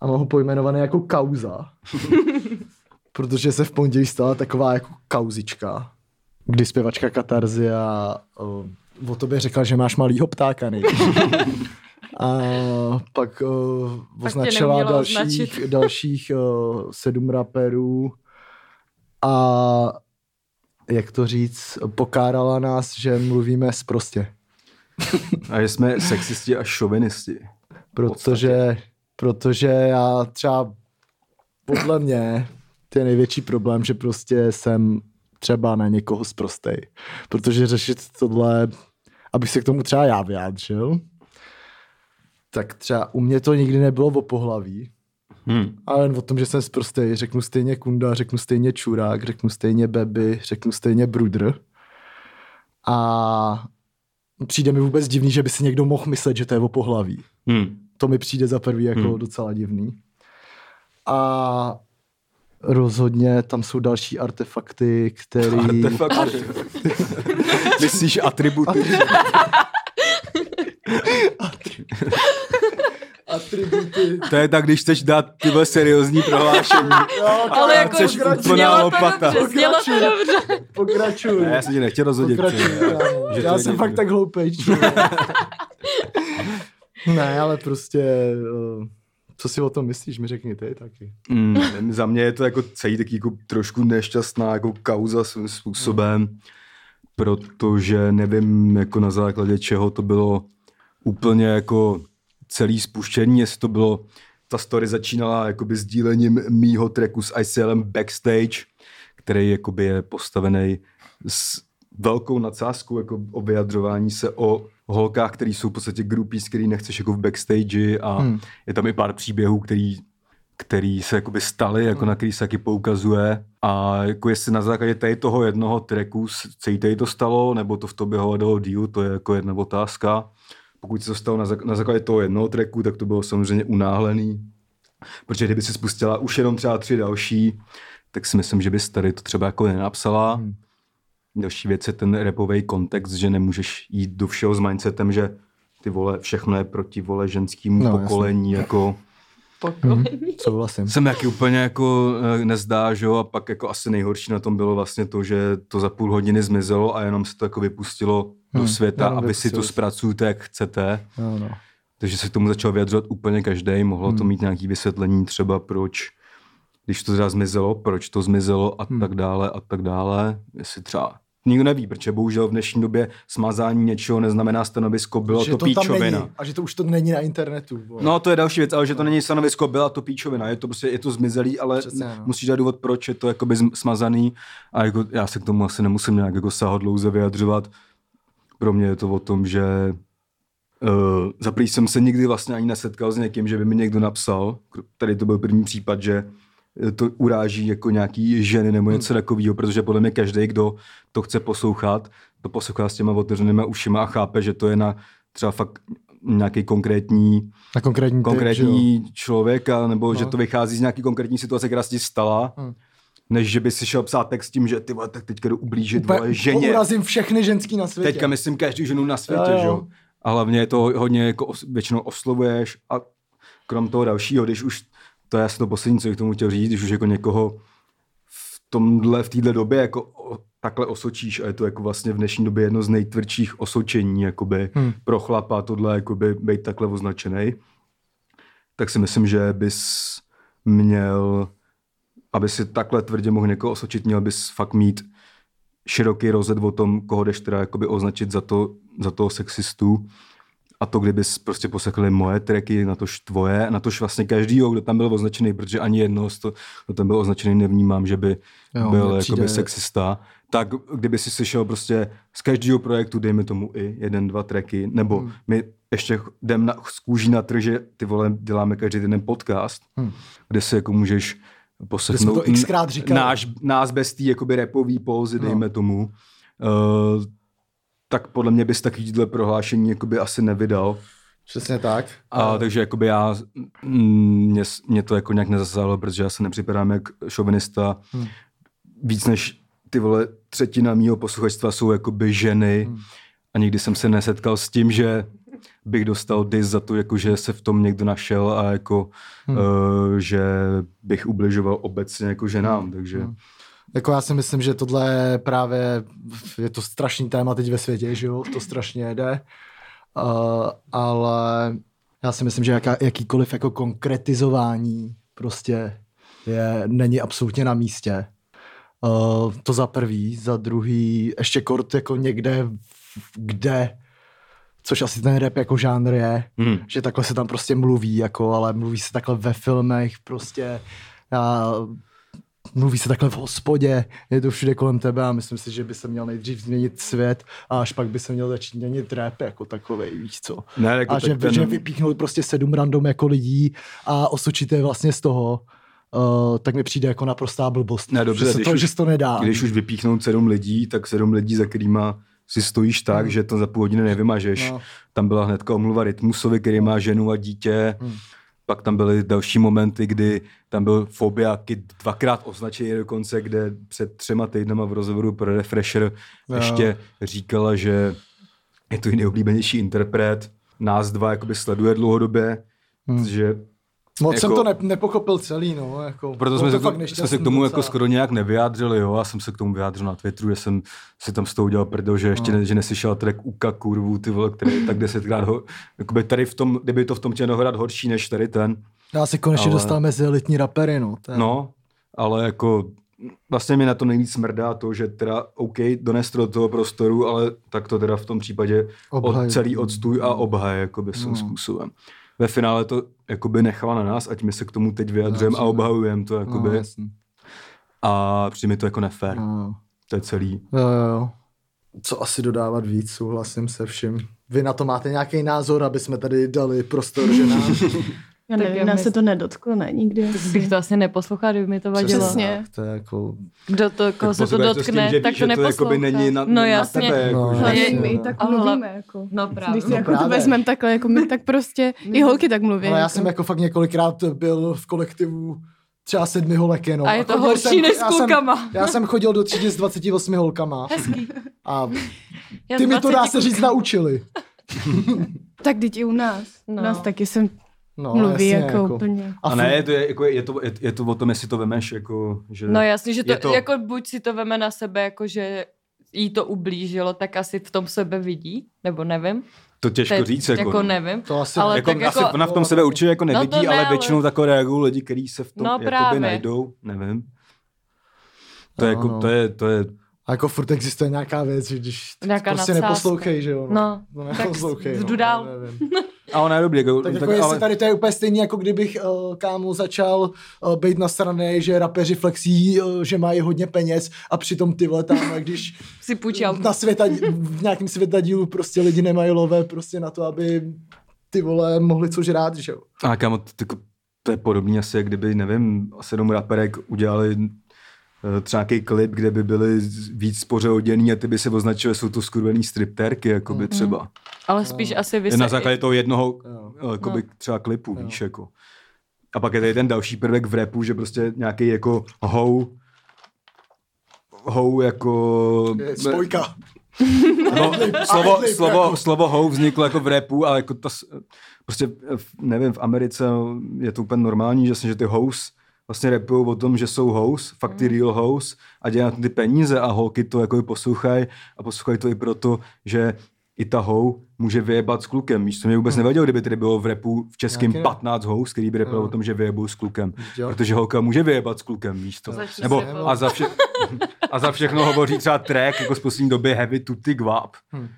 [SPEAKER 1] a mám ho pojmenovaný jako kauza. protože se v pondělí stala taková jako kauzička, kdy zpěvačka Katarzia uh, o tobě řekla, že máš malýho ptáka nejvíc. A pak uh,
[SPEAKER 3] Pak tě
[SPEAKER 1] označila
[SPEAKER 3] neuměla
[SPEAKER 1] dalších,
[SPEAKER 3] označit.
[SPEAKER 1] dalších uh, sedm raperů a jak to říct, pokárala nás, že mluvíme Prostě. sprostě.
[SPEAKER 2] A že jsme sexisti a šovinisti.
[SPEAKER 1] Protože, protože já třeba podle mě to je největší problém, že prostě jsem třeba na někoho sprostej. Protože řešit tohle, abych se k tomu třeba já vyjádřil, tak třeba u mě to nikdy nebylo o pohlaví,
[SPEAKER 2] Hmm.
[SPEAKER 1] ale jen o tom, že jsem sprostej. Řeknu stejně kunda, řeknu stejně čurák, řeknu stejně baby, řeknu stejně brudr. A přijde mi vůbec divný, že by si někdo mohl myslet, že to je o pohlaví
[SPEAKER 2] Hmm.
[SPEAKER 1] to mi přijde za prvý jako
[SPEAKER 2] Hmm.
[SPEAKER 1] hmm. docela divný. A rozhodně tam jsou další artefakty, který...
[SPEAKER 2] Artefakt. Myslíš atributy?
[SPEAKER 1] Atributy.
[SPEAKER 2] To je tak, když chceš dát tyhle seriózní prohlášení.
[SPEAKER 1] Jo,
[SPEAKER 3] Ale
[SPEAKER 1] tak
[SPEAKER 3] jako
[SPEAKER 2] Chceš
[SPEAKER 1] pokračuj,
[SPEAKER 2] úplná
[SPEAKER 3] znělo to
[SPEAKER 2] lopata.
[SPEAKER 3] dobře, znělo to dobře.
[SPEAKER 1] Pokračuj.
[SPEAKER 2] Ne, já jsem tě nechtěl rozhodit.
[SPEAKER 1] Pokračuj,
[SPEAKER 2] ty.
[SPEAKER 1] kámo.
[SPEAKER 2] Že to
[SPEAKER 1] Já
[SPEAKER 2] je
[SPEAKER 1] jsem
[SPEAKER 2] někdo.
[SPEAKER 1] fakt tak hloupej. člověk. ne, ale prostě... eh, Co si o tom myslíš, mi řekni ty taky.
[SPEAKER 2] Mm, za mě je to jako celý taky jako trošku nešťastná jako kauza svým způsobem, protože nevím jako na základě čeho to bylo úplně jako celý spuštění, jestli to bylo, ta story začínala jakoby sdílením mýho tracku s ICLem Backstage, který jakoby je postavený s velkou nadsázkou jako o vyjadřování se o holkách, který jsou v podstatě groupies, který nechceš jako v backstage a
[SPEAKER 1] Hmm.
[SPEAKER 2] hmm. je tam i pár příběhů, který který se jakoby staly, jako na který se taky poukazuje. A jako jestli na základě tady toho jednoho tracku s- se jí tady to stalo, nebo to v tobě hledalo díl, to je jako jedna otázka. Pokud se to stalo na, zak- na základě toho jednoho tracku, tak to bylo samozřejmě unáhlený. Protože kdyby si spustila už jenom třeba tři další, tak si myslím, že bys tady to třeba jako nenapsala.
[SPEAKER 1] Hmm.
[SPEAKER 2] Hmm. Další věc je ten repový kontext, že nemůžeš jít do všeho s mindsetem, že ty vole, všechno je proti vole ženskému
[SPEAKER 1] No,
[SPEAKER 2] no,
[SPEAKER 1] jasně.
[SPEAKER 2] pokolení, jako
[SPEAKER 1] Souhlasím.
[SPEAKER 2] se mi jaký úplně jako eh, nezdá, že jo, a pak jako asi nejhorší na tom bylo vlastně to, že to za půl hodiny zmizelo a jenom se to jako vypustilo do
[SPEAKER 1] Hmm,
[SPEAKER 2] světa
[SPEAKER 1] jenom
[SPEAKER 2] a vy si to
[SPEAKER 1] vypustilo se.
[SPEAKER 2] zpracujete, jak chcete.
[SPEAKER 1] No, no.
[SPEAKER 2] Takže se k tomu začal vyjadřovat úplně každý. Mohlo
[SPEAKER 1] Hmm.
[SPEAKER 2] to mít nějaké vysvětlení třeba proč, když to teda zmizelo, proč to zmizelo a
[SPEAKER 1] Hmm.
[SPEAKER 2] tak dále a tak dále. Jestli třeba Nikdo neví, protože bohužel v dnešní době smazání něčeho neznamená stanovisko, bylo
[SPEAKER 1] že
[SPEAKER 2] to,
[SPEAKER 1] to tam
[SPEAKER 2] píčovina.
[SPEAKER 1] není. A že to už to není na internetu. vole.
[SPEAKER 2] No to je další věc, ale že to není stanovisko, byla to píčovina, je to prostě, je to zmizelý, ale
[SPEAKER 1] Přesně,
[SPEAKER 2] Přesně,
[SPEAKER 1] no.
[SPEAKER 2] musíš dát důvod, proč je to jakoby zm- smazaný a jako, já se k tomu asi nemusím nějak jako sahodlouze vyjadřovat. Pro mě je to o tom, že Uh, za prý jsem se nikdy vlastně ani nesetkal s někým, že by mi někdo napsal, tady to byl první případ, že eh, to uráží jako nějaký ženy nebo něco hmm. takového, protože podle mě každý, kdo to chce poslouchat, to poslouchá s těma otevřenýma ušima a chápe, že to je na třeba fakt nějaký konkrétní
[SPEAKER 1] Na konkrétní, typ, že jo.
[SPEAKER 2] konkrétní člověk, a- nebo no. že
[SPEAKER 1] No.
[SPEAKER 2] to vychází z nějaký konkrétní situace, která se ti stala,
[SPEAKER 1] Hmm.
[SPEAKER 2] hmm. než že by si šel psát text s tím, že ty vole, tak teďka jdu ublížit
[SPEAKER 1] Úplně
[SPEAKER 2] vole, ženě.
[SPEAKER 1] Urazím všechny ženský na světě.
[SPEAKER 2] Teďka myslím každý ženu na světě,
[SPEAKER 1] Jo, jo.
[SPEAKER 2] že jo. A hlavně je to hodně jako os, většinou oslovuješ a krom toho dalšího, když už, to je asi to poslední, co bych k tomu chtěl říct, když už jako někoho v tomhle, v téhle době jako o, takhle osočíš a je to jako vlastně v dnešní době jedno z nejtvrdších osočení, jakoby
[SPEAKER 1] Hmm.
[SPEAKER 2] hmm. pro chlapa tohle, jakoby být takhle označený, tak si myslím, že bys měl, aby si takhle tvrdě mohl někoho osočit, měl bys fakt mít široký rozhled o tom, koho jdeš teda jakoby označit za, to, za toho sexistu A to, kdybys prostě posekli moje tracky, na tož tvoje, na tož vlastně každýho, kdo tam byl označený, protože ani jednoho, z to, kdo tam byl označený, nevnímám, že by
[SPEAKER 1] Jo,
[SPEAKER 2] jo, byl
[SPEAKER 1] mně
[SPEAKER 2] jakoby
[SPEAKER 1] přijde-
[SPEAKER 2] sexista. Tak kdyby si slyšel prostě z každého projektu, dejme tomu i jeden, dva tracky, nebo hmm. my ještě ch- jdem na, z kůží na trh, že ty vole děláme každý týden podcast,
[SPEAKER 1] Hmm.
[SPEAKER 2] hmm. kde si jako můžeš
[SPEAKER 1] Kde jsme
[SPEAKER 2] poseknout
[SPEAKER 1] to xkrát říkali.
[SPEAKER 2] náš, nás bez té jakoby repový pózy, dejme no. tomu. Uh, tak podle mě bys takovýhle prohlášení jakoby asi nevydal.
[SPEAKER 1] Přesně tak.
[SPEAKER 2] A, takže jakoby já, mm, mě, s- mě to jako nějak nezasáhlo, protože já se nepřipadám jak šovinista.
[SPEAKER 1] Hmm.
[SPEAKER 2] Hmm. Víc než ty vole třetina mýho posluchačstva jsou jakoby ženy. Hmm. A nikdy jsem se nesetkal s tím, že bych dostal dis za to, jako že se v tom někdo našel a jako, hmm. uh, že bych ubližoval obecně jako ženám. Hmm. Takže hmm.
[SPEAKER 1] Jako já si myslím, že tohle je právě, je to strašný téma teď ve světě, že jo, to strašně jede, uh, ale já si myslím, že jaká, jakýkoliv jako konkretizování prostě je, není absolutně na místě. Uh, to za prvý, za druhý, ještě kort jako někde, v- kde, což asi ten rap jako žánr je,
[SPEAKER 2] Hmm.
[SPEAKER 1] že takhle se tam prostě mluví, jako, ale mluví se takhle ve filmech, prostě a mluví se takhle v hospodě, je to všude kolem tebe a myslím si, že by se měl nejdřív změnit svět a až pak by se měl začít měnit rap jako takovej, víš co.
[SPEAKER 2] Ne, jako
[SPEAKER 1] a
[SPEAKER 2] tak
[SPEAKER 1] že,
[SPEAKER 2] ten-
[SPEAKER 1] že vypíchnout prostě sedm random jako lidí a osočit je vlastně z toho, Uh, tak mi přijde jako naprostá blbost.
[SPEAKER 2] Ne, dobře,
[SPEAKER 1] že, se
[SPEAKER 2] když
[SPEAKER 1] to,
[SPEAKER 2] už-
[SPEAKER 1] že se to nedá.
[SPEAKER 2] Když už vypíchnout sedm lidí, tak sedm lidí, za kterýma si stojíš tak, že to za půl hodiny nevymažeš.
[SPEAKER 1] No.
[SPEAKER 2] No. Tam byla hnedka omluva Rytmusovi, který má ženu a dítě. Hmm. Pak tam byly další momenty, kdy tam byl Fobia Kid dvakrát označený dokonce, kde před třema týdnama v rozhovoru pro Refresher
[SPEAKER 1] Jo.
[SPEAKER 2] no. ještě říkala, že je to její nejoblíbenější interpret. Nás dva jakoby sleduje dlouhodobě, hmm. že
[SPEAKER 1] Moc jako, jsem
[SPEAKER 2] jako-
[SPEAKER 1] to ne, nepochopil celý, no. Jako,
[SPEAKER 2] proto
[SPEAKER 1] bylo
[SPEAKER 2] jsme
[SPEAKER 1] to fakt
[SPEAKER 2] se, to, jsme se
[SPEAKER 1] nešťastný
[SPEAKER 2] k tomu
[SPEAKER 1] docela.
[SPEAKER 2] jako skoro nějak nevyjádřili, jo. Já jsem se k tomu vyjádřil na Twitteru, že jsem si tam s tou udělal prdel, že ještě no. ne, že neslyšel track Uka kurvu, ty vole, který je tak desetkrát ho, jakoby tady v tom, kdyby to v tom chtěl hrát horší než tady ten.
[SPEAKER 1] Já se konečně ale...
[SPEAKER 2] Ale-
[SPEAKER 1] dostal mezi elitní rapery, no. To je-
[SPEAKER 2] No, ale jako vlastně mi na to nejvíc smrdá to, že teda OK, dones to do toho prostoru, ale tak to teda v tom případě
[SPEAKER 1] Obhaj. No.
[SPEAKER 2] od, celý odstůj a obhaje jakoby svým způsobem. Ve finále to jakoby nechala na nás, ať my se k tomu teď vyjadřujeme a
[SPEAKER 1] No, jasně.
[SPEAKER 2] obhajujeme to jakoby.
[SPEAKER 1] no, jasně.
[SPEAKER 2] A přijde mi to jako nefér.
[SPEAKER 1] no.
[SPEAKER 2] To je celý.
[SPEAKER 1] Jo, jo, jo. Co asi dodávat víc, souhlasím se vším. Vy na to máte nějaký názor, aby jsme tady dali prostor ženám?
[SPEAKER 5] Já
[SPEAKER 3] Tak
[SPEAKER 5] nevím,
[SPEAKER 3] já
[SPEAKER 5] nás se
[SPEAKER 3] myslím-
[SPEAKER 5] to nedotklo, ne, nikdy.
[SPEAKER 3] Bych to asi neposlouchala, kdyby mi to vadilo.
[SPEAKER 5] Přesně.
[SPEAKER 1] Tak, to je jako...
[SPEAKER 3] Kdo to, koho se to
[SPEAKER 2] poslouchej
[SPEAKER 3] dotkne,
[SPEAKER 2] s tím, že
[SPEAKER 3] tak
[SPEAKER 2] víš,
[SPEAKER 3] to
[SPEAKER 2] že to
[SPEAKER 3] neposlouchá.
[SPEAKER 2] jakoby není na-
[SPEAKER 3] no
[SPEAKER 2] na
[SPEAKER 3] jasně.
[SPEAKER 2] tebe, jako,
[SPEAKER 1] No, Ale
[SPEAKER 2] že-
[SPEAKER 5] Ale
[SPEAKER 1] Jasně,
[SPEAKER 5] jak my
[SPEAKER 1] no.
[SPEAKER 5] tak
[SPEAKER 3] A hla-
[SPEAKER 5] mluvíme, jako.
[SPEAKER 3] No právě.
[SPEAKER 5] Když si jako to
[SPEAKER 1] právě.
[SPEAKER 5] vezmeme takhle, jako my tak prostě, i holky tak mluví.
[SPEAKER 1] Ale já jsem jako fakt několikrát byl v kolektivu třeba sedmi holek jenom.
[SPEAKER 3] A je to
[SPEAKER 2] jako
[SPEAKER 1] chodil
[SPEAKER 3] horší než s
[SPEAKER 1] já jsem-
[SPEAKER 3] klukama.
[SPEAKER 1] Já jsem chodil do třídy s 28 holkama.
[SPEAKER 3] Hezký.
[SPEAKER 1] A
[SPEAKER 3] Já
[SPEAKER 1] ty mi to
[SPEAKER 3] 20
[SPEAKER 1] dá se říct naučili.
[SPEAKER 5] Tak teď i u nás.
[SPEAKER 3] No.
[SPEAKER 5] U nás taky jsem
[SPEAKER 1] No,
[SPEAKER 5] mluví
[SPEAKER 1] jasně,
[SPEAKER 5] jako úplně.
[SPEAKER 2] A ne,
[SPEAKER 1] furt-
[SPEAKER 2] je to, je, jako, je, to, je, je to o tom, jestli to vemeš, jako, že...
[SPEAKER 3] No jasně, že to,
[SPEAKER 2] Je
[SPEAKER 3] to,
[SPEAKER 2] to-
[SPEAKER 3] jako buď si to veme na sebe, jako že jí to ublížilo, tak asi v tom sebe vidí, nebo nevím.
[SPEAKER 2] to těžko
[SPEAKER 3] Te-
[SPEAKER 2] říct, jako,
[SPEAKER 3] jako nevím.
[SPEAKER 1] To asi
[SPEAKER 3] Ale
[SPEAKER 1] ale...
[SPEAKER 2] Jako,
[SPEAKER 3] tak
[SPEAKER 2] asi
[SPEAKER 3] jako-
[SPEAKER 2] ona v tom sebe určitě jako
[SPEAKER 3] to
[SPEAKER 2] nevidí,
[SPEAKER 3] ne,
[SPEAKER 2] ale
[SPEAKER 3] ale-
[SPEAKER 2] většinou tak jako reagují lidi, kteří se v tom
[SPEAKER 3] No
[SPEAKER 2] jakoby
[SPEAKER 3] právě.
[SPEAKER 2] najdou, nevím. To,
[SPEAKER 1] No,
[SPEAKER 2] je jako,
[SPEAKER 1] no.
[SPEAKER 2] to je, to je,
[SPEAKER 1] A jako furt existuje nějaká věc, že když
[SPEAKER 3] Nějaká
[SPEAKER 1] prostě
[SPEAKER 3] nadsázka.
[SPEAKER 1] neposlouchej, že jo.
[SPEAKER 3] No,
[SPEAKER 1] no
[SPEAKER 3] tak
[SPEAKER 1] neposlouchej.
[SPEAKER 3] jdu
[SPEAKER 1] no,
[SPEAKER 3] dál.
[SPEAKER 1] já nevím.
[SPEAKER 2] a ona je dobrý, jako,
[SPEAKER 1] Tak,
[SPEAKER 2] tak,
[SPEAKER 1] jako jestli
[SPEAKER 2] ale,
[SPEAKER 1] tady to je úplně stejný, jako kdybych uh, kámo začal uh, být na straně, že rapeři flexí, uh, že mají hodně peněz a přitom ty vole tam, a když
[SPEAKER 3] Si půjčí auto.
[SPEAKER 1] na světa, v nějakém světadílu prostě lidi nemají lové prostě na to, aby ty vole mohli co žrát, že jo.
[SPEAKER 2] A kámo, to, jako, to je podobný asi, jak kdyby, nevím, sedm raperek udělali eh, třeba nějaký klip, kde by byly z- víc spořehoděný a ty by se označil, že jsou to skurvený striptérky, jakoby třeba.
[SPEAKER 3] Ale spíš asi Mhm.
[SPEAKER 2] No.
[SPEAKER 3] vy
[SPEAKER 2] Je
[SPEAKER 3] se... No.
[SPEAKER 2] na základě toho jednoho eh,
[SPEAKER 1] Jo.
[SPEAKER 2] jakoby, třeba klipu, víš, jako. A pak je tady ten další prvek v repu, že prostě nějaký jako hou, hou jako...
[SPEAKER 1] Je Spojka.
[SPEAKER 2] No, slovo,
[SPEAKER 1] Adlib,
[SPEAKER 2] slovo,
[SPEAKER 1] jako.
[SPEAKER 2] slovo ho vzniklo jako v repu, ale jako to, s- prostě v- nevím, v Americe je to úplně normální, že, se- že ty hoes vlastně rapují o tom, že jsou hoes, fakt ty
[SPEAKER 1] Mm.
[SPEAKER 2] real hoes a dělají na to ty peníze a holky to jako poslouchají a poslouchají to i proto, že i ta hou může vyjebat s klukem. Víš, to mě vůbec nevadilo, kdyby tady bylo v repu v českém
[SPEAKER 1] Mm. Nějaký ne- Mm.
[SPEAKER 2] 15 hoes, který by repoval o tom, že vyjebou s klukem.
[SPEAKER 1] Jo.
[SPEAKER 2] Protože holka může vyjebat s klukem, víš to.
[SPEAKER 3] Začni
[SPEAKER 2] Nebo
[SPEAKER 3] se
[SPEAKER 2] a za, vše, a za všechno hovoří třeba track, jako z poslední doby Heavy Tutti Guap. eh,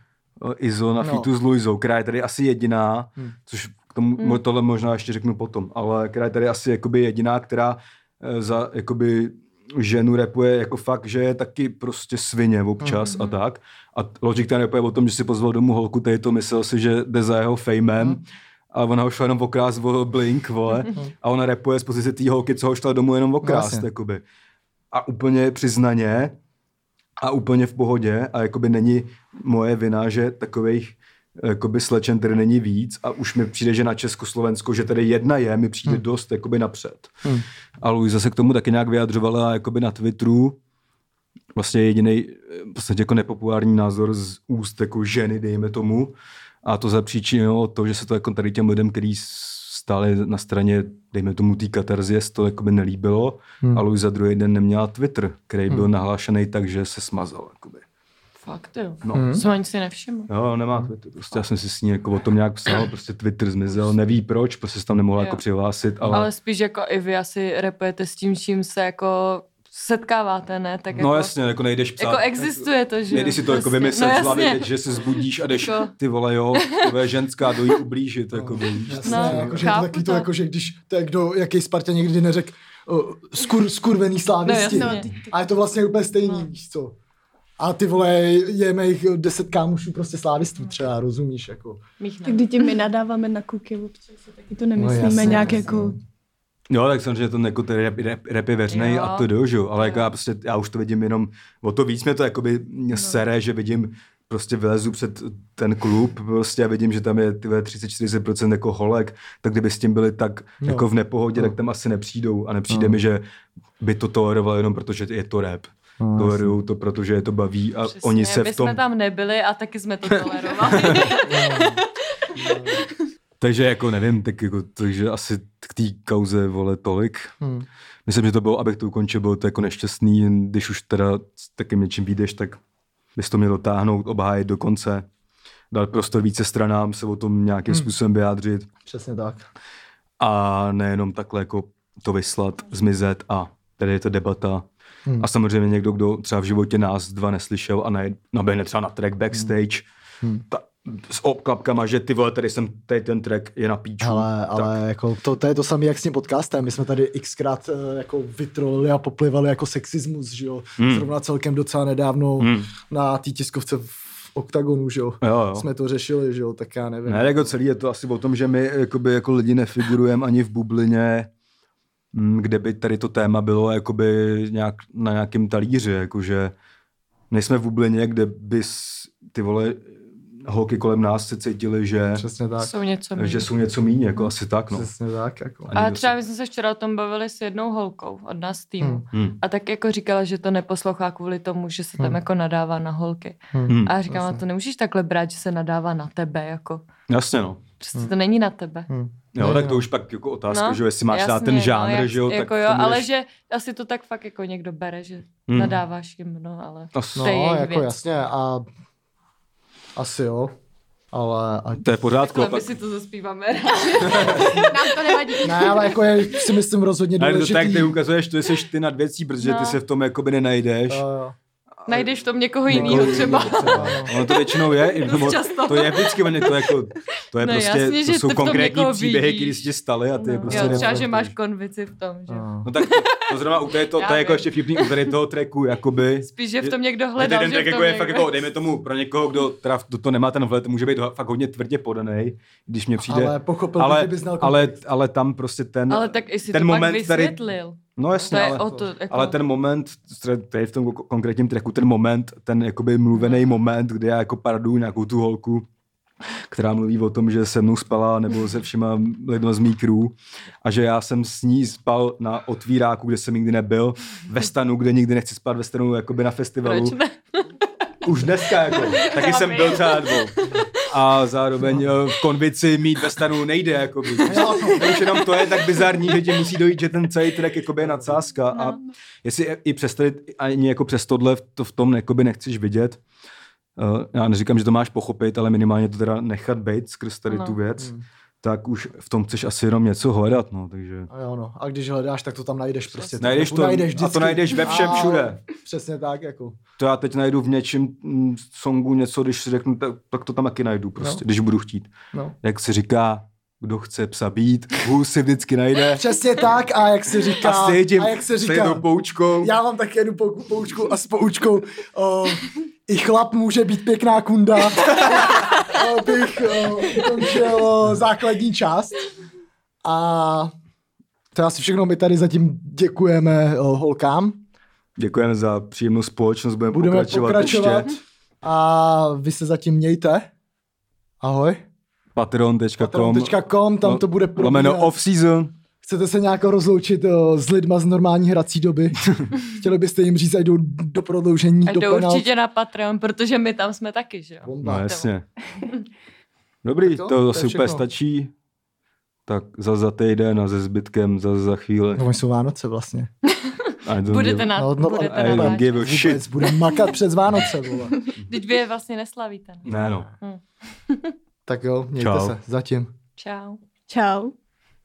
[SPEAKER 2] Izo na
[SPEAKER 1] Hmm. No.
[SPEAKER 2] no. fitu s Luizou, která je tady asi jediná,
[SPEAKER 1] Hmm.
[SPEAKER 2] hmm. což k tomu, hmm. tohle možná ještě řeknu potom, ale která je tady asi jakoby jediná, která eh, za jakoby ženu repuje jako fakt, že je taky prostě svině občas hmm. a tak. A t- Logic ten repuje o tom, že si pozval domů holku, tady to myslel si, že jde za jeho fejmem, hmm. a ona ho šla jenom okrást o Blink, vole, a ona repuje z pozice té holky, co ho šla domů jenom okrást,
[SPEAKER 1] jasně.
[SPEAKER 2] no, jakoby. A úplně přiznaně, a úplně v pohodě a jakoby není moje vina, že takových jakoby slečen tady není víc a už mi přijde, že na Československo, že tady jedna je, mi přijde hmm. dost jakoby napřed.
[SPEAKER 1] Hmm.
[SPEAKER 2] Hmm. A Luisa se k tomu taky nějak vyjadřovala jakoby na Twitteru, vlastně jediný v podstatě jako nepopulární názor z úst jako ženy, dejme tomu. A to zapříčinilo to, že se to jako tady těm lidem, kteří stáli na straně, dejme tomu, té katarzie, se to jakoby nelíbilo. Hmm. A Luisa druhý den neměla Twitter, který hmm. byl nahlášený tak, že se smazal. Jakoby.
[SPEAKER 3] Fakt jo.
[SPEAKER 2] No.
[SPEAKER 1] Hmm.
[SPEAKER 2] Hmm.
[SPEAKER 3] Jsem ani si nevšiml.
[SPEAKER 2] Jo, nemá Twitter. Prostě já jsem si s ní jako o tom nějak psal, prostě Twitter zmizel, neví proč, prostě se tam nemohla
[SPEAKER 3] Jo.
[SPEAKER 2] jako přihlásit, ale...
[SPEAKER 3] Ale spíš jako i vy asi repujete s tím, čím se jako setkáváte, ne? Tak jako,
[SPEAKER 2] No jasně, jako nejdeš psát.
[SPEAKER 3] Jako existuje to, že jo?
[SPEAKER 2] Nejdy si to jako
[SPEAKER 3] Prostě.
[SPEAKER 2] vymyslel
[SPEAKER 3] no,
[SPEAKER 2] z hlavy,
[SPEAKER 3] jasně.
[SPEAKER 2] teď, že se zbudíš a jdeš,
[SPEAKER 3] Jako-
[SPEAKER 2] ty vole, jo, to je ženská, jdu jí ublížit, jako víš.
[SPEAKER 1] Jasně,
[SPEAKER 3] No,
[SPEAKER 1] no, jakože je to
[SPEAKER 3] chápu
[SPEAKER 1] taky to,
[SPEAKER 3] to.
[SPEAKER 1] jako, že když to je kdo, jaký Sparta někdy neřekl o, skur, skurvený slávisti.
[SPEAKER 3] No, jasně.
[SPEAKER 1] a je to vlastně úplně stejný,
[SPEAKER 3] No.
[SPEAKER 1] víš co. A ty vole, jeme jich deset kámošů prostě slávistů třeba, rozumíš, jako.
[SPEAKER 3] Mých ne.
[SPEAKER 5] Tak když my nadáváme na kuky, občas si taky to nemyslíme
[SPEAKER 1] No, jasně,
[SPEAKER 5] nějak
[SPEAKER 1] jasně.
[SPEAKER 5] jako...
[SPEAKER 2] Jo, tak samozřejmě to jako ten rap, rap, rap je veřejný
[SPEAKER 3] Jo. No.
[SPEAKER 2] a to dožu, ale jako já prostě, já už to vidím jenom, o to víc mě to jakoby mě sere, že vidím, prostě vylezu před ten klub, prostě a vidím, že tam je tyhle 30-40% jako holek, tak kdyby s tím byli tak
[SPEAKER 1] No.
[SPEAKER 2] no. jako v nepohodě, no. tak tam asi nepřijdou a nepřijde no. mi, že by to tolerovali jenom protože je to rap. No, Tolerují to, protože je to baví a Přesně, oni se
[SPEAKER 3] my
[SPEAKER 2] v tom...
[SPEAKER 3] jsme tam nebyli a taky jsme to tolerovali.
[SPEAKER 2] Takže jako nevím, tak jako, takže asi k té kauze vole tolik.
[SPEAKER 1] Hmm.
[SPEAKER 2] Hmm. Myslím, že to bylo, abych to ukončil, bylo to jako nešťastný, když už teda s takým něčím výjdeš, tak bys to měl dotáhnout, obhájit do konce, dát prostor více stranám, se o tom nějakým hmm. způsobem vyjádřit
[SPEAKER 1] Přesně tak.
[SPEAKER 2] a nejenom takhle jako to vyslat, zmizet a tady je to debata.
[SPEAKER 1] Hmm.
[SPEAKER 2] Hmm. A samozřejmě někdo, kdo třeba v životě nás dva neslyšel a naj- naběhne třeba na track backstage
[SPEAKER 1] Hmm.
[SPEAKER 2] hmm. ta, s obklapkama, že ty vole, tady jsem, tady ten track je na píču.
[SPEAKER 1] Ale, ale jako to, to, je to samé, jak s tím podcastem. My jsme tady xkrát eh, jako vytrolili a poplivali jako sexismus, že jo. Hmm.
[SPEAKER 2] Hmm.
[SPEAKER 1] Zrovna celkem docela nedávno hmm.
[SPEAKER 2] Hmm.
[SPEAKER 1] na té tiskovce v Oktagonu, že jo.
[SPEAKER 2] Jo, jo.
[SPEAKER 1] Jsme to řešili, že jo, tak já nevím.
[SPEAKER 2] Ne, jako celý je to asi o tom, že my jakoby, jako lidi nefigurujeme ani v bublině, mm, kde by tady to téma bylo jakoby nějak na nějakém talíři, jakože nejsme v bublině, kde by s- ty vole holky kolem nás se cítily, že,
[SPEAKER 1] Přesně tak.
[SPEAKER 3] Jsou něco méně.
[SPEAKER 2] že jsou něco míň, jako asi tak, no.
[SPEAKER 1] Přesně tak, jako.
[SPEAKER 2] Ani
[SPEAKER 3] A
[SPEAKER 2] to
[SPEAKER 3] třeba
[SPEAKER 2] se-
[SPEAKER 3] my jsme se včera o tom bavili s jednou holkou od nás z týmu.
[SPEAKER 1] Hmm.
[SPEAKER 2] Hmm.
[SPEAKER 3] A tak jako říkala, že to neposlouchá kvůli tomu, že se tam
[SPEAKER 1] Hmm.
[SPEAKER 3] jako nadává na holky.
[SPEAKER 2] Hmm.
[SPEAKER 3] A já říkám,
[SPEAKER 1] Jasně.
[SPEAKER 3] a to nemůžeš takhle brát, že se nadává na tebe, jako.
[SPEAKER 2] Jasně, no.
[SPEAKER 3] Přece to není na tebe.
[SPEAKER 1] Ne,
[SPEAKER 2] Jo, tak
[SPEAKER 1] no.
[SPEAKER 2] to už pak jako otázka,
[SPEAKER 3] No,
[SPEAKER 2] že jo, jestli máš rád
[SPEAKER 3] Jasně,
[SPEAKER 2] ten žánr,
[SPEAKER 3] jak-
[SPEAKER 2] že jo,
[SPEAKER 3] jako
[SPEAKER 2] tak
[SPEAKER 3] jo,
[SPEAKER 2] to budeš-
[SPEAKER 3] ale že asi to tak fakt jako někdo bere, že
[SPEAKER 2] Hmm.
[SPEAKER 3] nadáváš jim, no, ale
[SPEAKER 2] Asi-
[SPEAKER 1] No,
[SPEAKER 3] To je jejich
[SPEAKER 1] jako
[SPEAKER 3] věc.
[SPEAKER 1] jasně a asi jo, ale ať...
[SPEAKER 2] To je v pořádku. a
[SPEAKER 3] takhle
[SPEAKER 2] pak-
[SPEAKER 3] my Jako si to zaspíváme.
[SPEAKER 5] Nám to nevadí.
[SPEAKER 1] Ne, ale jako je, si myslím rozhodně
[SPEAKER 2] Ale to
[SPEAKER 1] důležitý.
[SPEAKER 2] tak ty ukazuješ, to jsi ty nad věcí, protože
[SPEAKER 3] No.
[SPEAKER 2] ty se v tom jakoby nenajdeš.
[SPEAKER 1] Jo, jo.
[SPEAKER 3] Najdeš v tom někoho jiného
[SPEAKER 1] jako-
[SPEAKER 2] Někoho
[SPEAKER 3] třeba.
[SPEAKER 1] Jo, třeba, no.
[SPEAKER 2] Ono to většinou je, i
[SPEAKER 3] Dost
[SPEAKER 2] nebo
[SPEAKER 3] často.
[SPEAKER 2] to je vždycky, ono je to jako, to je
[SPEAKER 3] No
[SPEAKER 2] no, prostě,
[SPEAKER 3] jasně,
[SPEAKER 2] to
[SPEAKER 3] že
[SPEAKER 2] jsou
[SPEAKER 3] ty v tom
[SPEAKER 2] konkrétní
[SPEAKER 3] někoho
[SPEAKER 2] příběhy,
[SPEAKER 3] vidíš.
[SPEAKER 2] které se ti staly a ty
[SPEAKER 3] No,
[SPEAKER 2] prostě
[SPEAKER 3] jo, třeba,
[SPEAKER 2] nereflektuješ.
[SPEAKER 3] že máš konvici v tom, že?
[SPEAKER 1] Jo.
[SPEAKER 2] No tak to, to zrovna u tady to,
[SPEAKER 3] Já
[SPEAKER 2] to je jako
[SPEAKER 3] vím.
[SPEAKER 2] ještě vtipný u tady toho tracku, jakoby.
[SPEAKER 3] Spíš, že v tom někdo
[SPEAKER 2] Že
[SPEAKER 3] hledal,
[SPEAKER 2] ten
[SPEAKER 3] že
[SPEAKER 2] track
[SPEAKER 3] v
[SPEAKER 2] jako
[SPEAKER 3] tom
[SPEAKER 2] je fakt
[SPEAKER 3] někdo...
[SPEAKER 2] jako, dejme tomu, pro někoho, kdo teda do toho nemá ten vhled, může být ho- fakt hodně tvrdě podaný, když mě přijde.
[SPEAKER 1] Ale pochopil bych,
[SPEAKER 2] ale,
[SPEAKER 1] kdyby znal
[SPEAKER 2] ale, ale tam prostě ten,
[SPEAKER 3] Ale tak i
[SPEAKER 2] ten
[SPEAKER 3] si to pak
[SPEAKER 2] moment tady-
[SPEAKER 3] vysvětlil.
[SPEAKER 2] no
[SPEAKER 3] To
[SPEAKER 2] jasně,
[SPEAKER 3] je
[SPEAKER 2] ale,
[SPEAKER 3] o to, jako...
[SPEAKER 2] ale ten moment, stre- tady v tom ko- konkrétním tracku, ten moment, ten jakoby mluvený moment, kde já jako paraduju nějakou tu holku, která mluví o tom, že se mnou spala nebo se všema lidma z míkrů a že já jsem s ní spal na otvíráku, kde jsem nikdy nebyl, ve stanu, kde nikdy nechci spát, ve stanu jakoby na festivalu.
[SPEAKER 3] Proč ne?
[SPEAKER 2] Už dneska jako, taky
[SPEAKER 3] Já
[SPEAKER 2] jsem
[SPEAKER 3] vím.
[SPEAKER 2] byl třeba na dvou. A zároveň eh, v konvici mít ve stanu nejde, jakoby. To už jenom to je tak bizarní, že ti musí dojít, že ten celý track jakoby je nadsázka. A jestli i přes tady, ani jako přes tohle to v tom jakoby nechceš vidět, eh, já neříkám, že to máš pochopit, ale minimálně to teda nechat být skrz tady
[SPEAKER 3] No.
[SPEAKER 2] tu věc,
[SPEAKER 1] Mm.
[SPEAKER 2] tak už v tom chceš asi jenom něco hledat, no, takže...
[SPEAKER 1] A jo, no. A když hledáš, tak to tam najdeš prostě.
[SPEAKER 2] Najdeš
[SPEAKER 1] tu
[SPEAKER 2] to,
[SPEAKER 1] najdeš
[SPEAKER 2] a to
[SPEAKER 1] vždycky.
[SPEAKER 2] najdeš ve všem
[SPEAKER 1] A-
[SPEAKER 2] všude.
[SPEAKER 1] Přesně tak, jako.
[SPEAKER 2] To já teď najdu v něčem mm, songu něco, když si řeknu, tak, tak to tam taky najdu prostě,
[SPEAKER 1] No.
[SPEAKER 2] no. když budu chtít.
[SPEAKER 1] No.
[SPEAKER 2] Jak se říká, kdo chce psa být, hůz si vždycky najde.
[SPEAKER 1] Přesně tak a jak se říká,
[SPEAKER 2] A s jedním,
[SPEAKER 1] a jak se
[SPEAKER 2] s jednou
[SPEAKER 1] říká,
[SPEAKER 2] poučkou.
[SPEAKER 1] já mám taky jednu pou- poučku a s poučkou o, i chlap může být pěkná kunda. O, Bych o, ukončil o, základní část. A to je asi všechno, my tady zatím děkujeme o, holkám.
[SPEAKER 2] Děkujeme za příjemnou společnost, budeme,
[SPEAKER 1] Budeme
[SPEAKER 2] pokračovat,
[SPEAKER 1] pokračovat.
[SPEAKER 2] ještě.
[SPEAKER 1] A vy se zatím mějte. Ahoj.
[SPEAKER 2] Patreon.com
[SPEAKER 1] Patreon.com, tam
[SPEAKER 2] lo-
[SPEAKER 1] to bude
[SPEAKER 2] Lomeno
[SPEAKER 1] probíhat.
[SPEAKER 2] no off-season.
[SPEAKER 1] Chcete se nějak rozloučit o, s lidma z normální hrací doby? Chtěli byste jim říct, ať jdou do prodloužení,
[SPEAKER 3] A
[SPEAKER 1] do
[SPEAKER 3] jdou
[SPEAKER 1] penalt?
[SPEAKER 3] určitě na Patreon, protože my tam jsme taky, že jo?
[SPEAKER 1] Bomba.
[SPEAKER 2] No jasně.
[SPEAKER 1] Tak
[SPEAKER 2] Dobrý, to,
[SPEAKER 1] jo,
[SPEAKER 2] to
[SPEAKER 1] to je
[SPEAKER 2] asi úplně
[SPEAKER 1] všechno.
[SPEAKER 2] stačí. Tak za za týden a ze zbytkem za za chvíli.
[SPEAKER 1] No, oni jsou Vánoce vlastně.
[SPEAKER 2] I don't
[SPEAKER 3] Budete
[SPEAKER 2] give-
[SPEAKER 3] na,
[SPEAKER 1] No, no,
[SPEAKER 3] budete
[SPEAKER 2] I
[SPEAKER 3] na
[SPEAKER 2] don't give a
[SPEAKER 1] Vůbec,
[SPEAKER 2] shit.
[SPEAKER 1] bude makat před Vánoce, vole.
[SPEAKER 3] Teď vy je vlastně neslavíte. ne?
[SPEAKER 2] Ne no.
[SPEAKER 1] Tak jo, mějte
[SPEAKER 2] Čau.
[SPEAKER 1] se, zatím.
[SPEAKER 3] Čau.
[SPEAKER 5] Čau.